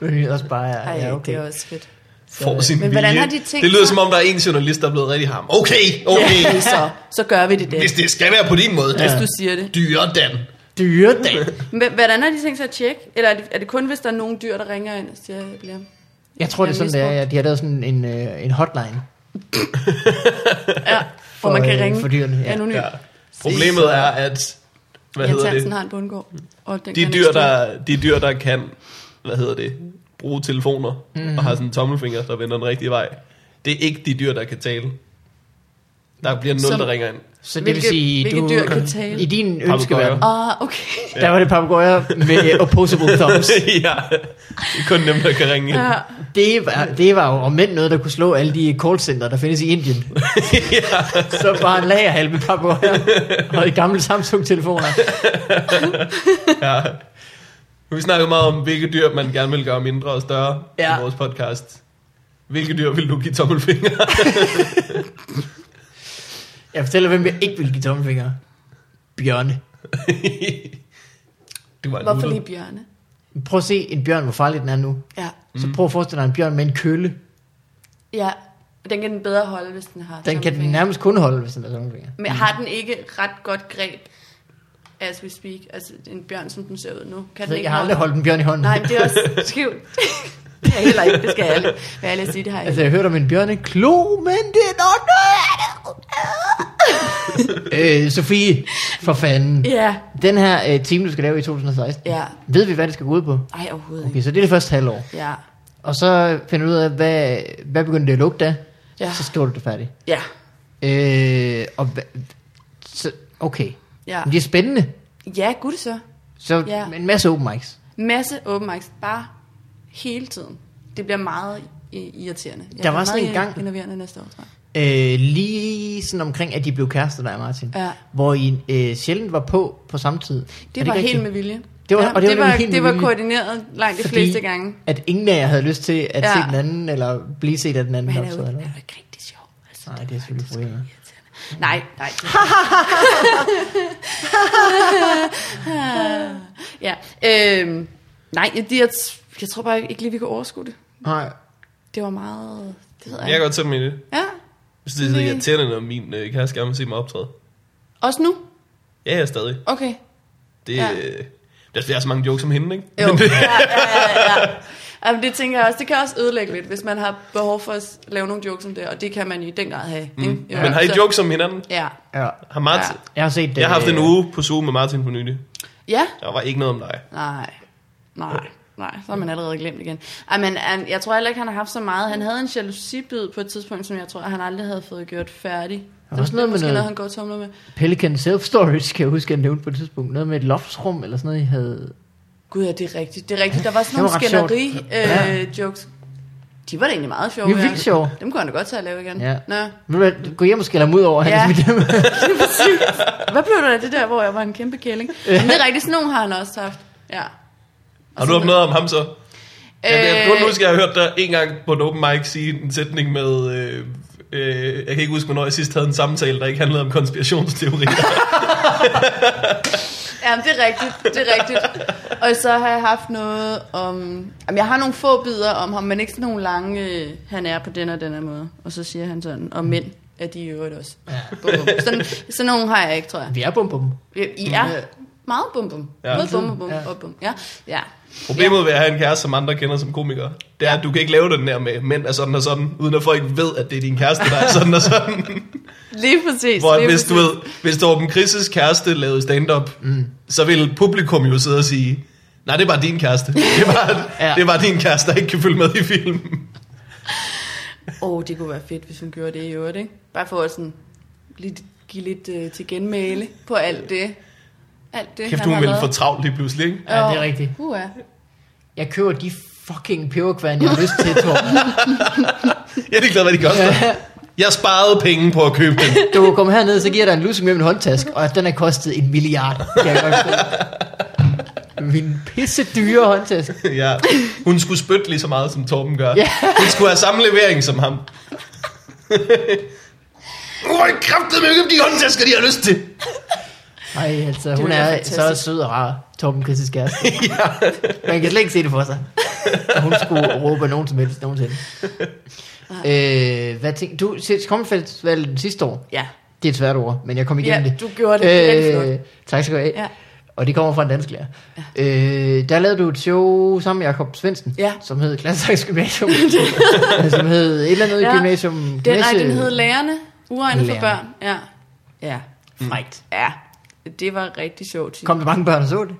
Speaker 1: Men det er også bare,
Speaker 3: Ej,
Speaker 1: ja, okay.
Speaker 3: det er også fedt.
Speaker 2: Får sin
Speaker 3: Øh, Men hvordan
Speaker 2: vilje.
Speaker 3: har de tænkt
Speaker 2: det lyder
Speaker 3: sig-
Speaker 2: som om, der er en journalist, der er blevet rigtig ham. Okay, okay.
Speaker 3: Ja, så, så gør vi
Speaker 1: [LAUGHS]
Speaker 3: det
Speaker 2: [LAUGHS]
Speaker 3: der,
Speaker 2: Hvis
Speaker 3: hvis
Speaker 2: det skal være på din måde, det er
Speaker 3: du siger det.
Speaker 2: dyre, Dan.
Speaker 1: Dyredan.
Speaker 3: Men hvordan har de tænkt sig at tjekke? Eller er det, er det kun, hvis der er nogen dyr, der ringer ind og siger, at jeg bliver...
Speaker 1: Jeg tror, det er
Speaker 3: Jeg
Speaker 1: sådan, det er. Ja, de har lavet sådan en, øh, en hotline.
Speaker 3: Ja, hvor man kan
Speaker 1: øh,
Speaker 3: ringe
Speaker 1: for dyrene, ja.
Speaker 3: anonymt.
Speaker 2: Ja. Problemet er, at... Hvad
Speaker 3: Jens
Speaker 2: hedder det?
Speaker 3: Hansen har en bundgård. Og den
Speaker 2: De
Speaker 3: kan
Speaker 2: dyr,
Speaker 3: ikke
Speaker 2: der, de dyr, der kan, hvad hedder det, bruge telefoner
Speaker 3: Mhm.
Speaker 2: mm. og har sådan en tommelfinger, der vender den rigtige vej. Det er ikke de dyr, der kan tale. Der bliver nul,
Speaker 3: Som-
Speaker 2: der ringer ind.
Speaker 1: Så det
Speaker 3: Hvilke-
Speaker 1: vil sige,
Speaker 3: hvilke
Speaker 1: du,
Speaker 3: dyr kan tale?
Speaker 1: i din ønskeverden,
Speaker 3: stå- Ah, okay.
Speaker 1: der var det papagøjer med øh, opposable
Speaker 3: [LAUGHS]
Speaker 1: thumbs.
Speaker 2: [LAUGHS] ja, det er kun dem, der kan ringe ind.
Speaker 3: Ja.
Speaker 1: Det var, det var jo om end noget, der kunne slå alle de callcenter, der findes i Indien. Så bare en lagerhal med papagøjer og gamle Samsung-telefoner.
Speaker 2: Ja. Nu har vi snakket meget om, hvilke dyr, man gerne vil gøre mindre og større ja.
Speaker 1: Ja.
Speaker 2: i vores podcast. Hvilke dyr vil du give tommelfinger? [LAUGHS]
Speaker 1: Jeg fortæller, hvem jeg ikke vil give tommelfingre. Bjørne.
Speaker 2: du var en
Speaker 3: Hvorfor
Speaker 2: nuttet.
Speaker 3: lige bjørne?
Speaker 1: Prøv at se en bjørn, hvor farlig den er nu.
Speaker 3: Ja.
Speaker 1: Så prøv at forestille dig en bjørn med en kølle.
Speaker 3: ja. Den kan den bedre holde, hvis den har
Speaker 1: Den kan den
Speaker 3: tommelfinger.
Speaker 1: nærmest kun holde, hvis den har tommelfinger.
Speaker 3: Men har den ikke ret godt greb, as we speak? Altså en bjørn, som den ser ud nu. Kan den
Speaker 1: Så
Speaker 3: ikke
Speaker 1: Altså, jeg har
Speaker 3: holde-
Speaker 1: aldrig holdt en bjørn i hånden. [LAUGHS]
Speaker 3: Nej, men det er også skivt. det er jeg heller ikke, det skal jeg ærligt, være ærlig at sige, det har jeg
Speaker 1: Altså,
Speaker 3: ikke.
Speaker 1: jeg hørte om en bjørneklo, men det er nok noget øh, Sofie, for fanden.
Speaker 3: Ja,
Speaker 1: Den her øh, time, du skal lave i 2016,
Speaker 3: ja.
Speaker 1: ved vi, hvad det skal gå ud på?
Speaker 3: Ej, overhovedet
Speaker 1: Okay,
Speaker 3: ikke.
Speaker 1: så det er det første halvår.
Speaker 3: Ja,
Speaker 1: Og så finder du ud af, hvad, hvad begynder det at lugte af?
Speaker 3: Ja.
Speaker 1: Så står det færdigt.
Speaker 3: ja,
Speaker 1: Øh, og hva, så, okay.
Speaker 3: ja.
Speaker 1: Men det er spændende.
Speaker 3: Ja, gud så.
Speaker 1: Så
Speaker 3: Ja.
Speaker 1: en masse open mics.
Speaker 3: Masse open mics, bare hele tiden. Det bliver meget i- irriterende. Jeg
Speaker 1: Der var
Speaker 3: bliver
Speaker 1: sådan en
Speaker 3: meget
Speaker 1: gang-
Speaker 3: Innoverende næste år, tror jeg.
Speaker 1: Øh, lige sådan omkring, at de blev kærester, der er Martin.
Speaker 3: Ja.
Speaker 1: Hvor I øh, sjældent var på på samme tid. Er
Speaker 3: Det,
Speaker 1: ikke
Speaker 3: var helt
Speaker 1: rigtigt?
Speaker 3: med vilje.
Speaker 1: Det var- og det var
Speaker 3: det var,
Speaker 1: nemlig helt
Speaker 3: det
Speaker 1: med
Speaker 3: var
Speaker 1: vilje.
Speaker 3: koordineret langt de
Speaker 1: Fordi
Speaker 3: fleste gange.
Speaker 1: At ingen af jer havde lyst til at
Speaker 3: Ja.
Speaker 1: ja. se den anden, eller blive set af den anden.
Speaker 3: Men han er jo,
Speaker 1: optræde,
Speaker 3: han
Speaker 1: eller
Speaker 3: er
Speaker 1: hvad?
Speaker 3: jo ikke rigtig sjov. Altså,
Speaker 1: Nej,
Speaker 3: det
Speaker 1: det er selvfølgelig problemet.
Speaker 3: er- nej, nej. det-
Speaker 1: [LAUGHS]
Speaker 3: [LAUGHS] ja, øhm, nej, de er, Jeg tror bare ikke lige, vi kan overskue det.
Speaker 1: Nej,
Speaker 3: Det var meget... Det ved
Speaker 2: Jeg
Speaker 3: jeg
Speaker 2: kan
Speaker 3: ikke.
Speaker 2: godt tage mig i det.
Speaker 3: Ja,
Speaker 2: Jeg synes, det er
Speaker 3: Nej.
Speaker 2: irriterende, når min øh, kæreste gerne vil se mig optræde.
Speaker 3: også nu?
Speaker 2: Ja, jeg er stadig.
Speaker 3: Okay.
Speaker 2: Det,
Speaker 3: Ja.
Speaker 2: ja. øh, der er så mange jokes om hende, ikke?
Speaker 3: Jo, [LAUGHS] ja, ja, ja. Jamen, det tænker jeg også. Det kan også ødelægge lidt, hvis man har behov for at lave nogle jokes om det, og det kan man i den grad have. Mm. Ikke?
Speaker 2: Ja. Men har I
Speaker 3: så-
Speaker 2: jokes om hinanden?
Speaker 3: Ja.
Speaker 1: ja.
Speaker 2: Har Martin, ja.
Speaker 1: Jeg har set øh, det.
Speaker 2: Jeg har haft en uge på Zoom med Martin på nylig.
Speaker 3: Ja?
Speaker 2: Der var ikke noget om dig.
Speaker 3: Nej. Nej. Nej, så har man allerede glemt igen. Ej, men han, jeg tror heller ikke, han har haft så meget. Han havde en jalousibid på et tidspunkt, som jeg tror, han aldrig havde fået gjort færdig. Det er
Speaker 1: også noget med
Speaker 3: måske noget,
Speaker 1: noget-
Speaker 3: han går og tumler med.
Speaker 1: Pelican Self Storage, kan jeg huske, at jeg nævnte på et tidspunkt. Noget med et loftsrum eller sådan noget, I havde.
Speaker 3: Gud, ja, det er rigtigt. Det er rigtigt. Der
Speaker 1: [LAUGHS]
Speaker 3: var sådan
Speaker 1: Det
Speaker 3: nogle
Speaker 1: var ret sjovt.
Speaker 3: skænderi-jokes. de var da egentlig meget sjove.
Speaker 1: Det er vildt
Speaker 3: ja.
Speaker 1: sjove.
Speaker 3: Dem kunne han da godt tage at lave igen.
Speaker 1: Ja.
Speaker 3: Nå.
Speaker 1: Ved du hvad, gå hjem og skælde ham ud over, at
Speaker 3: Ja.
Speaker 1: han smidt dem.
Speaker 3: Hvad blev der af det der, hvor jeg var en kæmpe kælling? Men det er rigtigt, sådan nogle har han også haft. Ja.
Speaker 2: Har du haft noget om ham så? Øh... Jeg, jeg
Speaker 3: Øh,
Speaker 2: kan kun huske, at jeg har hørt dig en gang på en open mic sige en sætning med... Øh, øh, jeg kan ikke huske, hvornår jeg sidst havde en samtale, der ikke handlede om konspirationsteorier.
Speaker 3: Ja, det er rigtigt, det er rigtigt. Og så har jeg haft noget om... Jamen, jeg har nogle få bidder om ham, men ikke sådan nogle lange... øh, Han er på den og den her måde. Og så siger han sådan, og mænd er de i øvrigt også. [LAUGHS] Ja. Sådan, sådan nogle har jeg ikke, tror jeg.
Speaker 1: Vi er bum bum.
Speaker 3: I er meget bum bum.
Speaker 2: Ja.
Speaker 3: Ja. Både bum og bum
Speaker 1: Ja.
Speaker 3: og bum. Ja, ja.
Speaker 2: Problemet ved at have en kæreste, som andre kender som komiker, det er, at du kan ikke lave den der med, mænd er sådan og sådan, uden at folk ved, at det er din kæreste, der er sådan og sådan.
Speaker 3: Lige præcis.
Speaker 2: Hvor
Speaker 3: lige
Speaker 2: hvis
Speaker 3: præcis.
Speaker 2: du ved, hvis Torben Chris' kæreste lavede stand-up, mm. så ville publikum jo sidde og sige, nej, det er bare din kæreste. Det var, ja.
Speaker 1: Ja.
Speaker 2: det er bare din kæreste, der ikke kan følge med i filmen.
Speaker 3: Åh, oh, det kunne være fedt, hvis hun gjorde det i øvrigt, ikke? Bare for at sådan lidt, give lidt øh, til genmæle på alt det. Alt det,
Speaker 2: Kæft,
Speaker 3: han
Speaker 2: hun
Speaker 3: har
Speaker 2: ville få
Speaker 3: lavet.
Speaker 2: travlt lige pludselig, ikke?
Speaker 1: Ja, det er rigtigt.
Speaker 3: Uh, ja.
Speaker 1: Jeg køber de fucking peberkværn, jeg har lyst til, Torben.
Speaker 2: Jeg er ligeglad, hvad de koster. Jeg sparede penge på at købe den.
Speaker 1: Du kommer herned, så giver jeg dig en lussing med min håndtask, og den har kostet en milliard. Kan jeg godt forstå. min pisse dyre håndtask.
Speaker 2: [LAUGHS] ja. Hun skulle spytte lige så meget, som Torben gør.
Speaker 1: Ja.
Speaker 2: Hun skulle have samme levering som ham. [LAUGHS] Nu har jeg kraftedeme købt de håndtasker, de har lyst [LAUGHS] til.
Speaker 1: Ej, altså,
Speaker 3: Det
Speaker 1: hun
Speaker 3: ville være
Speaker 1: er så
Speaker 3: fantastisk.
Speaker 1: sød og rar, Torben Chris' kæreste. Man kan slet ikke se det for sig. at Hun skulle råbe af nogen som helst nogensinde. Øh, hvad tænk, du, kommenfestivalen sidste år,
Speaker 3: ja.
Speaker 1: det er et svært ord, men jeg kom igennem
Speaker 3: Ja,
Speaker 1: det. Øh,
Speaker 3: du gjorde det rigtig flot.
Speaker 1: Tak skal du have.
Speaker 3: Ja.
Speaker 1: Og det kommer fra en dansk lærer. Ja. Øh, der lavede du et show sammen med Jakob Svendsen,
Speaker 3: Ja.
Speaker 1: som hed Gladsaxe
Speaker 3: [LAUGHS]
Speaker 1: Gymnasium. som hed et eller andet ja.
Speaker 3: Ja.
Speaker 1: gymnasium.
Speaker 3: Den, nej,
Speaker 1: Næse-
Speaker 3: den hed Lærerne, uegnet for
Speaker 1: Lærerne.
Speaker 3: børn. Ja. Ja.
Speaker 1: Frækt.
Speaker 3: Ja. Det var rigtig sjovt.
Speaker 1: Mm. Kom der mange børn og så det?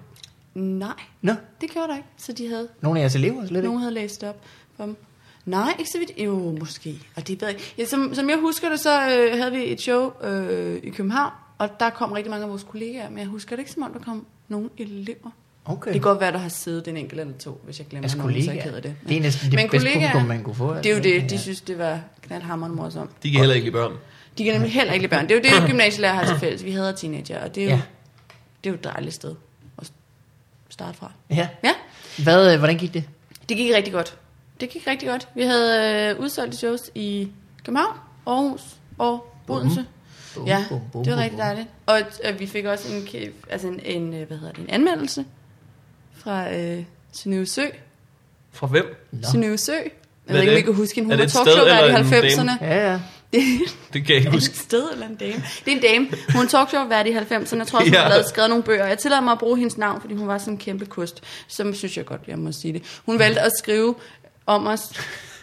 Speaker 3: Nej,
Speaker 1: Nå,
Speaker 3: det gjorde der ikke. Så de havde
Speaker 1: nogle af jeres elever slet ikke.
Speaker 3: Nogen havde læst op for dem. Nej, ikke så vidt. Jo, måske. Og det ved jeg ikke. ja, som, som jeg husker det, så øh, havde vi et show øh, i København, og der kom rigtig mange af vores kollegaer, men jeg husker det ikke, som om der kom nogen elever.
Speaker 1: Okay.
Speaker 3: Det kan godt være, der har siddet den enkelte eller to, hvis jeg glemmer
Speaker 1: Altså
Speaker 3: altså, nogen, så er jeg
Speaker 1: kollegaer.
Speaker 3: ked af det.
Speaker 1: Det er næsten det bedste
Speaker 3: kollegaer,
Speaker 1: publikum, man kunne få,
Speaker 3: Det
Speaker 1: altså,
Speaker 3: er jo det,
Speaker 1: ikke? Ja.
Speaker 3: de synes, det var knaldhammerende morsomt.
Speaker 2: De kan heller ikke lide børn.
Speaker 3: De kan nemlig heller ikke lide børn. Det er
Speaker 1: [CLEARS THROAT]
Speaker 3: jo det, gymnasielærer har til fælles. Vi hader teenager, og det er jo,
Speaker 1: Ja.
Speaker 3: ja. det er jo et dejligt sted at starte fra.
Speaker 1: Ja.
Speaker 3: Ja.
Speaker 1: Hvad, øh, hvordan gik det?
Speaker 3: Det gik rigtig godt. Det gik rigtig godt. Vi havde øh, udsolgt shows i København, Aarhus og Odense.
Speaker 1: Bum,
Speaker 3: Ja,
Speaker 1: bum, bum,
Speaker 3: det var
Speaker 1: bum,
Speaker 3: rigtig
Speaker 1: bum.
Speaker 3: dejligt. Og øh, vi fik også en, kæ- altså en, en, øh, hvad hedder det, en anmeldelse fra øh, Synøve Sø.
Speaker 2: Fra hvem?
Speaker 1: Nå.
Speaker 3: Synøve Sø. Jeg
Speaker 2: er
Speaker 3: ved ikke, om
Speaker 2: det?
Speaker 3: I kan huske hende.
Speaker 2: Er
Speaker 3: Hun
Speaker 2: det
Speaker 3: var
Speaker 2: et
Speaker 3: talkshow
Speaker 2: sted
Speaker 3: der i
Speaker 2: eller en dame? [LAUGHS]
Speaker 3: 90'erne.
Speaker 1: Ja, ja.
Speaker 3: Det
Speaker 2: Det kan jeg ikke [LAUGHS]
Speaker 3: er
Speaker 2: huske.
Speaker 3: et sted eller en dame. Det er en dame. Hun er talkshow-vært i 90'erne. Jeg tror også, hun
Speaker 2: Ja.
Speaker 3: har lavet, skrevet nogle bøger. Jeg tillader mig at bruge hendes navn, fordi hun var sådan en kæmpe kust. Som synes jeg godt, jeg må sige det. Hun valgte at skrive om os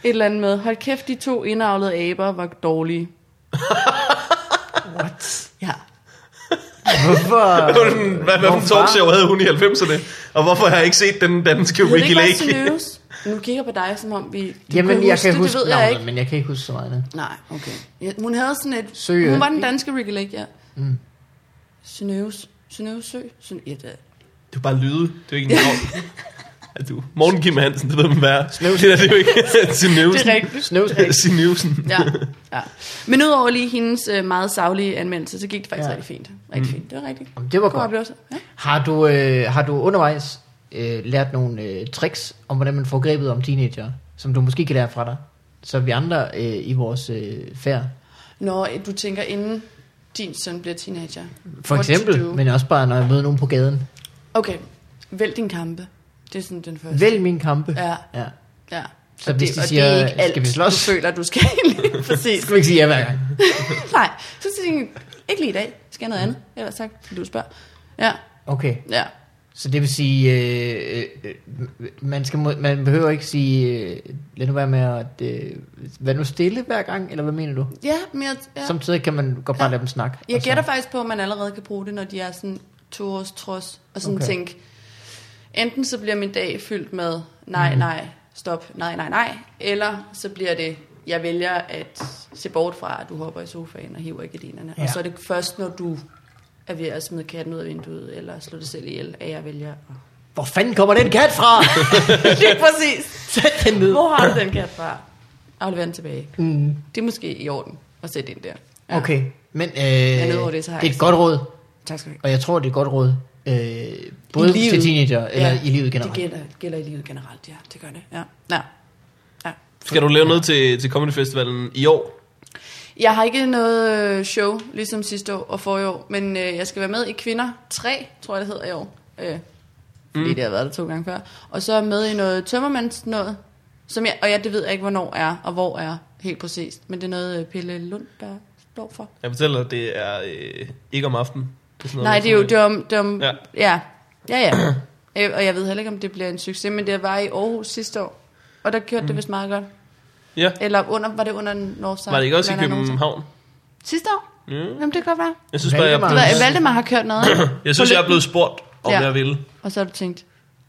Speaker 3: et eller andet med, hold kæft, de to indavlede aber var dårlige.
Speaker 1: What?
Speaker 3: Ja.
Speaker 1: Hvorfor?
Speaker 2: Hvad var den- [LAUGHS] Hvad, hvad for en
Speaker 1: Hvorfor?
Speaker 2: talkshow havde hun i 90'erne? Og hvorfor har jeg ikke set den danske
Speaker 3: Ved det
Speaker 2: Ricky
Speaker 3: ikke
Speaker 2: Lake?
Speaker 3: også news? Nu kigger jeg på dig, som om vi... Du
Speaker 1: Jamen, jeg
Speaker 3: huske
Speaker 1: kan
Speaker 3: det,
Speaker 1: huske
Speaker 3: det ved jeg
Speaker 1: navnet,
Speaker 3: ikke.
Speaker 1: men jeg kan ikke huske så meget andet.
Speaker 3: Nej, okay. Ja, hun havde sådan et...
Speaker 1: Sø,
Speaker 3: hun var
Speaker 1: øh,
Speaker 3: den danske Ricky Lake, ja. Mm. Synøves. Synøves Sø. Syn- ja, det,
Speaker 1: [LAUGHS]
Speaker 2: Du er bare lyde. [LAUGHS] Det er jo ikke en [LAUGHS] navn. Er du? Morten Kim Hansen, det ved man hvad er. [LAUGHS]
Speaker 1: Snøvsen.
Speaker 2: Det er det jo ikke. Sinøvsen.
Speaker 3: det er rigtigt.
Speaker 1: Snøvs.
Speaker 2: [LAUGHS] Sinøvsen.
Speaker 3: Ja, ja. Men udover lige hendes øh, meget savlige anmeldelse, så gik det faktisk
Speaker 1: Ja.
Speaker 3: ja. rigtig fint. Rigtig fint, det var rigtigt.
Speaker 1: Jamen, det var
Speaker 3: God
Speaker 1: godt.
Speaker 3: oplevelse. Ja.
Speaker 1: Har du, øh, har du undervejs øh, lært nogle øh, tricks om, hvordan man får grebet om teenager, som du måske kan lære fra dig? Så vi andre øh, i vores øh, færd.
Speaker 3: Når øh, du tænker, inden din søn bliver teenager.
Speaker 1: For
Speaker 3: what to
Speaker 1: eksempel,
Speaker 3: do.
Speaker 1: men også bare, når jeg møder nogen på gaden.
Speaker 3: Okay, vælg din kampe. Det er sådan den første.
Speaker 1: Vælg mine kampe.
Speaker 3: Ja,
Speaker 1: Ja.
Speaker 3: ja.
Speaker 1: Så
Speaker 3: Og
Speaker 1: hvis
Speaker 3: det,
Speaker 1: de
Speaker 3: og
Speaker 1: siger,
Speaker 3: det er ikke alt,
Speaker 1: skal vi slås?
Speaker 3: du føler, du skal
Speaker 1: [LAUGHS]
Speaker 3: lige
Speaker 1: Det
Speaker 3: præcis.
Speaker 1: skal vi ikke sige ja hver gang.
Speaker 3: Nej, så siger jeg, ikke lige i dag, skal jeg noget andet. Ellers tak, fordi du spørger. Ja,
Speaker 1: Okay,
Speaker 3: ja.
Speaker 1: så det vil sige, øh, øh, øh, man, skal, må- man behøver ikke sige, øh, lad nu være med at, øh, vær nu stille hver gang, eller hvad mener du?
Speaker 3: Ja, men jeg, ja.
Speaker 1: Ja. Samtidig kan man godt bare
Speaker 3: Ja.
Speaker 1: lade dem snakke. Altså,
Speaker 3: jeg
Speaker 1: og så-
Speaker 3: gætter faktisk på, at man allerede kan bruge det, når de er sådan to års trods, og sådan
Speaker 1: Okay.
Speaker 3: okay. tænke, enten så bliver min dag fyldt med
Speaker 1: Mhm.
Speaker 3: nej, nej, stop, nej, nej, nej, eller så bliver det, jeg vælger at se bort fra, at du hopper i sofaen og hiver i gardinerne. Ja.
Speaker 1: Ja.
Speaker 3: Og så er det først, når du er ved at smide katten ud af vinduet, eller slå dig selv ihjel, at jeg vælger. at- [LAUGHS]
Speaker 1: Hvor fanden kommer den kat fra?
Speaker 3: Lige præcis.
Speaker 1: Sæt den ned.
Speaker 3: Hvor har du den kat fra? Aflever den tilbage.
Speaker 1: Mm,
Speaker 3: Det er måske i orden at sætte ind der. Ja.
Speaker 1: okay, men øh,
Speaker 3: er ude over det, så har
Speaker 1: det
Speaker 3: jeg
Speaker 1: er et
Speaker 3: ikke
Speaker 1: godt råd,
Speaker 3: Tak skal du have.
Speaker 1: og jeg tror, det er et godt råd. Øh, både til teenager, eller i livet generelt.
Speaker 3: Det gælder, gælder i livet generelt, ja. Det gør det, ja. ja. ja.
Speaker 2: Skal du lave noget til, til Comedy Festivalen i år?
Speaker 3: Jeg har ikke noget øh, show, ligesom sidste år og forrige år, men øh, jeg skal være med i Kvinder 3, tror jeg det hedder i år. Øh, fordi mm. det har været der to gange før. Og så er jeg med i noget tømmermands noget, som jeg, og jeg, det ved jeg ikke, hvornår er og hvor er helt præcist. Men det er noget øh, Pelle Lundberg står for.
Speaker 2: Jeg fortæller, det er øh, ikke om aftenen. Det er sådan noget
Speaker 3: Nej,
Speaker 2: med
Speaker 3: det er jo det
Speaker 2: formiddag.
Speaker 3: er om... Det er om
Speaker 2: Ja.
Speaker 3: ja. ja. Ja, ja. [CLEARS THROAT] Øh, og jeg ved heller ikke, om det bliver en succes, men det var i Aarhus sidste år. Og der kørte mm. det vist meget godt.
Speaker 2: Ja,
Speaker 3: Eller under, var det under Northside?
Speaker 2: var det ikke også i
Speaker 3: Blander jeg nogen
Speaker 2: København? Mm.
Speaker 3: sammen? Sidste år?
Speaker 2: Ja.
Speaker 3: Jamen, det kan godt være.
Speaker 2: Jeg synes bare, jeg,
Speaker 1: Valdemar.
Speaker 2: blev,
Speaker 1: Ja.
Speaker 3: Hvad, Valdemar har kørt
Speaker 2: [CLEARS THROAT]
Speaker 3: noget, ikke?
Speaker 2: jeg, synes, jeg er blevet spurgt, om
Speaker 3: Ja.
Speaker 2: jeg ville.
Speaker 3: Og så har du tænkt,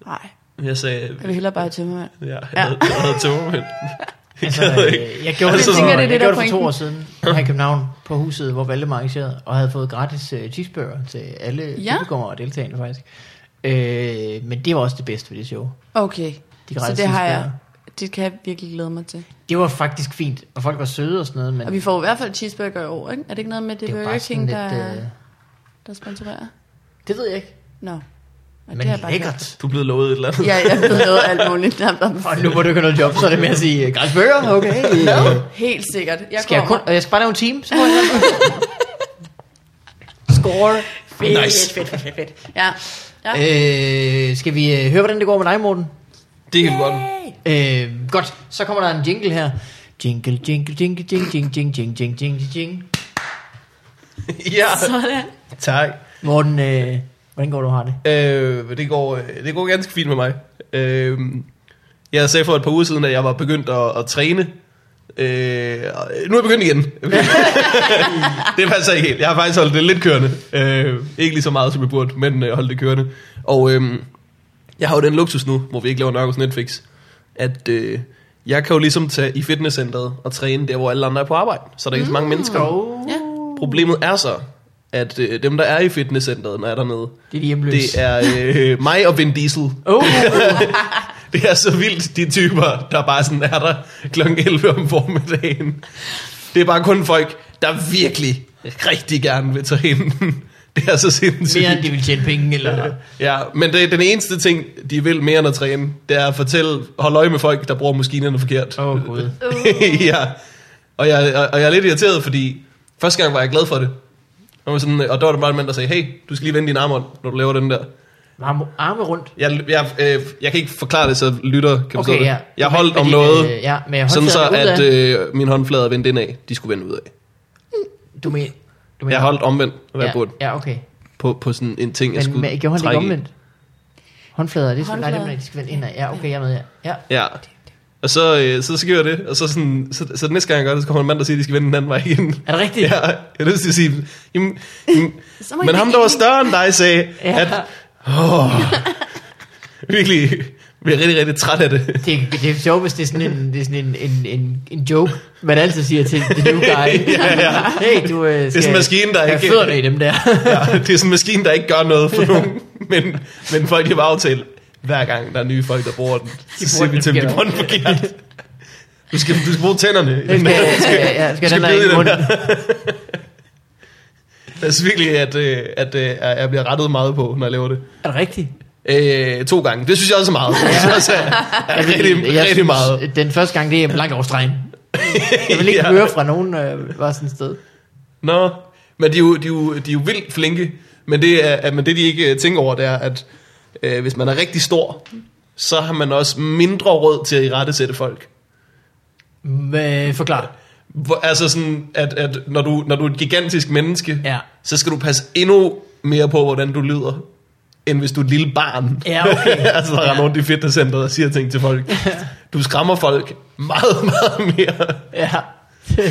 Speaker 3: nej,
Speaker 2: Jeg sagde,
Speaker 3: jeg vil hellere bare til mig.
Speaker 2: Ja, jeg havde, jeg havde
Speaker 3: [LAUGHS]
Speaker 2: tømmermænd. Jeg
Speaker 1: Altså,
Speaker 2: gad ikke.
Speaker 1: øh, jeg gjorde det,
Speaker 2: Altså,
Speaker 1: for,
Speaker 2: sådan-
Speaker 1: jeg
Speaker 3: det er det, der
Speaker 1: gjorde
Speaker 3: er
Speaker 1: det for to
Speaker 3: pointen.
Speaker 1: år siden her i København på huset, hvor Valdemar arrangerede, og havde fået gratis øh, cheeseburger til alle ja.
Speaker 3: Ja.
Speaker 1: publikummer og deltagende faktisk. Øh, men det var også det bedste ved det show.
Speaker 3: Okay,
Speaker 1: De
Speaker 3: så
Speaker 1: gratis
Speaker 3: det har jeg,
Speaker 1: cheeseburger.
Speaker 3: det kan jeg virkelig glæde mig til.
Speaker 1: Det var faktisk fint, og folk var søde og sådan noget, men
Speaker 3: Og vi får i hvert fald cheeseburger i år, ikke? Er det ikke noget med det,
Speaker 1: det var
Speaker 3: Burger
Speaker 1: bare
Speaker 3: King,
Speaker 1: sådan
Speaker 3: der,
Speaker 1: lidt... Øh,
Speaker 3: der sponsorerer?
Speaker 1: det ved jeg ikke,
Speaker 3: Nå. Og
Speaker 1: men
Speaker 3: har jeg bare
Speaker 1: lækkert.
Speaker 2: Du er blevet lovet et eller andet.
Speaker 3: hørt. Ja, jeg ved noget af alt muligt. [LAUGHS] Der, der,
Speaker 1: Og nu må du ikke have noget job, så er det med at sige, øh, gratis burger, okay. Øh,
Speaker 3: Helt sikkert. Jeg
Speaker 1: skal jeg, kun,
Speaker 3: kommer.
Speaker 1: og jeg skal bare lave en team, så må jeg Score.
Speaker 3: Fedt,
Speaker 2: Nice.
Speaker 3: fedt, fedt, fedt, fedt. Ja. ja.
Speaker 1: Øh, skal vi øh, høre, hvordan det går med dig, Morten?
Speaker 2: Det kan vi godt. [LAUGHS]
Speaker 1: Øh, godt, så kommer der en jingle her. Jingle, jingle, jingle, jingle, jingle, jingle, jingle, jingle, jingle.
Speaker 2: Ja,
Speaker 3: Sådan.
Speaker 2: tak.
Speaker 1: Morten, øh, hvordan går du har det?
Speaker 2: Øh, det, går, øh, det går ganske fint med mig. Øh, jeg sagde for et par uger siden, at jeg var begyndt at, at træne. Øh, og nu er jeg begyndt igen. [LAUGHS] det passer ikke helt. Jeg har faktisk holdt det lidt kørende. Øh, ikke lige så meget, som jeg burde, men øh, holdt det kørende. Og øh, jeg har jo den luksus nu, hvor vi ikke laver Narcos Netflix, at øh, jeg kan jo ligesom tage i fitnesscenteret og træne der, hvor alle andre er på arbejde. Så der er ikke så mange mennesker.
Speaker 1: Mm.
Speaker 3: Ja.
Speaker 2: Problemet er så, at øh, dem, der er i fitnesscenteret, når jeg er dernede,
Speaker 1: Det er de hjemløse.
Speaker 2: det er øh, mig og Vin Diesel.
Speaker 1: Oh,
Speaker 2: Det er så vildt, de typer, der bare sådan er der kl. 11 om formiddagen. Det er bare kun folk, der virkelig rigtig gerne vil tage ind. [LAUGHS] Det er så sindssygt.
Speaker 1: mere end de vil tjene penge, eller...
Speaker 2: Ja, men det, den eneste ting, de vil mere end at træne, det er at fortælle, holde øje med folk, der bruger maskinerne forkert.
Speaker 1: Åh, oh, gud.
Speaker 2: [LAUGHS] ja. Og jeg, og, og jeg er lidt irriteret, fordi første gang var jeg glad for det. Og, sådan, og der var der bare en mand, der sagde, hey, du skal lige vende din arm om, når du laver den der.
Speaker 1: Arme, arme rundt.
Speaker 2: Jeg, jeg, øh, jeg kan ikke forklare det, så lytter kan forstå
Speaker 1: Okay, ja.
Speaker 2: det. Jeg holdt om
Speaker 1: Fordi,
Speaker 2: noget,
Speaker 1: øh, ja, men jeg
Speaker 2: sådan så
Speaker 1: håndfladerne
Speaker 2: at
Speaker 1: udad.
Speaker 2: øh, min håndflade er vendt indad. De skulle vende udad.
Speaker 1: Du mener... Du
Speaker 2: Jeg holdt omvendt, hvad jeg
Speaker 1: ja,
Speaker 2: burde,
Speaker 1: ja, okay.
Speaker 2: på, på sådan en ting, jeg
Speaker 1: Men
Speaker 2: skulle
Speaker 1: men gjorde han det
Speaker 2: trække
Speaker 1: ikke
Speaker 2: i.
Speaker 1: omvendt? Håndflader, det er sådan, nej, det er,
Speaker 3: Håndflader.
Speaker 1: de skal vende indad. Ja, okay, jeg er med, ja. ja.
Speaker 2: Ja. Og så, øh, så sker jeg det, og så, sådan, så, så den næste gang jeg gør det, så kommer en mand, der siger, at de skal vende den anden vej igen.
Speaker 1: Er det rigtigt?
Speaker 2: Ja, jeg er nødt til at sige, jamen, jamen,
Speaker 3: Så må I
Speaker 2: men ham, der var
Speaker 3: ikke-
Speaker 2: større end dig, sagde,
Speaker 1: Ja.
Speaker 2: ja. at, åh, virkelig, bliver rigtig, rigtig træt af det.
Speaker 1: Det, det er sjovt, hvis det er sådan en, det er sådan en, en, en, en joke, man altid siger til the new guy.
Speaker 2: [LAUGHS] Ja, ja.
Speaker 1: Hey, du øh, skal
Speaker 2: sådan en maskine, der
Speaker 1: have
Speaker 2: ikke-
Speaker 1: fødderne i dem
Speaker 2: [LAUGHS]
Speaker 1: der.
Speaker 2: ja, det er sådan en maskine, der ikke gør noget for nogen, men, men folk de var aftalt, hver gang der er nye folk, der bruger den, så siger vi
Speaker 1: den
Speaker 2: til dem, de
Speaker 1: forkert.
Speaker 2: bruger den forkert. Du skal, du skal bruge tænderne.
Speaker 1: Den
Speaker 2: i den
Speaker 1: skal,
Speaker 2: her.
Speaker 1: ja, ja, ja, skal,
Speaker 2: skal
Speaker 1: den
Speaker 2: bide i
Speaker 1: her i
Speaker 2: den
Speaker 1: munden.
Speaker 2: Jeg synes virkelig, at, øh, at øh, jeg bliver rettet meget på, når jeg laver det.
Speaker 1: Er det rigtigt?
Speaker 2: Øh, to gange. Det synes jeg også er meget. Jeg synes også, er, er rigtig,
Speaker 1: jeg
Speaker 2: rigtig
Speaker 1: synes,
Speaker 2: meget.
Speaker 1: Den første gang, det er langt over
Speaker 2: [LAUGHS]
Speaker 1: stregen. Jeg vil ikke
Speaker 2: Ja.
Speaker 1: ja. høre fra nogen, øh, var sådan et sted.
Speaker 2: Nå, men de er jo, de er jo, de er jo vildt flinke. Men det, er, at- men det de ikke øh, tænker over, det er, at øh, hvis man er rigtig stor, så har man også mindre råd til at i rette sætte folk.
Speaker 1: Men, forklar.
Speaker 2: Hvor, altså sådan, at, at når, du, når du er et gigantisk menneske,
Speaker 1: Ja.
Speaker 2: så skal du passe endnu mere på, hvordan du lyder, end hvis du er et lille barn.
Speaker 1: Ja, okay.
Speaker 2: [LAUGHS] altså, der er
Speaker 1: Ja.
Speaker 2: rundt i fitnesscenteret og siger ting til folk. Du skræmmer folk meget, [LAUGHS] meget mere.
Speaker 1: Ja. [LAUGHS]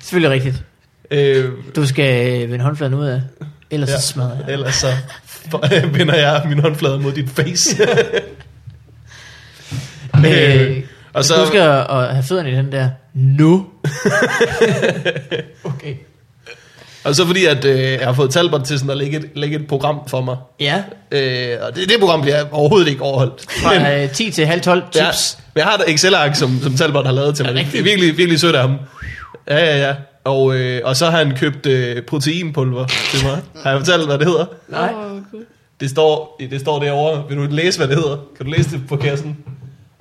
Speaker 1: Selvfølgelig rigtigt.
Speaker 2: Øh,
Speaker 1: Du skal øh, vende håndfladen ud af. Ellers ja. så smadrer jeg.
Speaker 2: Ellers så for- [LAUGHS] vender jeg min håndflade mod dit
Speaker 1: [LAUGHS]
Speaker 2: face.
Speaker 1: Øh,
Speaker 2: [LAUGHS] Øh, og
Speaker 1: så...
Speaker 2: så-
Speaker 1: Du skal at have fødderne i den der.
Speaker 2: [LAUGHS]
Speaker 1: Nu. okay.
Speaker 2: og så fordi, at øh, jeg har fået Talbot til sådan at lægge et, lægge et program for mig.
Speaker 1: Ja.
Speaker 2: Øh, og det, det program bliver overhovedet ikke overholdt. Men-
Speaker 1: Fra øh, 10 til halv 12
Speaker 2: Ja,
Speaker 1: tips.
Speaker 2: men jeg har et Excel-ark, som, som Talbot har lavet til mig.
Speaker 1: Er det
Speaker 2: Det er
Speaker 1: rigtigt?
Speaker 2: virkelig, virkelig sødt af ham. Ja, ja, ja. Og, øh, og så har han købt øh, proteinpulver til mig. Har jeg fortalt, hvad det hedder?
Speaker 1: Nej.
Speaker 3: Åh, Gud.
Speaker 2: Det står, det står derovre. Vil du læse, hvad det hedder? Kan du læse det på kassen?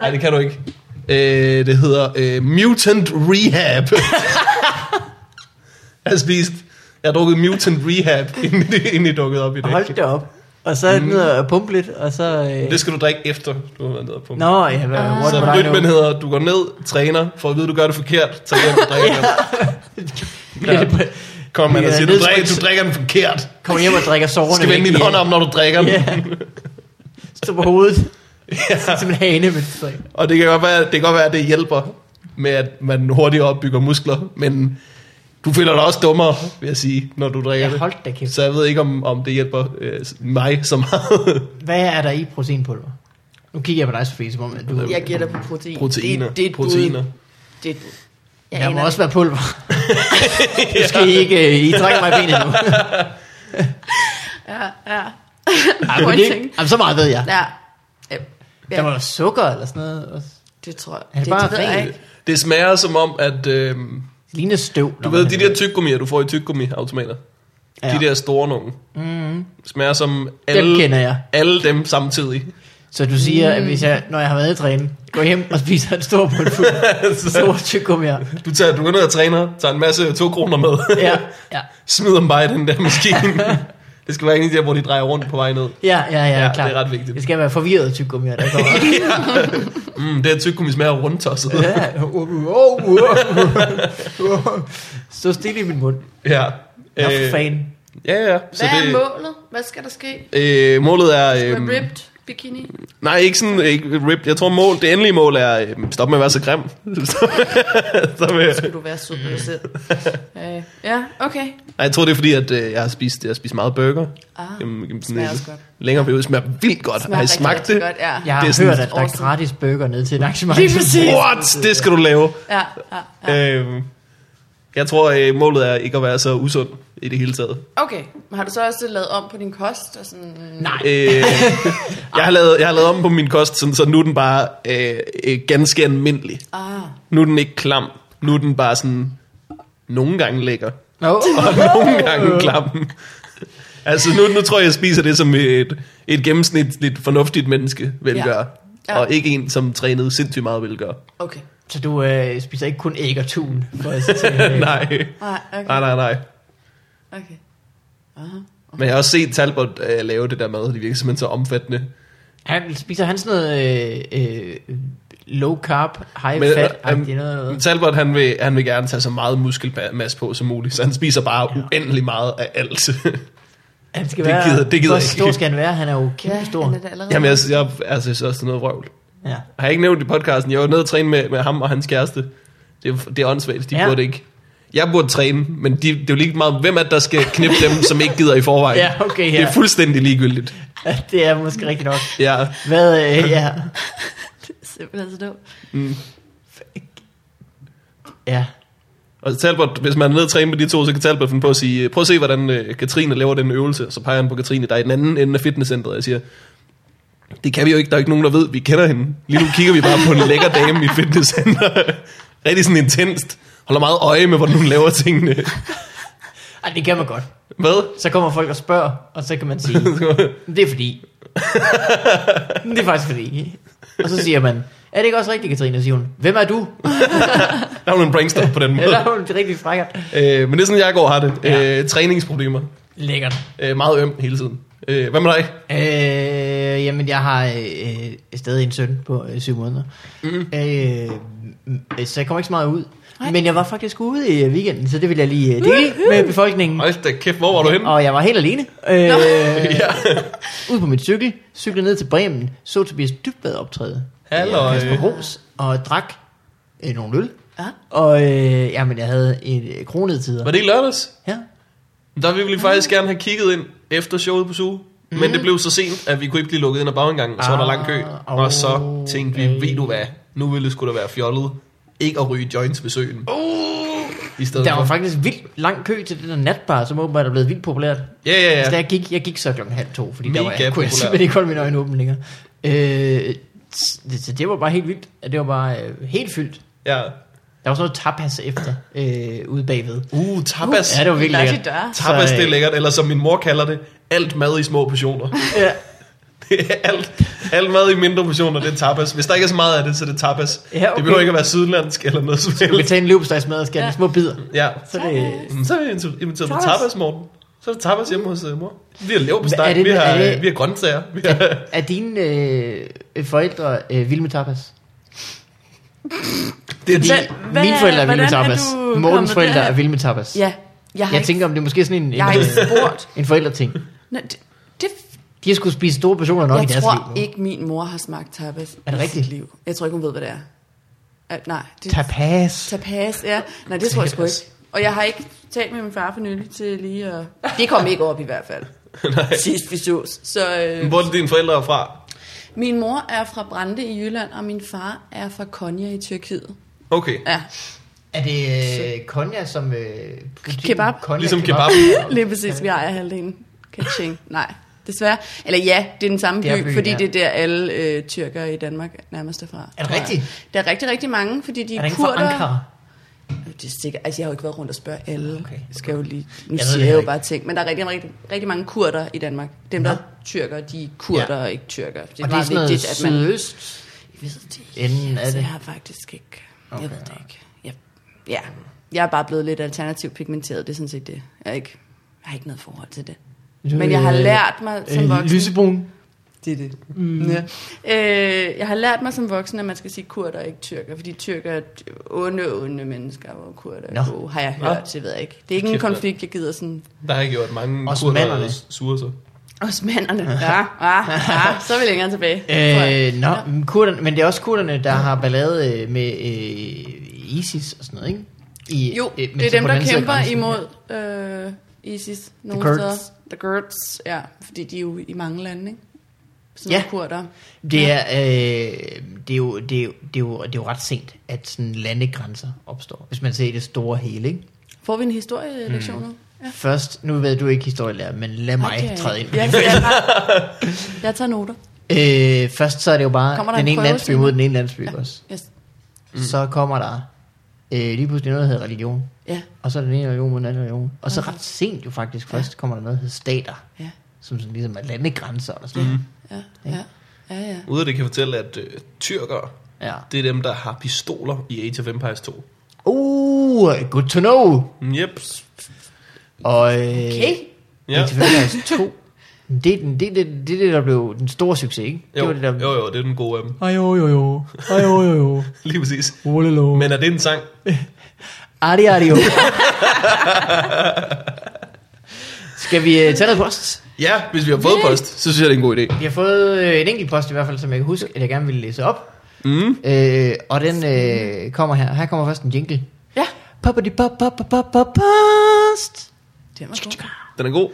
Speaker 2: Nej, det kan du ikke. Øh, det hedder øh, Mutant Rehab. [LAUGHS] jeg har spist... Jeg har drukket Mutant Rehab, [LAUGHS] inden det, inden det dukkede op i dag.
Speaker 1: Hold da op. Og så mm. ned og pumpe lidt, og så... Øh...
Speaker 2: Det skal du drikke efter, du har været nede på.
Speaker 1: Nå, ja, hvad, what
Speaker 2: Så
Speaker 1: would I
Speaker 2: rytmen
Speaker 1: [LAUGHS] know?
Speaker 2: hedder, du går ned, træner, for at vide, du gør det forkert, tager hjem og
Speaker 1: [LAUGHS]
Speaker 2: drikker den.
Speaker 1: Bliver det på-
Speaker 2: Kom, man, og
Speaker 1: Ja,
Speaker 2: siger, du
Speaker 1: nedsrykt.
Speaker 2: drikker, du drikker den forkert.
Speaker 1: Kommer hjem og drikker
Speaker 2: Du
Speaker 1: sårene
Speaker 2: skal vende din
Speaker 1: igen.
Speaker 2: hånd om, når du drikker den. [LAUGHS]
Speaker 1: Ja. Stå på hovedet.
Speaker 2: Ja.
Speaker 1: Som en hane, men så...
Speaker 2: Og det kan, godt være, det kan godt være, at det hjælper med, at man hurtigt opbygger muskler, men du føler dig også dummere, vil jeg sige, når du drikker
Speaker 1: Ja,
Speaker 2: det.
Speaker 1: hold da kæft.
Speaker 2: Så jeg ved ikke, om, om det hjælper øh, mig så meget.
Speaker 1: Hvad er der i proteinpulver? Nu kigger jeg på dig, Sofie, som om at du...
Speaker 3: Jeg gætter på protein.
Speaker 2: [LAUGHS] Proteiner.
Speaker 3: Det, det er et bud.
Speaker 2: Proteiner.
Speaker 3: Det er et bud. Jeg
Speaker 1: Jeg
Speaker 3: aner
Speaker 1: må også
Speaker 3: det.
Speaker 1: være
Speaker 2: [LAUGHS]
Speaker 1: pulver. Nu skal I ikke... øh, I trækker mig i benet
Speaker 2: [LAUGHS]
Speaker 1: nu.
Speaker 3: Ja, ja.
Speaker 1: Ej, men det, jamen, så meget ved jeg.
Speaker 3: Ja. Ja.
Speaker 1: Der må
Speaker 3: ja.
Speaker 1: være sukker eller sådan noget. også.
Speaker 3: Det tror jeg.
Speaker 1: Er det
Speaker 3: Det,
Speaker 1: bare
Speaker 3: det ved jeg
Speaker 1: rent?
Speaker 3: ikke.
Speaker 2: Øh, Det smager som om, at øh,
Speaker 1: Det ligner støv.
Speaker 2: du ved, de der tyggegummier, du får i tyggegummiautomater, ja. de der store nogen,
Speaker 1: Mm,
Speaker 2: smager som alle,
Speaker 1: dem kender jeg.
Speaker 2: alle dem samtidig.
Speaker 1: Så du siger, at hvis jeg, når jeg har været i træne, går hjem og spiser en stor
Speaker 2: [LAUGHS]
Speaker 1: pulver, stor tyggum her.
Speaker 2: Du, tager, du går ned og træner, tager en masse to kroner med,
Speaker 1: Ja, ja,
Speaker 2: [LAUGHS] smider dem bare i den der maskine. det skal være en af de der, hvor de drejer rundt på vej ned.
Speaker 1: ja, ja, ja,
Speaker 2: Ja,
Speaker 1: ja klart.
Speaker 2: det er ret vigtigt.
Speaker 1: Det skal være forvirret tyggum her. Der
Speaker 2: [LAUGHS]
Speaker 1: kommer. [LAUGHS]
Speaker 2: Mm, det her tyggegummi smager rundtosset. Ja.
Speaker 1: ja, uh, uh, uh, uh, uh. Stå stille i min mund.
Speaker 2: [LAUGHS] ja.
Speaker 1: Jeg
Speaker 2: Øh,
Speaker 1: er fan.
Speaker 2: ja, ja. Så
Speaker 3: Hvad er
Speaker 2: det,
Speaker 3: målet? Hvad skal der ske?
Speaker 2: øh, målet er...
Speaker 3: Med
Speaker 2: øhm,
Speaker 3: ripped bikini?
Speaker 2: nej, ikke sådan ikke ripped. Jeg tror, mål, det endelige mål er... øhm, stop med at være så grim. [LAUGHS] Stop med- stop med-
Speaker 3: Skulle du være sød på dig selv? Øh, ja, okay.
Speaker 2: nej, jeg tror, det er fordi, at øh, jeg, har spist, jeg har spist meget burger.
Speaker 3: Ah,
Speaker 2: Gennem- gennem sådan
Speaker 3: smager
Speaker 2: en
Speaker 3: også godt.
Speaker 2: Længere periode Det smager vildt godt. Smager har I
Speaker 3: rigtig,
Speaker 2: smagt
Speaker 3: rigtig
Speaker 2: det?
Speaker 3: Godt, ja.
Speaker 1: Jeg
Speaker 2: Det er
Speaker 1: har
Speaker 2: sådan
Speaker 1: hørt, at der er
Speaker 3: awesome.
Speaker 1: gratis burger ned til et arrangement.
Speaker 3: Lige præcis.
Speaker 2: What? Det skal du lave.
Speaker 3: ja, ja, ja.
Speaker 2: Øhm, jeg tror, øh, målet er ikke at være så usund i det hele taget.
Speaker 3: Okay, men har du så også lavet om på din kost? Og sådan,
Speaker 1: Nej.
Speaker 2: Øh, jeg, har lavet, jeg har lavet om på min kost, sådan, så nu er den bare øh, øh, ganske almindelig.
Speaker 3: Ah,
Speaker 2: Nu er den ikke klam. Nu er den bare sådan, nogle gange lækker,
Speaker 1: No.
Speaker 2: [LAUGHS]
Speaker 3: [LAUGHS]
Speaker 2: og nogle gange klam. altså nu, nu tror jeg, jeg spiser det, som et, et gennemsnitligt fornuftigt menneske vil
Speaker 3: Ja.
Speaker 2: gøre.
Speaker 3: Ja.
Speaker 2: Og ikke en, som trænede sindssygt meget vil gøre. [LAUGHS]
Speaker 3: okay.
Speaker 1: Så du øh, spiser ikke kun æg og tun? For at
Speaker 2: [LAUGHS]
Speaker 1: sige, øh,
Speaker 2: nej.
Speaker 3: Nej,
Speaker 2: nej,
Speaker 3: okay.
Speaker 2: nej, nej.
Speaker 3: okay. Aha.
Speaker 2: Men jeg har også set Talbot øh, lave det der mad, det virker simpelthen så omfattende.
Speaker 1: Han spiser han sådan noget øh, øh, low carb, high
Speaker 2: Men,
Speaker 1: Men, fat,
Speaker 2: øh,
Speaker 1: øh,
Speaker 2: øhm,
Speaker 1: noget, noget.
Speaker 2: Talbot, han vil, han vil gerne tage så meget muskelmasse på som muligt, så han spiser bare ja. uendelig meget af alt.
Speaker 1: Han skal
Speaker 2: det
Speaker 1: være,
Speaker 2: gider- det gider
Speaker 1: hvor
Speaker 2: jeg
Speaker 1: stor
Speaker 2: ikke.
Speaker 1: skal han være? Han er jo kæmpe
Speaker 3: Ja,
Speaker 1: stor.
Speaker 3: han er det allerede.
Speaker 2: Jamen, jeg, jeg, altså, jeg synes også, det er noget røvl.
Speaker 1: Ja.
Speaker 2: Har jeg ikke nævnt i podcasten, jeg var nede og træne med, med ham og hans kæreste. Det er, det er åndssvagt, de ja.
Speaker 1: Ja.
Speaker 2: burde ikke. Jeg burde træne, men de, det er jo lige meget, hvem er det, der skal knippe dem, som ikke gider i forvejen.
Speaker 1: Ja, okay, ja.
Speaker 2: Det er fuldstændig ligegyldigt.
Speaker 1: Ja, det er måske rigtigt nok.
Speaker 2: Ja.
Speaker 1: Hvad,
Speaker 2: [LAUGHS]
Speaker 1: øh, ja.
Speaker 3: Det er simpelthen så dumt.
Speaker 1: ja.
Speaker 2: Og Talbot, hvis man er nede og træne med de to, så kan Talbot finde på at sige, prøv at se, hvordan øh, Katrine laver den øvelse. Så peger han på Katrine, der er i den anden ende af fitnesscenteret, og jeg siger, det kan vi jo ikke, der er ikke nogen, der ved, vi kender hende. Lige nu kigger vi bare på en lækker dame i fitnesscenteret. [LAUGHS] Rigtig sådan intenst. Holder meget øje med, hvordan hun laver tingene.
Speaker 1: Ej, det kan man godt.
Speaker 2: Hvad?
Speaker 1: Så kommer folk og spørger, og så kan man
Speaker 2: [LAUGHS]
Speaker 1: sige, det er fordi. det er faktisk fordi. Og så siger man, er det ikke også rigtigt, Katrine? Og siger hun, hvem
Speaker 2: [LAUGHS]
Speaker 1: er du?
Speaker 2: Der er hun en brainstorm på den måde.
Speaker 1: Eller er hun det rigtig frækker?
Speaker 2: Øh, men det er sådan, jeg går og har det.
Speaker 1: Ja.
Speaker 2: Øh, træningsproblemer.
Speaker 1: Lækkert.
Speaker 2: Øh, meget øm hele tiden. Øh, hvad med dig?
Speaker 1: Øh, jamen, jeg har øh, stadig en søn på øh, syv måneder.
Speaker 2: Mhm.
Speaker 1: Mm. Øh, m- så jeg kommer ikke så meget ud.
Speaker 3: Nej.
Speaker 1: Men jeg var faktisk ude i øh, weekenden, så det vil jeg lige øh, dele med befolkningen.
Speaker 2: Hold da kæft, hvor var du henne?
Speaker 1: Og jeg var helt alene. [LAUGHS] Øh,
Speaker 2: Ja,
Speaker 1: ud på min cykel, cyklede ned til Bremen, så Tobias Dybvad optræde.
Speaker 2: Halløj.
Speaker 1: Øh, Kasper Ros, og drak øh, nogle øl.
Speaker 3: Ja.
Speaker 1: Og øh, jamen, jeg havde en øh, kronetider.
Speaker 2: var det i lørdags?
Speaker 1: Ja.
Speaker 2: Der ville vi faktisk gerne have kigget ind efter showet på Zoo. Mm. Men det blev så sent, at vi kunne ikke blive lukket ind ad baggangen, og så var der
Speaker 1: Ah,
Speaker 2: lang kø.
Speaker 1: åh,
Speaker 2: Og så tænkte vi,
Speaker 1: ej.
Speaker 2: ved du hvad, nu ville det skulle da være fjollet ikke at ryge joints ved søen. I stedet
Speaker 1: Uh. Der var
Speaker 2: for.
Speaker 1: faktisk vildt lang kø til den der natbar, som åbenbart er blevet vildt populært.
Speaker 2: Ja, ja,
Speaker 1: Ja. Så
Speaker 2: ja.
Speaker 1: Altså, jeg gik, jeg gik så klokken halv to, fordi der var,
Speaker 2: Mega
Speaker 1: jeg, kunne jeg
Speaker 2: populært.
Speaker 1: simpelthen ikke holde mine øjne åbne længere. Øh, s- så det var bare helt vildt. Det var bare øh, helt fyldt.
Speaker 2: ja.
Speaker 1: Der var sådan noget tapas efter, øh, ude bagved.
Speaker 2: Uh, tapas.
Speaker 1: Ja, det var virkelig
Speaker 3: Lucky
Speaker 1: lækkert.
Speaker 3: dør.
Speaker 2: Tapas,
Speaker 1: Så, altså, øh,
Speaker 2: det er lækkert. Eller som min mor kalder det, alt mad i små portioner. [LAUGHS]
Speaker 1: øh, Ja.
Speaker 2: Det er alt, alt mad i mindre portioner, det er tapas. Hvis der ikke er så meget af det, så er det tapas.
Speaker 1: Ja, okay.
Speaker 2: Det behøver ikke at være sydlandsk eller noget som
Speaker 1: Du kan
Speaker 2: helst.
Speaker 1: tage en løbstegsmad og skære den i
Speaker 3: Ja.
Speaker 1: små bidder.
Speaker 2: Ja.
Speaker 1: Så er det,
Speaker 2: Mm, Så er vi inviteret- inviteret på
Speaker 3: Tapas.
Speaker 2: tapas, Morten. Så er der tapas hjemme hos uh, mor. Vi har lever på
Speaker 1: Hvad er det-
Speaker 2: vi, har,
Speaker 1: er det-
Speaker 2: øh, vi har grøntsager. Vi har,
Speaker 1: er dine øh, forældre øh, vilde med tapas?
Speaker 2: det er
Speaker 1: Fordi
Speaker 2: de,
Speaker 3: Hvad- hvad
Speaker 1: mine
Speaker 3: er-
Speaker 1: forældre er vilde med
Speaker 3: hvordan er
Speaker 1: tapas.
Speaker 3: du kommet
Speaker 1: Mortens forældre
Speaker 3: derhen?
Speaker 1: er vilde med tapas.
Speaker 3: Ja, jeg har
Speaker 1: Jeg
Speaker 3: ikke,
Speaker 1: tænker, om det er måske sådan en, en,
Speaker 3: jeg har ikke
Speaker 2: [LAUGHS]
Speaker 1: øh,
Speaker 3: spurgt.
Speaker 1: en forældreting.
Speaker 3: Nå, det, det,
Speaker 1: De har skulle spise store portioner nok i
Speaker 3: jeg
Speaker 1: deres
Speaker 3: tror
Speaker 1: liv.
Speaker 3: ikke, min mor har smagt tapas
Speaker 1: Er det
Speaker 3: i sit
Speaker 1: rigtigt?
Speaker 3: liv. Jeg tror ikke, hun ved, hvad det er. At, nej, det er
Speaker 1: Tapas.
Speaker 3: tapas, ja. Nej, det tror jeg sgu
Speaker 2: Tapas.
Speaker 3: ikke. Og jeg har ikke talt med min far for nylig til lige
Speaker 2: [LAUGHS]
Speaker 3: at... Det kom ikke op i hvert fald. nej. Sidst vi sås. Så øh,
Speaker 2: hvor er det dine forældre er fra.
Speaker 3: min mor er fra Brande i Jylland, og min far er fra Konya i Tyrkiet.
Speaker 2: Okay,
Speaker 3: Ja,
Speaker 1: Er det øh, konja som... Øh, butikken
Speaker 3: Kebab.
Speaker 1: Konya
Speaker 2: ligesom kebab.
Speaker 3: [LAUGHS] Lige præcis, vi ejer halvdelen. Kaching. Nej, desværre. Eller ja, det er den samme
Speaker 1: Det er
Speaker 3: by,
Speaker 1: byen,
Speaker 3: fordi
Speaker 1: ja.
Speaker 3: det er der alle øh, tyrkere i Danmark nærmest er fra.
Speaker 1: Er det
Speaker 3: tror jeg.
Speaker 1: rigtigt?
Speaker 3: Der er rigtig, rigtig mange, fordi de
Speaker 1: Er
Speaker 3: er,
Speaker 1: det ikke fra
Speaker 3: kurder.
Speaker 1: Ankara?
Speaker 3: Det er sikkert. Altså, jeg har jo ikke været rundt og spørge alle.
Speaker 1: Okay.
Speaker 3: Okay. Skal jo lige, nu
Speaker 1: ved
Speaker 3: jeg siger
Speaker 1: det
Speaker 3: jeg jo
Speaker 1: ikke.
Speaker 3: bare ting. Men der er rigtig, rigtig, rigtig mange kurder i Danmark. Dem,
Speaker 1: Nå.
Speaker 3: der er tyrker, de er kurder og ikke tyrker. Det er
Speaker 1: Og det er
Speaker 3: meget
Speaker 1: sådan noget
Speaker 3: vigtigt, at man...
Speaker 1: sydøst
Speaker 3: Jeg ved det ikke.
Speaker 1: enden af
Speaker 3: Altså,
Speaker 1: det.
Speaker 3: jeg har faktisk ikke... Jeg
Speaker 1: Okay,
Speaker 3: ved det ikke. Jeg, ja, jeg er bare blevet lidt alternativt pigmenteret. Det er sådan set det. Jeg, er ikke, jeg har ikke noget forhold til det.
Speaker 1: Du,
Speaker 3: Men jeg har
Speaker 1: øh,
Speaker 3: lært mig som
Speaker 1: Øh,
Speaker 3: voksen...
Speaker 1: lysebrun.
Speaker 3: Det er det. Mm. Ja. Øh, jeg har lært mig som voksen, at man skal sige kurder og ikke tyrker, fordi tyrker er onde, onde mennesker, hvor kurder
Speaker 1: Nå.
Speaker 3: er gode, har jeg hørt, det ved jeg ikke. Det er ikke en
Speaker 2: Kæft, mand.
Speaker 3: konflikt, jeg gider sådan...
Speaker 2: Der har jeg gjort mange
Speaker 1: Også
Speaker 2: kurder,
Speaker 1: manderne.
Speaker 2: der sure sig.
Speaker 3: Osmanderne, ja, ja, ja, så er vi længere tilbage. tror jeg.
Speaker 1: Øh, nå, men kurderne, men det er også kurderne, der har ballade øh, med øh, ISIS og sådan noget, ikke? I, øh,
Speaker 3: Jo,
Speaker 1: men
Speaker 3: det er
Speaker 1: så
Speaker 3: dem,
Speaker 1: på den
Speaker 3: der
Speaker 1: anden side af
Speaker 3: kæmper
Speaker 1: grænsen,
Speaker 3: imod øh, ISIS nogle
Speaker 1: Kurds.
Speaker 3: steder. The Kurds. ja, fordi de er jo i mange lande, ikke? Sådan
Speaker 1: Ja.
Speaker 3: nogle kurder.
Speaker 1: ja. Det er, øh, det, er jo, det, er jo, det, er jo, det er jo ret sent, at sådan landegrænser opstår, hvis man ser i det store hele, ikke?
Speaker 3: Får vi en historielektion
Speaker 1: Mm.
Speaker 3: nu? Ja.
Speaker 1: Først, nu ved du ikke historielærer, men lad mig
Speaker 3: Ej, det er-
Speaker 1: træde ind.
Speaker 3: Ja, jeg, jeg, jeg tager noter.
Speaker 1: Øh, først så er det jo
Speaker 3: Kommer
Speaker 1: bare
Speaker 3: der
Speaker 1: den
Speaker 3: en
Speaker 1: ene
Speaker 3: prøve
Speaker 1: landsby
Speaker 3: til?
Speaker 1: mod den ene landsby ja. også.
Speaker 3: Yes.
Speaker 1: Mm. Så kommer der øh, lige pludselig noget, der hedder religion.
Speaker 3: Ja,
Speaker 1: Og så er den ene religion mod den anden religion. Og så ret sent jo faktisk først kommer der noget, der hedder stater.
Speaker 3: ja,
Speaker 1: som sådan ligesom er landegrænser eller sådan noget.
Speaker 3: ja, ja, ja, ja.
Speaker 2: Ude af det kan jeg fortælle, at øh, tyrkere,
Speaker 1: Ja.
Speaker 2: det er dem, der har pistoler i Age of Empires Mm, 2.
Speaker 1: Uh, good to know.
Speaker 2: Yep.
Speaker 1: Og, øh,
Speaker 3: Okay.
Speaker 1: Ja.
Speaker 2: Ja.
Speaker 1: Det er 2. Det er den- det, er det, det, er det, der blev den store succes, ikke?
Speaker 2: Jo,
Speaker 1: Det var det, der...
Speaker 2: jo, jo, det er den gode af dem. [LAUGHS]
Speaker 1: Ej, jo, jo, jo. Ej, jo, jo, jo.
Speaker 2: Lige præcis.
Speaker 1: Olelo.
Speaker 2: Men er det en sang?
Speaker 1: Adi, adi, jo. Skal vi øh, tage noget post?
Speaker 2: Ja, hvis vi har fået
Speaker 3: Ja.
Speaker 2: post, så synes jeg, det er en god idé.
Speaker 1: Vi har fået øh, en enkelt post i hvert fald, som jeg kan huske, at jeg gerne ville læse op.
Speaker 2: Mm.
Speaker 1: Øh, og den øh, kommer her. Her kommer først en jingle.
Speaker 3: Ja,
Speaker 1: Poppity pop pop pop pop pop post.
Speaker 3: det var godt.
Speaker 2: Den er god.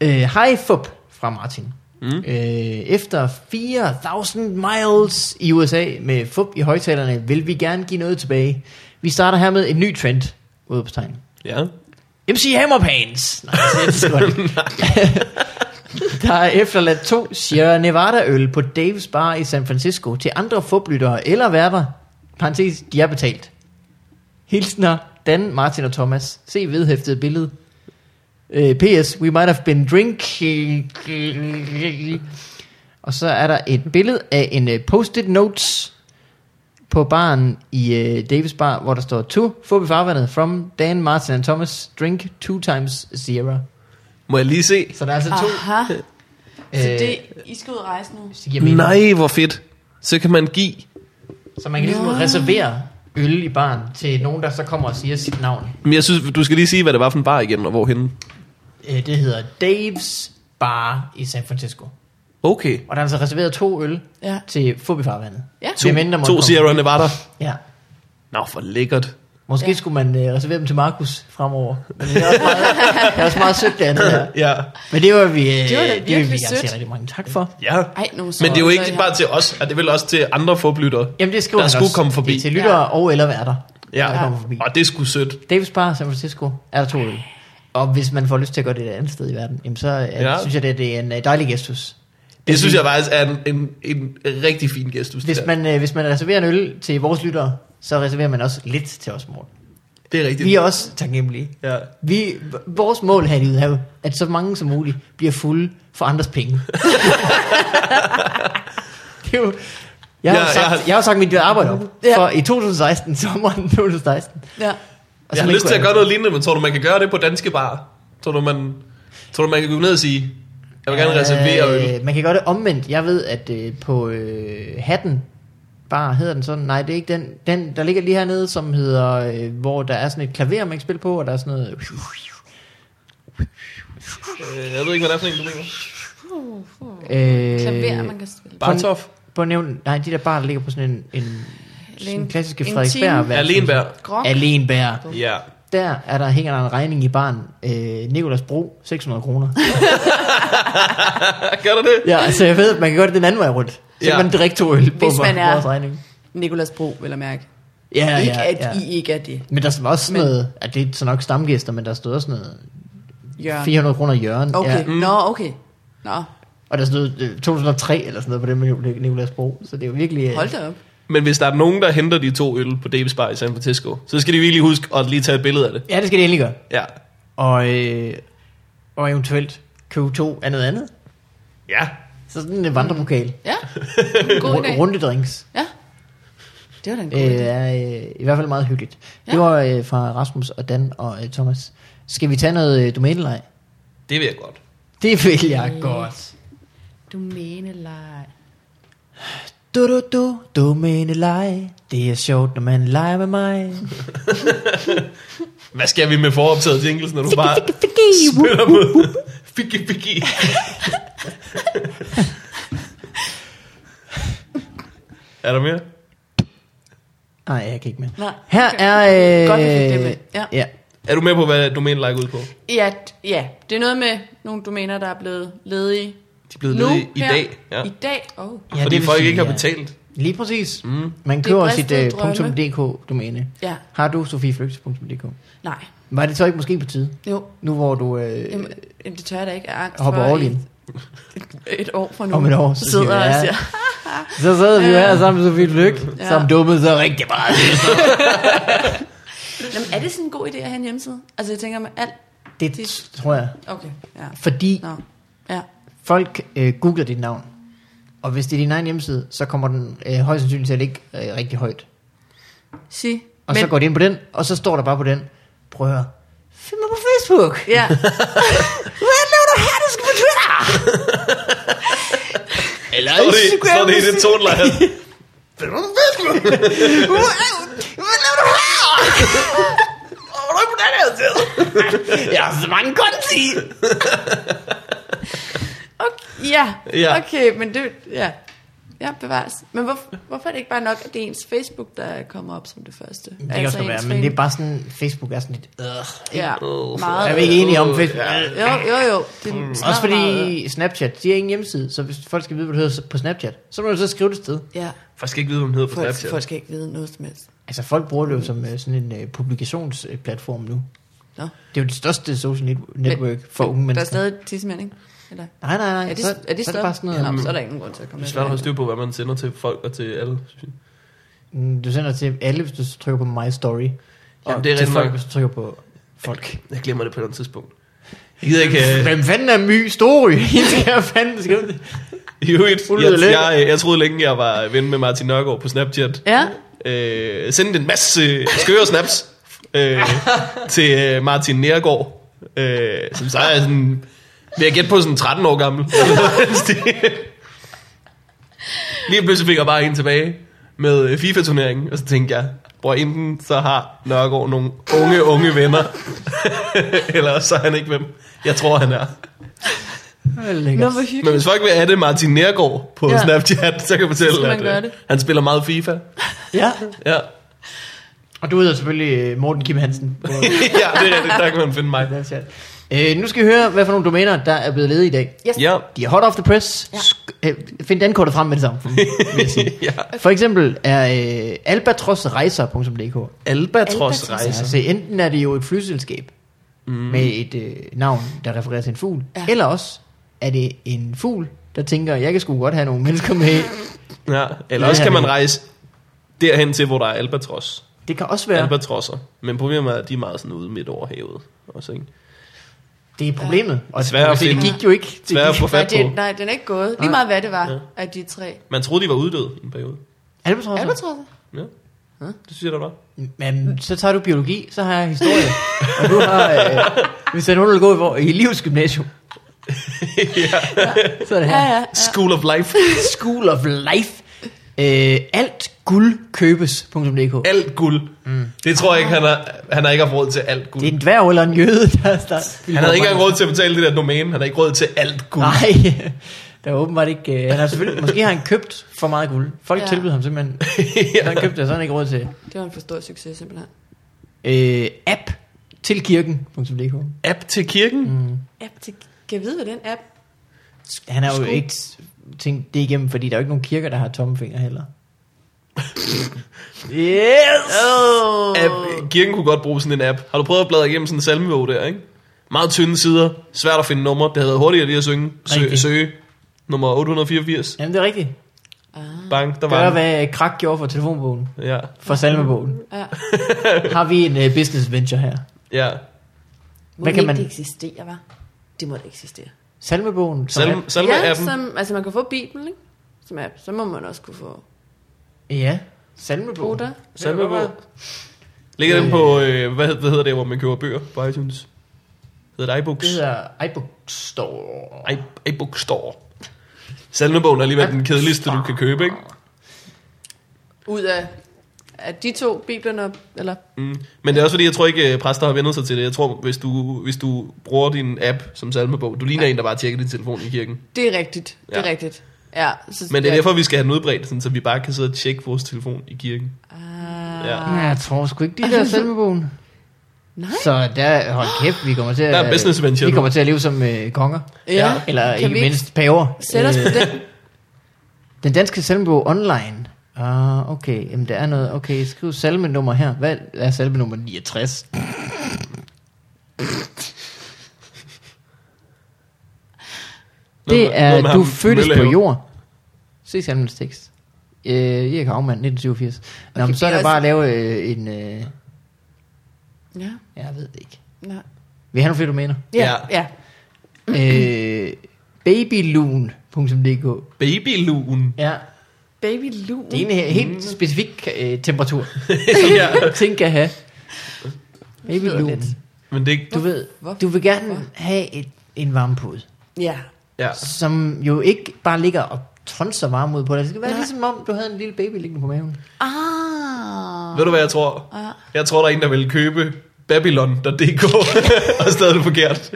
Speaker 1: Øh, Hej Fup fra Martin. Mm. Øh, efter 4.000 miles i USA med Fup i højtalerne, vil vi gerne give noget tilbage. Vi starter her med en ny trend. Udopstegn.
Speaker 2: Ja.
Speaker 1: MC Hammerpants. Nej, det er godt. [LAUGHS] Der er efterladt to Sierra Nevada-øl på Dave's Bar i San Francisco til andre fublyttere eller værter. Parenthes, de er betalt. Hilsner Dan, Martin og Thomas. Se vedhæftet billede. Uh, P.S. We might have been drinking. Og så er der et billede af en uh, post-it notes på baren i uh, Davis Bar, hvor der står To Fubi farvandet from Dan, Martin and Thomas Drink two times zero
Speaker 2: Må jeg lige se?
Speaker 3: Ah.
Speaker 1: Så der er altså to
Speaker 3: Aha. Så det, I skal ud og rejse nu.
Speaker 1: så, det giver mening.
Speaker 2: Nej, hvor fedt. Så kan man give.
Speaker 1: så man kan ligesom
Speaker 3: Nå.
Speaker 1: reservere øl i baren til nogen, der så kommer og siger sit navn.
Speaker 2: Men jeg synes, du skal lige sige, hvad det var for en bar igen, og hvorhenne.
Speaker 1: Øh, det hedder Dave's Bar i San Francisco.
Speaker 2: Okay.
Speaker 1: Og der er altså reserveret to øl
Speaker 3: Ja.
Speaker 1: til Fubifarvandet.
Speaker 3: Ja.
Speaker 1: Hvem end der måtte
Speaker 2: To
Speaker 1: komme.
Speaker 2: Sierra Nevada.
Speaker 1: Ja.
Speaker 2: Nå, for lækkert.
Speaker 1: Måske
Speaker 3: Ja.
Speaker 1: ja. skulle man øh, reservere dem til Markus fremover. Men det er
Speaker 3: [LAUGHS]
Speaker 1: også meget, det er også meget sødt det andet her.
Speaker 2: Ja.
Speaker 1: Men det var vi, øh,
Speaker 3: Det var da
Speaker 1: det vil vi
Speaker 3: virkelig
Speaker 1: gerne
Speaker 3: sødt.
Speaker 1: sige rigtig mange tak for.
Speaker 2: Ja.
Speaker 3: Ej, nogle
Speaker 2: Men det er jo
Speaker 3: sorger,
Speaker 2: ikke
Speaker 3: så
Speaker 2: bare til os, og det er vel også til andre forbyttere.
Speaker 1: Jamen det skriver
Speaker 2: Der
Speaker 1: han
Speaker 2: skulle
Speaker 1: også.
Speaker 2: komme forbi.
Speaker 1: Det er til lyttere
Speaker 3: Ja.
Speaker 1: ja. og eller værter. Der
Speaker 2: Ja.
Speaker 1: kommer forbi.
Speaker 2: Og det er sgu sødt.
Speaker 1: Davis Bar, San Francisco, er der to øl. Og hvis man får lyst til at gøre det et andet sted i verden, jamen så
Speaker 2: Ja.
Speaker 1: ja. synes jeg, det, det er en øh, dejlig gestus.
Speaker 2: Det synes jeg faktisk er en, en, en rigtig fin gestus.
Speaker 1: Hvis
Speaker 2: det, der.
Speaker 1: man, øh, hvis man reserverer en øl til vores lyttere, så reserverer man også lidt til os, Morten.
Speaker 2: det er rigtigt.
Speaker 1: Vi er også taknemmelige.
Speaker 2: Ja.
Speaker 1: Vi, v- vores mål her i livet er jo, at så mange som muligt bliver fulde for andres penge. [LAUGHS] det er jo, jeg, har jo
Speaker 2: Ja, jeg
Speaker 1: sagt,
Speaker 2: har-
Speaker 1: jeg har sagt mit arbejde op
Speaker 3: Ja.
Speaker 1: for i 2016, sommeren 2016.
Speaker 3: Ja.
Speaker 1: Og
Speaker 2: Jeg
Speaker 1: så
Speaker 2: har
Speaker 1: man
Speaker 2: lyst til at
Speaker 1: kunne-
Speaker 2: gøre noget lignende, men tror du, man kan gøre det på danske bar? Tror du, man, tror du, man kan gå ned og sige, jeg vil gerne reservere øl?
Speaker 1: Øh, man kan gøre det omvendt. Jeg ved, at øh, på øh, Hatten Bar hedder den sådan. Nej, det er ikke den. den der ligger lige hernede, som hedder, øh, hvor der er sådan et klaver, man kan spille på, og der er sådan noget...
Speaker 2: Øh, Jeg ved ikke, hvad det er for en, du mener.
Speaker 1: Øh,
Speaker 3: Klaver, man kan spille.
Speaker 2: Bartof?
Speaker 1: På nævn, nej, de der bar, der ligger på sådan en, en sådan
Speaker 3: Alene-
Speaker 1: en klassiske
Speaker 3: en
Speaker 1: Frederiksberg.
Speaker 3: time.
Speaker 2: Alenberg?
Speaker 3: Grok.
Speaker 1: Alenbær.
Speaker 2: Ja.
Speaker 1: Der er der, hænger der en regning i barn. Øh, Nikolas Bro, 600 kroner.
Speaker 2: [LAUGHS] Gør du det?
Speaker 1: Ja, altså jeg ved, at man kan gøre det den anden vej rundt. Så
Speaker 2: Ja.
Speaker 1: ja. man drikke to øl på
Speaker 3: Hvis man er-
Speaker 1: vores regning.
Speaker 3: Nikolas Bro, vil jeg mærke.
Speaker 1: Ja, ja,
Speaker 3: ikke at
Speaker 1: ja.
Speaker 3: I ikke er det.
Speaker 1: Men der stod også sådan
Speaker 3: Men-
Speaker 1: noget, at det er så nok stamgæster, men der stod også sådan noget
Speaker 3: Jørgen.
Speaker 1: 400 kroner i hjørnet.
Speaker 3: Okay,
Speaker 1: Ja.
Speaker 3: ja. nå, okay. Nå,
Speaker 1: Og der stod øh, 2003 eller sådan noget på den med Nikolas Bro. Så det er jo virkelig... øh,
Speaker 3: hold da op.
Speaker 2: Men hvis der er nogen, der henter de to øl på Davis Bar i San Francisco, så skal de virkelig huske at lige tage et billede af det.
Speaker 1: Ja, det skal det endelig gøre.
Speaker 2: Ja.
Speaker 1: Og, øh, og eventuelt købe to af noget andet.
Speaker 2: Ja.
Speaker 1: Så sådan en vandrepokal. [LAUGHS]
Speaker 3: Ja, Mm. god idé.
Speaker 1: Ru- Runde drinks.
Speaker 3: Ja, det var da en god
Speaker 1: Øh,
Speaker 3: idé.
Speaker 1: er øh, i hvert fald meget hyggeligt. Ja.
Speaker 3: Ja.
Speaker 1: Det var øh, fra Rasmus og Dan og øh, Thomas. Skal vi tage noget øh, domæneleg?
Speaker 2: Det vil jeg godt.
Speaker 1: Det vil jeg
Speaker 3: Mm.
Speaker 1: godt.
Speaker 3: Du mener leg.
Speaker 1: Du, du, du, domæneleg. Det er sjovt, når man leger med mig.
Speaker 2: Hvad skal vi med foroptaget jingles, når du bare spiller mod [LAUGHS] Fiki, fiki. Er der mere?
Speaker 1: Nej, jeg kan ikke mere.
Speaker 3: Nej,
Speaker 1: Her
Speaker 3: okay.
Speaker 1: er... Øh,
Speaker 3: Godt, vi fik det med. Ja.
Speaker 1: ja.
Speaker 2: Er du med på, hvad domæne like ud på?
Speaker 3: Ja, d- ja, det er noget med nogle domæner, der er blevet ledige.
Speaker 2: De er blevet
Speaker 3: nu,
Speaker 2: ledige i
Speaker 3: her.
Speaker 2: dag. Ja.
Speaker 3: I dag, oh.
Speaker 1: ja det
Speaker 2: Fordi
Speaker 1: vil
Speaker 2: folk
Speaker 1: sige,
Speaker 2: ikke har
Speaker 1: ja.
Speaker 2: betalt.
Speaker 1: Lige præcis.
Speaker 2: Mm.
Speaker 1: Man
Speaker 3: Det
Speaker 1: køber
Speaker 3: er
Speaker 1: sit
Speaker 3: bristede
Speaker 1: uh, .dk-domæne.
Speaker 3: Ja,
Speaker 1: Har du sofieflygtes.dk?
Speaker 3: nej,
Speaker 1: Var det så ikke måske på tide?
Speaker 3: jo.
Speaker 1: Nu hvor du... Øh,
Speaker 3: Jamen, jamen, det tør jeg da ikke af angst
Speaker 1: Hopper
Speaker 3: for.
Speaker 1: all
Speaker 3: i
Speaker 1: in.
Speaker 3: Et, et år fra nu.
Speaker 1: Om et år, så
Speaker 3: så
Speaker 1: siger
Speaker 3: sidder
Speaker 1: vi,
Speaker 3: jeg og
Speaker 1: ja.
Speaker 3: siger,
Speaker 1: så sad vi jo her sammen med Sofie Flygt,
Speaker 3: Ja.
Speaker 1: ja. som dummede sig rigtig meget.
Speaker 3: Jamen, er det sådan en god idé at have en hjemmeside? Altså, jeg tænker med alt.
Speaker 1: Det
Speaker 3: Det-
Speaker 1: tror jeg.
Speaker 3: Okay, ja.
Speaker 1: Fordi
Speaker 3: Nå, ja.
Speaker 1: folk øh, googler dit navn. Og hvis det er din egen hjemmeside, så kommer den øh, højst sandsynligt til at ligge øh, rigtig højt.
Speaker 3: Sig.
Speaker 1: Og Men... så går de ind på den, og så står der bare på den, prøv at høre, find mig på Facebook. [LAUGHS]
Speaker 3: Ja,
Speaker 1: Hvad laver du her, du skal på Twitter? Eller
Speaker 2: Står det, står det i den toneleje?
Speaker 1: Hvad laver du her? Hvor er du på den her side? Jeg har så mange konti.
Speaker 3: okay, ja.
Speaker 2: Ja.
Speaker 3: okay men det, ja. Ja, bevares. Men hvor, hvorfor er det ikke bare nok, at det er ens Facebook, der kommer op som det første? Altså
Speaker 1: Det kan også godt være, men det er bare sådan, Facebook er sådan lidt, øh.
Speaker 3: Ja,
Speaker 2: Øh,
Speaker 3: meget.
Speaker 1: Er vi ikke enige om Facebook? Øh,
Speaker 2: Ja.
Speaker 3: Jo, jo, jo. Det er snart
Speaker 1: Også
Speaker 3: meget,
Speaker 1: fordi Snapchat, de har ingen hjemmeside, så hvis folk skal vide, hvad du hedder på Snapchat, så må du så skrive det et sted.
Speaker 3: Ja,
Speaker 2: Folk skal ikke vide, hvad man hedder på
Speaker 3: folk,
Speaker 2: Snapchat.
Speaker 3: folk skal ikke vide noget som helst.
Speaker 1: Altså folk bruger det jo som øh, sådan en øh, publikationsplatform nu. Det
Speaker 3: Nå.
Speaker 1: er jo det største social net- network men, for unge
Speaker 3: Der er
Speaker 1: mennesker.
Speaker 3: stadig tissemænd, ikke? Eller?
Speaker 1: Nej, nej, nej.
Speaker 3: Er det,
Speaker 1: så,
Speaker 3: er det
Speaker 1: så er
Speaker 3: stoppet?
Speaker 1: det bare sådan
Speaker 3: Nå,
Speaker 1: noget,
Speaker 3: men så er der ingen grund til at komme
Speaker 2: Det er
Speaker 3: med.
Speaker 2: svært at holde styr på, hvad man sender til folk og til alle. synes jeg.
Speaker 1: Mm, du sender til alle, hvis du trykker på My Story. Og
Speaker 2: Jamen, det er
Speaker 1: til
Speaker 2: rigtig
Speaker 1: folk,
Speaker 2: nok.
Speaker 1: hvis du trykker på folk.
Speaker 2: Jeg glemmer det på et eller andet tidspunkt. Jeg gider
Speaker 1: [LAUGHS]
Speaker 2: ikke... øh,
Speaker 1: Hvem fanden er My Story? [LAUGHS] Jeg skal jeg fanden skrive det.
Speaker 2: I øvrigt,
Speaker 1: Hun lyder
Speaker 2: jeg,
Speaker 1: lækker.
Speaker 2: jeg, jeg troede længe, jeg var ven med Martin Nørgaard på Snapchat.
Speaker 3: Ja,
Speaker 2: Øh, sendte en masse skøre snaps øh, til øh, Martin Nergård, øh, som så er sådan Vil jeg gætte på sådan 13 år gammel? [LAUGHS] Lige pludselig fik jeg bare en tilbage med øh, FIFA-turneringen, og så tænkte jeg, bror, enten så har Nørgaard nogle unge, unge venner, [LAUGHS] eller så er han ikke hvem jeg tror, han er.
Speaker 1: Det er
Speaker 3: Nå,
Speaker 1: lækkert.
Speaker 3: hvor
Speaker 2: Men
Speaker 3: hyggeligt.
Speaker 2: hvis folk vil have det Martin Nergård på
Speaker 3: Ja.
Speaker 2: ja. Snapchat, så kan jeg
Speaker 3: Så skal
Speaker 2: fortælle,
Speaker 3: man
Speaker 2: at
Speaker 3: gøre
Speaker 2: øh,
Speaker 3: det.
Speaker 2: han spiller meget FIFA.
Speaker 1: Ja.
Speaker 2: Ja.
Speaker 1: Og du hedder selvfølgelig øh, Morten Kim
Speaker 3: [LAUGHS]
Speaker 1: Hansen. På,
Speaker 2: ja, det er rigtigt. Der kan man finde mig.
Speaker 1: Snapchat. øh, nu skal vi høre, hvad for nogle domæner, der er blevet ledige i dag.
Speaker 3: Yes.
Speaker 2: Ja.
Speaker 1: De er hot off the press.
Speaker 3: Ja.
Speaker 1: Ja. Sk- øh, find dankortet frem med det samme. vil jeg sige.
Speaker 2: [LAUGHS] ja.
Speaker 1: For eksempel er øh, albatrosrejser.dk.
Speaker 2: Albatros
Speaker 1: Altså,
Speaker 2: rejser.
Speaker 1: se, enten er det jo et flyselskab mm. med et øh, navn, der refererer til en fugl,
Speaker 3: Ja.
Speaker 1: ja. eller også er det en fugl, der tænker, jeg kan sgu godt have nogle mennesker med.
Speaker 2: Ja. Eller
Speaker 1: Ja,
Speaker 2: også kan
Speaker 1: ja.
Speaker 2: man rejse derhen til, hvor der er albatros.
Speaker 1: Det kan også
Speaker 2: Ja.
Speaker 1: være.
Speaker 2: Albatrosser. Men problemet er, at de er meget sådan ude midt over havet. Også, ikke?
Speaker 1: Det er problemet. Og
Speaker 2: Svært
Speaker 1: det,
Speaker 2: at
Speaker 1: det
Speaker 2: finde.
Speaker 1: gik jo ikke. Det
Speaker 2: Svært at
Speaker 1: gik-
Speaker 2: få
Speaker 3: Nej,
Speaker 2: fat på.
Speaker 3: det, nej, den er ikke gået. Lige meget hvad det var,
Speaker 2: Ja.
Speaker 3: ja. af de tre.
Speaker 2: Man troede, de var uddøde i en periode.
Speaker 1: Albatrosser?
Speaker 3: Albatrosser?
Speaker 2: Ja. Det synes jeg, der var.
Speaker 1: Men så tager du biologi, så har jeg historie. og du har... Øh, hvis der er nogen, der går i, vor- i
Speaker 2: [LAUGHS]
Speaker 1: livsgymnasium. ja. Så er det her.
Speaker 3: Ja, ja.
Speaker 2: School of Life.
Speaker 1: [LAUGHS] School of Life. Øh, alt guld købes.dk.
Speaker 2: Alt guld. Mm. Det tror jeg ikke, han har, han har ikke haft råd til alt guld.
Speaker 1: Det er en dværg eller en jøde, der starter.
Speaker 2: Han havde ikke engang råd til at betale det der domæne. Han har ikke råd til alt [LAUGHS] guld.
Speaker 1: Nej, [LAUGHS] der er åbenbart ikke... Øh, han har selvfølgelig, måske har han købt for meget guld. Folk
Speaker 3: Ja.
Speaker 1: ja. tilbyder ham
Speaker 2: [LAUGHS]
Speaker 1: simpelthen. Så han købte det, så har han ikke råd til.
Speaker 3: Det var en for stor succes, simpelthen.
Speaker 1: Øh, app til kirken.dk.
Speaker 2: App til kirken? Mm.
Speaker 3: App til... Kan jeg vide, hvad den app...
Speaker 1: Han har jo
Speaker 3: Sku-
Speaker 1: ikke tænkt det igennem, fordi der er jo ikke nogen kirker, der har tomme fingre
Speaker 2: [LAUGHS]
Speaker 1: heller. yes!
Speaker 3: Oh.
Speaker 2: app. Kirken kunne godt bruge sådan en app. Har du prøvet at bladre igennem sådan en salmebog der, ikke? Meget tynde sider, svært at finde numre. Det havde været hurtigere lige at synge. Sø,
Speaker 1: Rigtigt.
Speaker 2: søge. Nummer 884.
Speaker 1: Jamen, det er rigtigt.
Speaker 3: Ah,
Speaker 2: Bang, der var
Speaker 1: Gør,
Speaker 2: den.
Speaker 1: hvad Krak gjorde for telefonbogen.
Speaker 2: Ja,
Speaker 1: For salmebogen.
Speaker 3: Ja.
Speaker 1: Har vi en uh, business venture her?
Speaker 2: ja.
Speaker 3: Må
Speaker 1: Hvad kan
Speaker 3: ikke
Speaker 1: man-
Speaker 3: det eksisterer, hva'? Det må da eksistere.
Speaker 1: Salmebogen? som
Speaker 2: Salme,
Speaker 1: app?
Speaker 3: ja,
Speaker 2: salme-appen.
Speaker 3: som, altså man kan få Bibelen, ikke? Som app. Så må man også kunne få
Speaker 1: Ja, salmebogen.
Speaker 3: Oda.
Speaker 2: Salmebog. Ligger den på, øh, hvad, hed- hvad hedder det, hvor man køber bøger på iTunes? Hedder det iBooks?
Speaker 1: Det hedder iBook Store.
Speaker 2: I, iBook Store. Salmebogen er alligevel den kedeligste, du kan købe, ikke?
Speaker 3: Ud af, af de to, Bibelen og... Eller,
Speaker 2: Mm. Men det er også fordi, jeg tror ikke, øh, præster har vendt sig til det. Jeg tror, hvis du, hvis du bruger din app som salmebog, du ligner en, der bare tjekker din telefon i kirken.
Speaker 3: det er rigtigt. Det er
Speaker 2: Ja.
Speaker 3: rigtigt. Ja, så,
Speaker 2: Men det er derfor, vi skal have den udbredt, sådan, så vi bare kan sidde og tjekke vores telefon i kirken.
Speaker 3: Ah,
Speaker 2: Ja.
Speaker 1: Nej, jeg tror sgu ikke,
Speaker 3: [LAUGHS]
Speaker 1: de der salmebogen.
Speaker 3: Nej.
Speaker 1: Så der, hold kæft, vi kommer til at,
Speaker 2: Der er business venture
Speaker 1: vi
Speaker 2: nu.
Speaker 1: kommer til at leve som øh, konger.
Speaker 3: Ja.
Speaker 1: Eller
Speaker 3: Kan
Speaker 1: ikke
Speaker 3: vi ikke
Speaker 1: mindst paver. Øh,
Speaker 3: Sæt os
Speaker 2: Øh.
Speaker 3: på den.
Speaker 1: Den danske salmebog online. Ah, okay. Jamen, der er noget. Okay, skriv salmenummer her. Hvad er salmenummer 69?
Speaker 2: Noget
Speaker 1: Det
Speaker 2: med- noget med
Speaker 1: er, du
Speaker 2: ham,
Speaker 1: fødtes på
Speaker 2: Møllehave.
Speaker 1: jord. Se salmens tekst. Øh, Erik Havmann, 1987. Nå,
Speaker 3: Okay,
Speaker 1: men så er
Speaker 3: det er
Speaker 1: det bare at
Speaker 3: også-
Speaker 1: lave øh, en... Øh,
Speaker 3: Ja,
Speaker 1: jeg ved det ikke.
Speaker 3: nej.
Speaker 1: Vi har nogle flere [CLEARS THROAT] domæner.
Speaker 3: Ja,
Speaker 2: Ja.
Speaker 3: ja.
Speaker 1: øh, babyloon.dk
Speaker 2: Babylugen.
Speaker 1: Ja,
Speaker 3: Baby Lu.
Speaker 1: det er en he- helt specifik øh, [LAUGHS] temperatur,
Speaker 2: ja.
Speaker 1: ting kan have. Babyloon.
Speaker 3: lidt.
Speaker 2: Men det er ikke...
Speaker 1: Du ved,
Speaker 3: Hvorfor?
Speaker 1: du vil gerne
Speaker 3: Hvorfor?
Speaker 1: have et, en varmepude,
Speaker 3: Ja.
Speaker 2: Ja.
Speaker 1: som jo ikke bare ligger og tonser varme ud på dig. Det skal være
Speaker 3: Nej.
Speaker 1: Nej. ligesom om, du havde en lille baby liggende på maven.
Speaker 3: Ah.
Speaker 2: Ved du, hvad jeg tror?
Speaker 3: Ja.
Speaker 2: Jeg tror, der er en, der vil købe babylon.dk [LAUGHS] og stadig det forkert.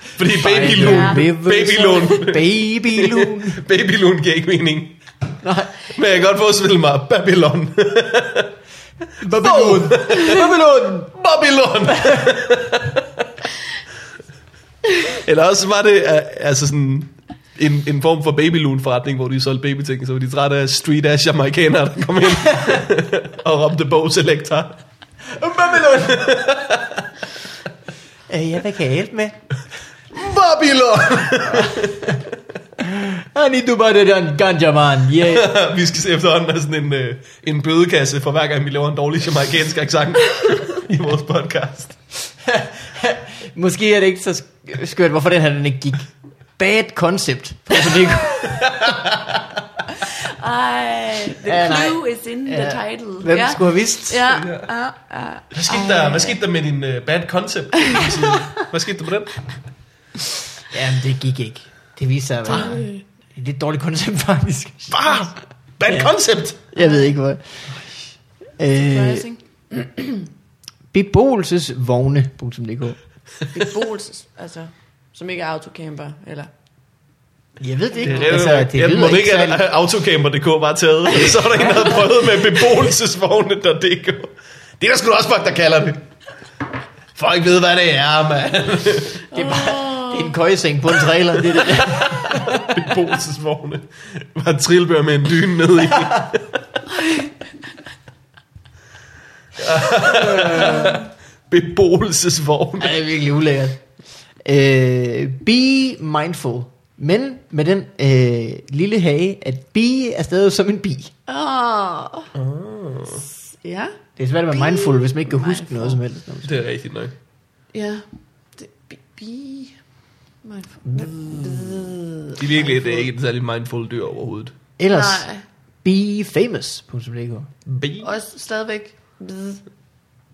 Speaker 2: Fordi
Speaker 1: Ja.
Speaker 2: babyloon, babyloon, [LAUGHS]
Speaker 1: Babyloon.
Speaker 2: babyloon giver ikke mening.
Speaker 1: [LAUGHS] Nej.
Speaker 2: Men jeg kan godt forestille mig Babylon.
Speaker 1: Babylon. Babylon.
Speaker 2: [LAUGHS] Babylon! Eller også var det øh, altså sådan en, en form for babyloon-forretning, hvor de solgte babyting, så var de trætte af street-ass amerikanere, der kom ind [LAUGHS] og råbte bogselektor. Babylon!
Speaker 1: Øh, ja, hvad kan jeg hjælpe med?
Speaker 2: Babylon!
Speaker 1: I need to buy the done ganja man. Yeah.
Speaker 2: [LAUGHS] vi skal se efterhånden have sådan en, øh, en bødekasse for hver gang, vi laver en dårlig jamaikansk accent i vores podcast.
Speaker 1: [LAUGHS] Måske er det ikke så sk- skørt, hvorfor den her den ikke gik. Bad concept. Altså, det
Speaker 3: Ej, the
Speaker 1: Ja, nej.
Speaker 3: clue is in the title.
Speaker 1: Hvem
Speaker 3: ja.
Speaker 1: skulle have vidst?
Speaker 3: Ja, ja, ja.
Speaker 2: Hvad skete, der, hvad skete der med din øh, bad concept? Hvad skete der med den?
Speaker 1: [LAUGHS] Jamen, det gik ikke. Det viste sig at være et lidt dårligt koncept, [LAUGHS] faktisk.
Speaker 2: Bare, bad
Speaker 1: Ja.
Speaker 2: concept.
Speaker 1: Jeg ved ikke, hvad. Øh,
Speaker 3: Pricing.
Speaker 1: beboelsesvogne.dk
Speaker 3: Beboelses, altså, som ikke er autocamper, eller...
Speaker 1: Jeg ved det ikke.
Speaker 2: Det, er altså, det må ikke at at autocamper.dk var taget, og så er der en, der havde prøvet med beboelsesvogne.dk. Det er der sgu da også folk, der kalder det. Folk ved, hvad det er, mand.
Speaker 1: Det er bare det er en køjeseng på en trailer. Det er det.
Speaker 2: Beboelsesvogne. Var en trillebør med en dyne ned i. [LAUGHS]
Speaker 1: [LAUGHS]
Speaker 2: Beboelsesvogne.
Speaker 1: Ej, det er virkelig ulækkert. Øh, be mindful. Men med den øh, lille hage, at be er stadig som en bi.
Speaker 3: Åh. Oh. Ja,
Speaker 1: Det er svært at være mindful, hvis man ikke kan huske
Speaker 3: mindful.
Speaker 1: noget som helst.
Speaker 2: Det er rigtigt nok.
Speaker 3: ja. Det, bi, bi. Mindful.
Speaker 1: Mm.
Speaker 2: Det er virkelig det er ikke et særlig mindful dyr overhovedet.
Speaker 1: Ellers,
Speaker 3: Nej,
Speaker 1: befamous.dk.
Speaker 3: også stadigvæk. Bzz.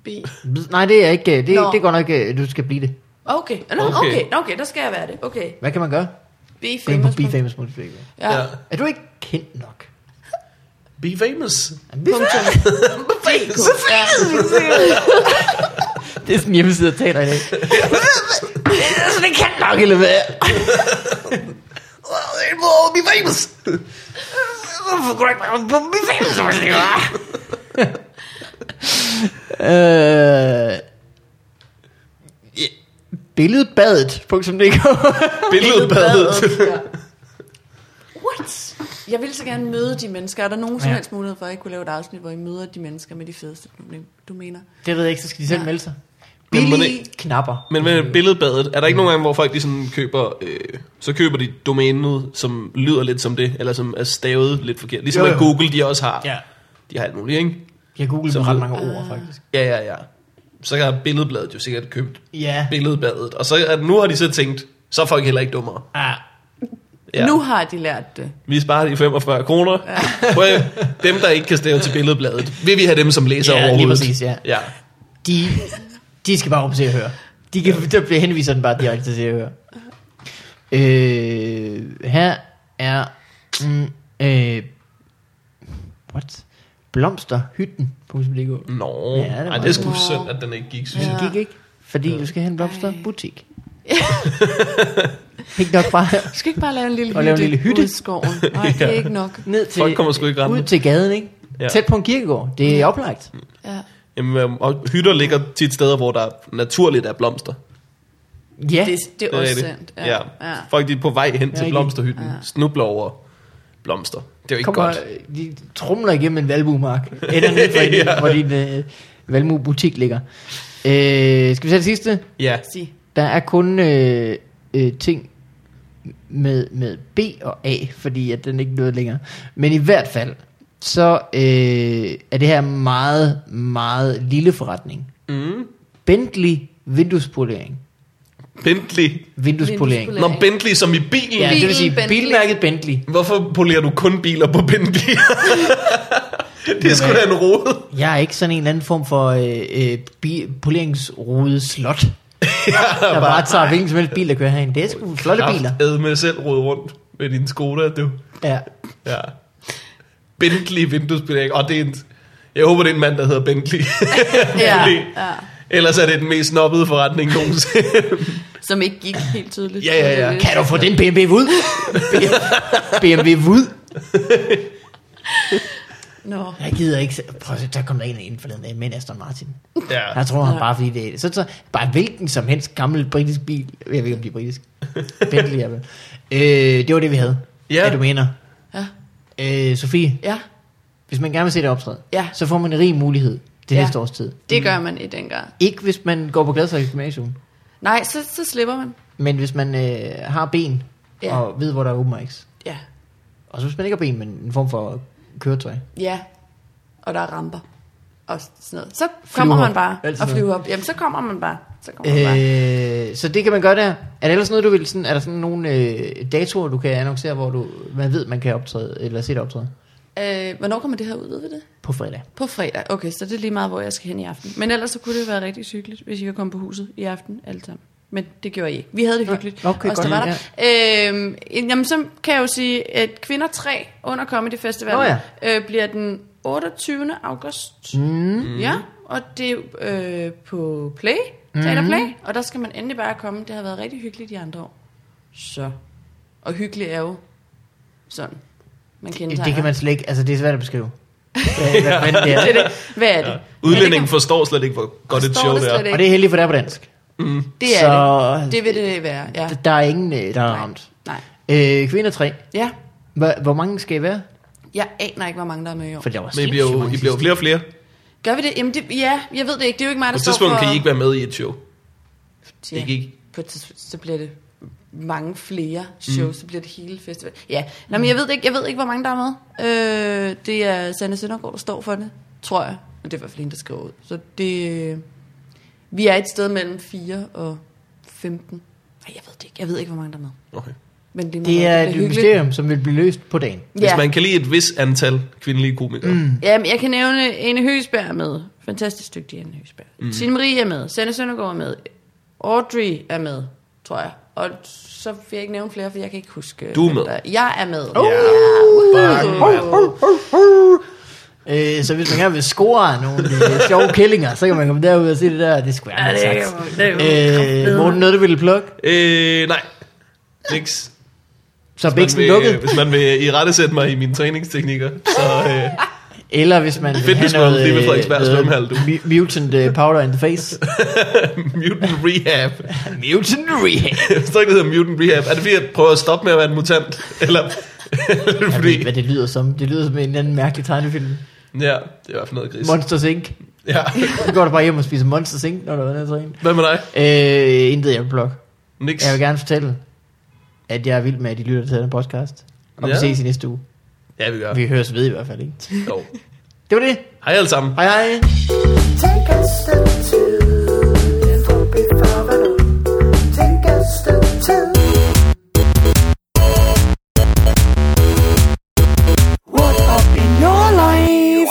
Speaker 3: Bi.
Speaker 1: Nej, det er ikke, øh, det,
Speaker 3: Nå.
Speaker 1: det er godt nok, øh, du skal blive det.
Speaker 3: Okay. Nå, okay.
Speaker 2: Okay.
Speaker 3: okay, Nå, okay, der skal jeg være det. Okay.
Speaker 1: Hvad kan man gøre?
Speaker 3: Be
Speaker 1: Gå ind på
Speaker 3: famous.
Speaker 1: befamous.dk.
Speaker 3: Ja.
Speaker 2: Ja.
Speaker 1: Er du ikke kendt nok?
Speaker 2: Be famous.
Speaker 1: Er Be famous. [LAUGHS]
Speaker 3: DK. Ja.
Speaker 1: det er sådan en hjemmeside, jeg taler i dag. det er sådan, kendt nok, eller hvad?
Speaker 2: Well, be famous.
Speaker 1: Øh, ja, Billedbadet.dk
Speaker 2: Billedbadet.
Speaker 3: Ja. What? Jeg ville så gerne møde de mennesker. Er der nogen som
Speaker 1: Ja.
Speaker 3: helst mulighed for, at I kunne lave et afsnit, hvor I møder de mennesker med de fedeste problemer, du mener?
Speaker 1: Det ved jeg ikke, så skal de selv
Speaker 3: Nej.
Speaker 1: melde sig.
Speaker 2: Men må
Speaker 1: Billige knapper.
Speaker 2: Men med billedbadet, er der ikke nogen gange, hvor folk de sådan køber, øh, så køber de domænet, som lyder lidt som det, eller som er stavet lidt forkert. Ligesom
Speaker 1: Jo,
Speaker 2: jo,
Speaker 1: jo.
Speaker 2: jo. at Google, de også har.
Speaker 1: Ja.
Speaker 2: De har alt muligt, ikke?
Speaker 1: Jeg googlede
Speaker 2: Så
Speaker 1: på ret
Speaker 2: ved-
Speaker 1: mange ord, faktisk.
Speaker 2: Ja, ja, ja. Så har billedbladet jo sikkert købt
Speaker 1: Ja.
Speaker 2: billedbadet. Og så er, nu har de så tænkt, så er folk heller ikke dummere.
Speaker 1: Ah,
Speaker 3: Ja.
Speaker 2: Ja.
Speaker 3: Nu har de lært det.
Speaker 2: Vi sparer de 45 kroner. [LAUGHS] Ja. Dem, der ikke kan stave til billedbladet, vil vi have dem som læser
Speaker 1: Ja, lige
Speaker 2: overhovedet.
Speaker 1: præcis, ja.
Speaker 2: ja.
Speaker 1: de, de skal bare rum til at høre. De kan, ja. Der bliver henviser den bare direkte til at høre. Øh, her er... Mm, øh, what? Blomsterhytten.dk
Speaker 2: Nå,
Speaker 1: Ja, det
Speaker 2: ja, det,
Speaker 1: var
Speaker 2: Ej, det er sgu synd, at den ikke gik, synes
Speaker 1: Ja.
Speaker 2: jeg.
Speaker 1: Det gik ikke, fordi du skal have en blomsterbutik. ikke nok bare
Speaker 3: Du skal ikke bare lave en lille
Speaker 1: Og
Speaker 3: hytte,
Speaker 1: lave en lille hytte.
Speaker 3: ude i skoven. Nej, det er ikke nok.
Speaker 1: ned til,
Speaker 2: Folk kommer sgu ikke rendende.
Speaker 1: ud til gaden, ikke? Ja.
Speaker 2: Ja.
Speaker 1: Tæt på en kirkegård. Det er oplagt.
Speaker 3: Ja.
Speaker 2: Jamen, øhm, og hytter ligger tit steder, hvor der naturligt er blomster.
Speaker 1: Ja,
Speaker 3: Det, det er også
Speaker 2: rigtigt.
Speaker 3: sandt.
Speaker 2: Ja. ja. Folk de er på vej hen til
Speaker 1: rigtigt.
Speaker 2: blomsterhytten,
Speaker 3: Ja.
Speaker 2: ja. snubler over blomster. Det er jo ikke
Speaker 1: kommer,
Speaker 2: godt.
Speaker 1: de trumler igennem en valmuemark. Ender
Speaker 2: [LAUGHS]
Speaker 1: ned for en, ja.
Speaker 2: Ja.
Speaker 1: hvor din øh, valmuebutik ligger. Øh, skal vi tage det sidste?
Speaker 2: Ja,
Speaker 3: Sig.
Speaker 1: Der er kun øh, øh, ting med, med B og A, fordi at den ikke nåede længere. Men i hvert fald, så øh, er det her en meget, meget lille forretning. Mm. Bentley vinduespolering.
Speaker 2: Bentley.
Speaker 1: Vinduespolering.
Speaker 3: Vinduespolering.
Speaker 2: Nå, Bentley som i bilen.
Speaker 1: Ja,
Speaker 2: Ja.
Speaker 1: det vil sige
Speaker 3: Bilen Bentley.
Speaker 1: bilmærket Bentley.
Speaker 2: Hvorfor polerer du kun biler på
Speaker 3: [LAUGHS]
Speaker 2: Bentley? det er sgu da en rode.
Speaker 1: Jeg er ikke sådan en eller anden form for øh, øh, bi- poleringsrode slot, der bare tager hvilken som helst bil, der kører herind. Det er sgu flotte biler.
Speaker 2: Ad med selv rode rundt med din Skoda, du.
Speaker 1: Ja.
Speaker 2: Ja. Bentley vinduesbedæk. Og det er en... Jeg håber, det er en mand, der hedder Bentley.
Speaker 3: [LAUGHS]
Speaker 2: [LAUGHS]
Speaker 3: Ja.
Speaker 2: Fordi-
Speaker 3: ja.
Speaker 2: Ellers er det den mest snobbede forretning nogensinde.
Speaker 1: [LAUGHS]
Speaker 3: Som ikke gik helt tydeligt.
Speaker 2: Ja, ja, ja.
Speaker 1: Kan du få den BMW [LAUGHS] ud? BMW ud?
Speaker 3: Nå.
Speaker 1: Jeg gider ikke. se- Prøv at se, der kom der en ind forleden dag med en Aston Martin.
Speaker 2: ja.
Speaker 1: Jeg tror han
Speaker 3: Ja.
Speaker 1: bare, fordi det er... Så, så, bare hvilken som helst gammel britisk bil. Jeg ved ikke, om de er britisk. Bentley er vel. Øh, det var det, vi havde.
Speaker 2: Ja.
Speaker 1: Hvad du mener.
Speaker 3: Ja.
Speaker 1: Øh, Sofie,
Speaker 3: Ja.
Speaker 1: hvis man gerne vil se det optræde,
Speaker 3: Ja.
Speaker 1: så får man en rig mulighed det
Speaker 3: Ja.
Speaker 1: næste års tid.
Speaker 3: Det gør man i den grad.
Speaker 1: Ikke hvis man går på Gladsaxe Gymnasium,
Speaker 3: Nej, så, så slipper man.
Speaker 1: men hvis man øh, har ben ja.
Speaker 3: Ja.
Speaker 1: og ved, hvor der er open mics.
Speaker 3: Ja.
Speaker 1: Og så hvis man ikke har ben, men en form for køretøj.
Speaker 3: Ja. Og der er ramper. Og sådan noget. Så kommer
Speaker 1: Flyvehop.
Speaker 3: man bare.
Speaker 1: Alt
Speaker 3: og
Speaker 1: sådan
Speaker 3: flyver op. Jamen, så kommer man bare. Så kommer man bare.
Speaker 1: Øh, så det kan man gøre der. Er der ellers noget, du vil sådan, er der sådan nogle øh, datoer, du kan annoncere, hvor du, man ved, man kan optræde, eller se det optræde?
Speaker 3: Øh, hvornår kommer det her ud, ved vi det?
Speaker 1: På fredag.
Speaker 3: På fredag. Okay, så det er lige meget, hvor jeg skal hen i aften. Men ellers så kunne det være rigtig hyggeligt, hvis I kan komme på huset i aften alle sammen. Men det gjorde I ikke. Vi havde det hyggeligt.
Speaker 1: okay,
Speaker 3: os, der
Speaker 1: godt.
Speaker 3: var der. Ja. Øhm, jamen, så kan jeg jo sige, at Kvinder 3 under Comedy Festival
Speaker 1: Nå ja.
Speaker 3: øh, bliver den 28. august.
Speaker 1: Mhm.
Speaker 3: Mm. Ja, og det er øh, på Play, Teater
Speaker 1: Mhm.
Speaker 3: mm. Play, og der skal man endelig bare komme. Det har været rigtig hyggeligt de andre år. Så. Og hyggeligt er jo sådan. Man
Speaker 1: Det,
Speaker 3: kender
Speaker 1: det kan man slet ikke, altså det er svært at
Speaker 3: [LAUGHS]
Speaker 1: beskrive. Hvad, hvad, hvad det
Speaker 3: Det
Speaker 1: er.
Speaker 3: er det. Hvad er det? Ja.
Speaker 2: Udlændingen forstår slet ikke, hvor godt et
Speaker 3: Forstår
Speaker 2: show
Speaker 3: det
Speaker 2: det er.
Speaker 3: slet
Speaker 1: Og det er heldigt, for det er på dansk.
Speaker 3: Det er
Speaker 1: Så-
Speaker 3: det. Det vil det være, ja.
Speaker 1: Der er ingen, øh, der er ramt.
Speaker 3: Nej.
Speaker 1: Øh, kvinder 3.
Speaker 3: Ja,
Speaker 1: Hvor, hvor mange skal I være?
Speaker 3: jeg aner ikke, hvor mange der er med i år.
Speaker 1: For der var
Speaker 2: Men I
Speaker 1: sindssygt
Speaker 2: bliver jo
Speaker 1: mange
Speaker 2: I bliver jo
Speaker 1: sidste.
Speaker 2: flere og flere.
Speaker 3: Gør vi det? Jamen, det, ja, jeg ved det ikke. Det er jo ikke mig,
Speaker 2: På
Speaker 3: der
Speaker 2: et
Speaker 3: står
Speaker 2: tidspunkt
Speaker 3: for...
Speaker 2: kan I ikke være med i et show.
Speaker 3: Ja.
Speaker 2: Ikke, ikke.
Speaker 3: På et tidspunkt, så bliver det mange flere shows, mm. så bliver det hele festival. Ja, Nå, men jeg ved, det ikke, jeg ved ikke, hvor mange der er med. Øh, det er Sanne Søndergaard, der står for det, tror jeg. Men det er i hvert fald en, der skriver ud. Så det... øh, Vi er et sted mellem 4 og 15. Nej, jeg ved det ikke. Jeg ved ikke, hvor mange der er med.
Speaker 2: Okay.
Speaker 3: Men det,
Speaker 1: Det er
Speaker 3: meget,
Speaker 1: et
Speaker 3: bliver hyggeligt.
Speaker 1: mysterium, som vil blive løst på dagen.
Speaker 2: Hvis
Speaker 3: Ja.
Speaker 2: man kan lide et vis antal kvindelige komikere. Mm.
Speaker 3: Jamen, jeg kan nævne Ane Høsberg er med. Fantastisk dygtig Ane Høsberg.
Speaker 2: Mhm.
Speaker 3: Mm. Signe Marie er med. Sanne Søndergaard er med. Audrey er med, tror jeg. Og så vil jeg ikke nævne flere, for jeg kan ikke huske.
Speaker 2: Du er
Speaker 3: hvem
Speaker 2: med.
Speaker 3: Der. Jeg er med.
Speaker 2: Ja.
Speaker 1: Øh, så hvis man gerne vil score nogle øh, sjove kællinger, så kan man komme derud og se det der. Det skulle jeg
Speaker 3: Ja, det
Speaker 1: have
Speaker 3: er
Speaker 1: sagt.
Speaker 3: jo- det er jo
Speaker 1: Øh, Morten, noget du ville plukke?
Speaker 2: Øh, nej. Niks.
Speaker 1: Så er biksen
Speaker 2: vil, øh,
Speaker 1: lukket.
Speaker 2: hvis man vil i rette sætte mig i mine træningsteknikker, så øh, [LAUGHS]
Speaker 1: Eller hvis man vil have
Speaker 2: Fitness World,
Speaker 1: noget,
Speaker 2: det er ved
Speaker 1: øh,
Speaker 2: Frederiksberg svømmehal,
Speaker 1: noget
Speaker 2: du.
Speaker 1: mu- mutant øh, powder in the
Speaker 2: [LAUGHS]
Speaker 1: face.
Speaker 2: mutant rehab.
Speaker 1: mutant rehab.
Speaker 2: Jeg forstår ikke, det hedder mutant rehab. Er det fordi, jeg prøver at stoppe med at være en mutant? [LAUGHS] Eller eller
Speaker 1: Jeg ved
Speaker 2: fordi...
Speaker 1: ikke, hvad det lyder som. Det lyder som en eller anden mærkelig tegnefilm.
Speaker 2: Ja, det er i hvert fald noget gris.
Speaker 1: Monsters Inc.
Speaker 2: Ja.
Speaker 1: Så går du bare hjem og spiser Monsters Inc., når du er nede og træne.
Speaker 2: Hvad med dig?
Speaker 1: Øh, intet jeg vil plukke.
Speaker 2: Niks.
Speaker 1: Jeg vil gerne fortælle, at jeg er vild med, at I lytter til den podcast. Og vi
Speaker 2: Ja.
Speaker 1: ses i næste uge.
Speaker 2: Ja, vi gør.
Speaker 1: Vi høres ved i hvert fald, ikke?
Speaker 2: Jo.
Speaker 1: Det var det.
Speaker 2: Hej alle sammen.
Speaker 1: Hej hej.
Speaker 4: Take a step two, for before Take a step two. What up in your life?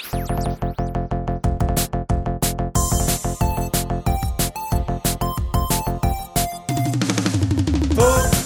Speaker 5: Fodbold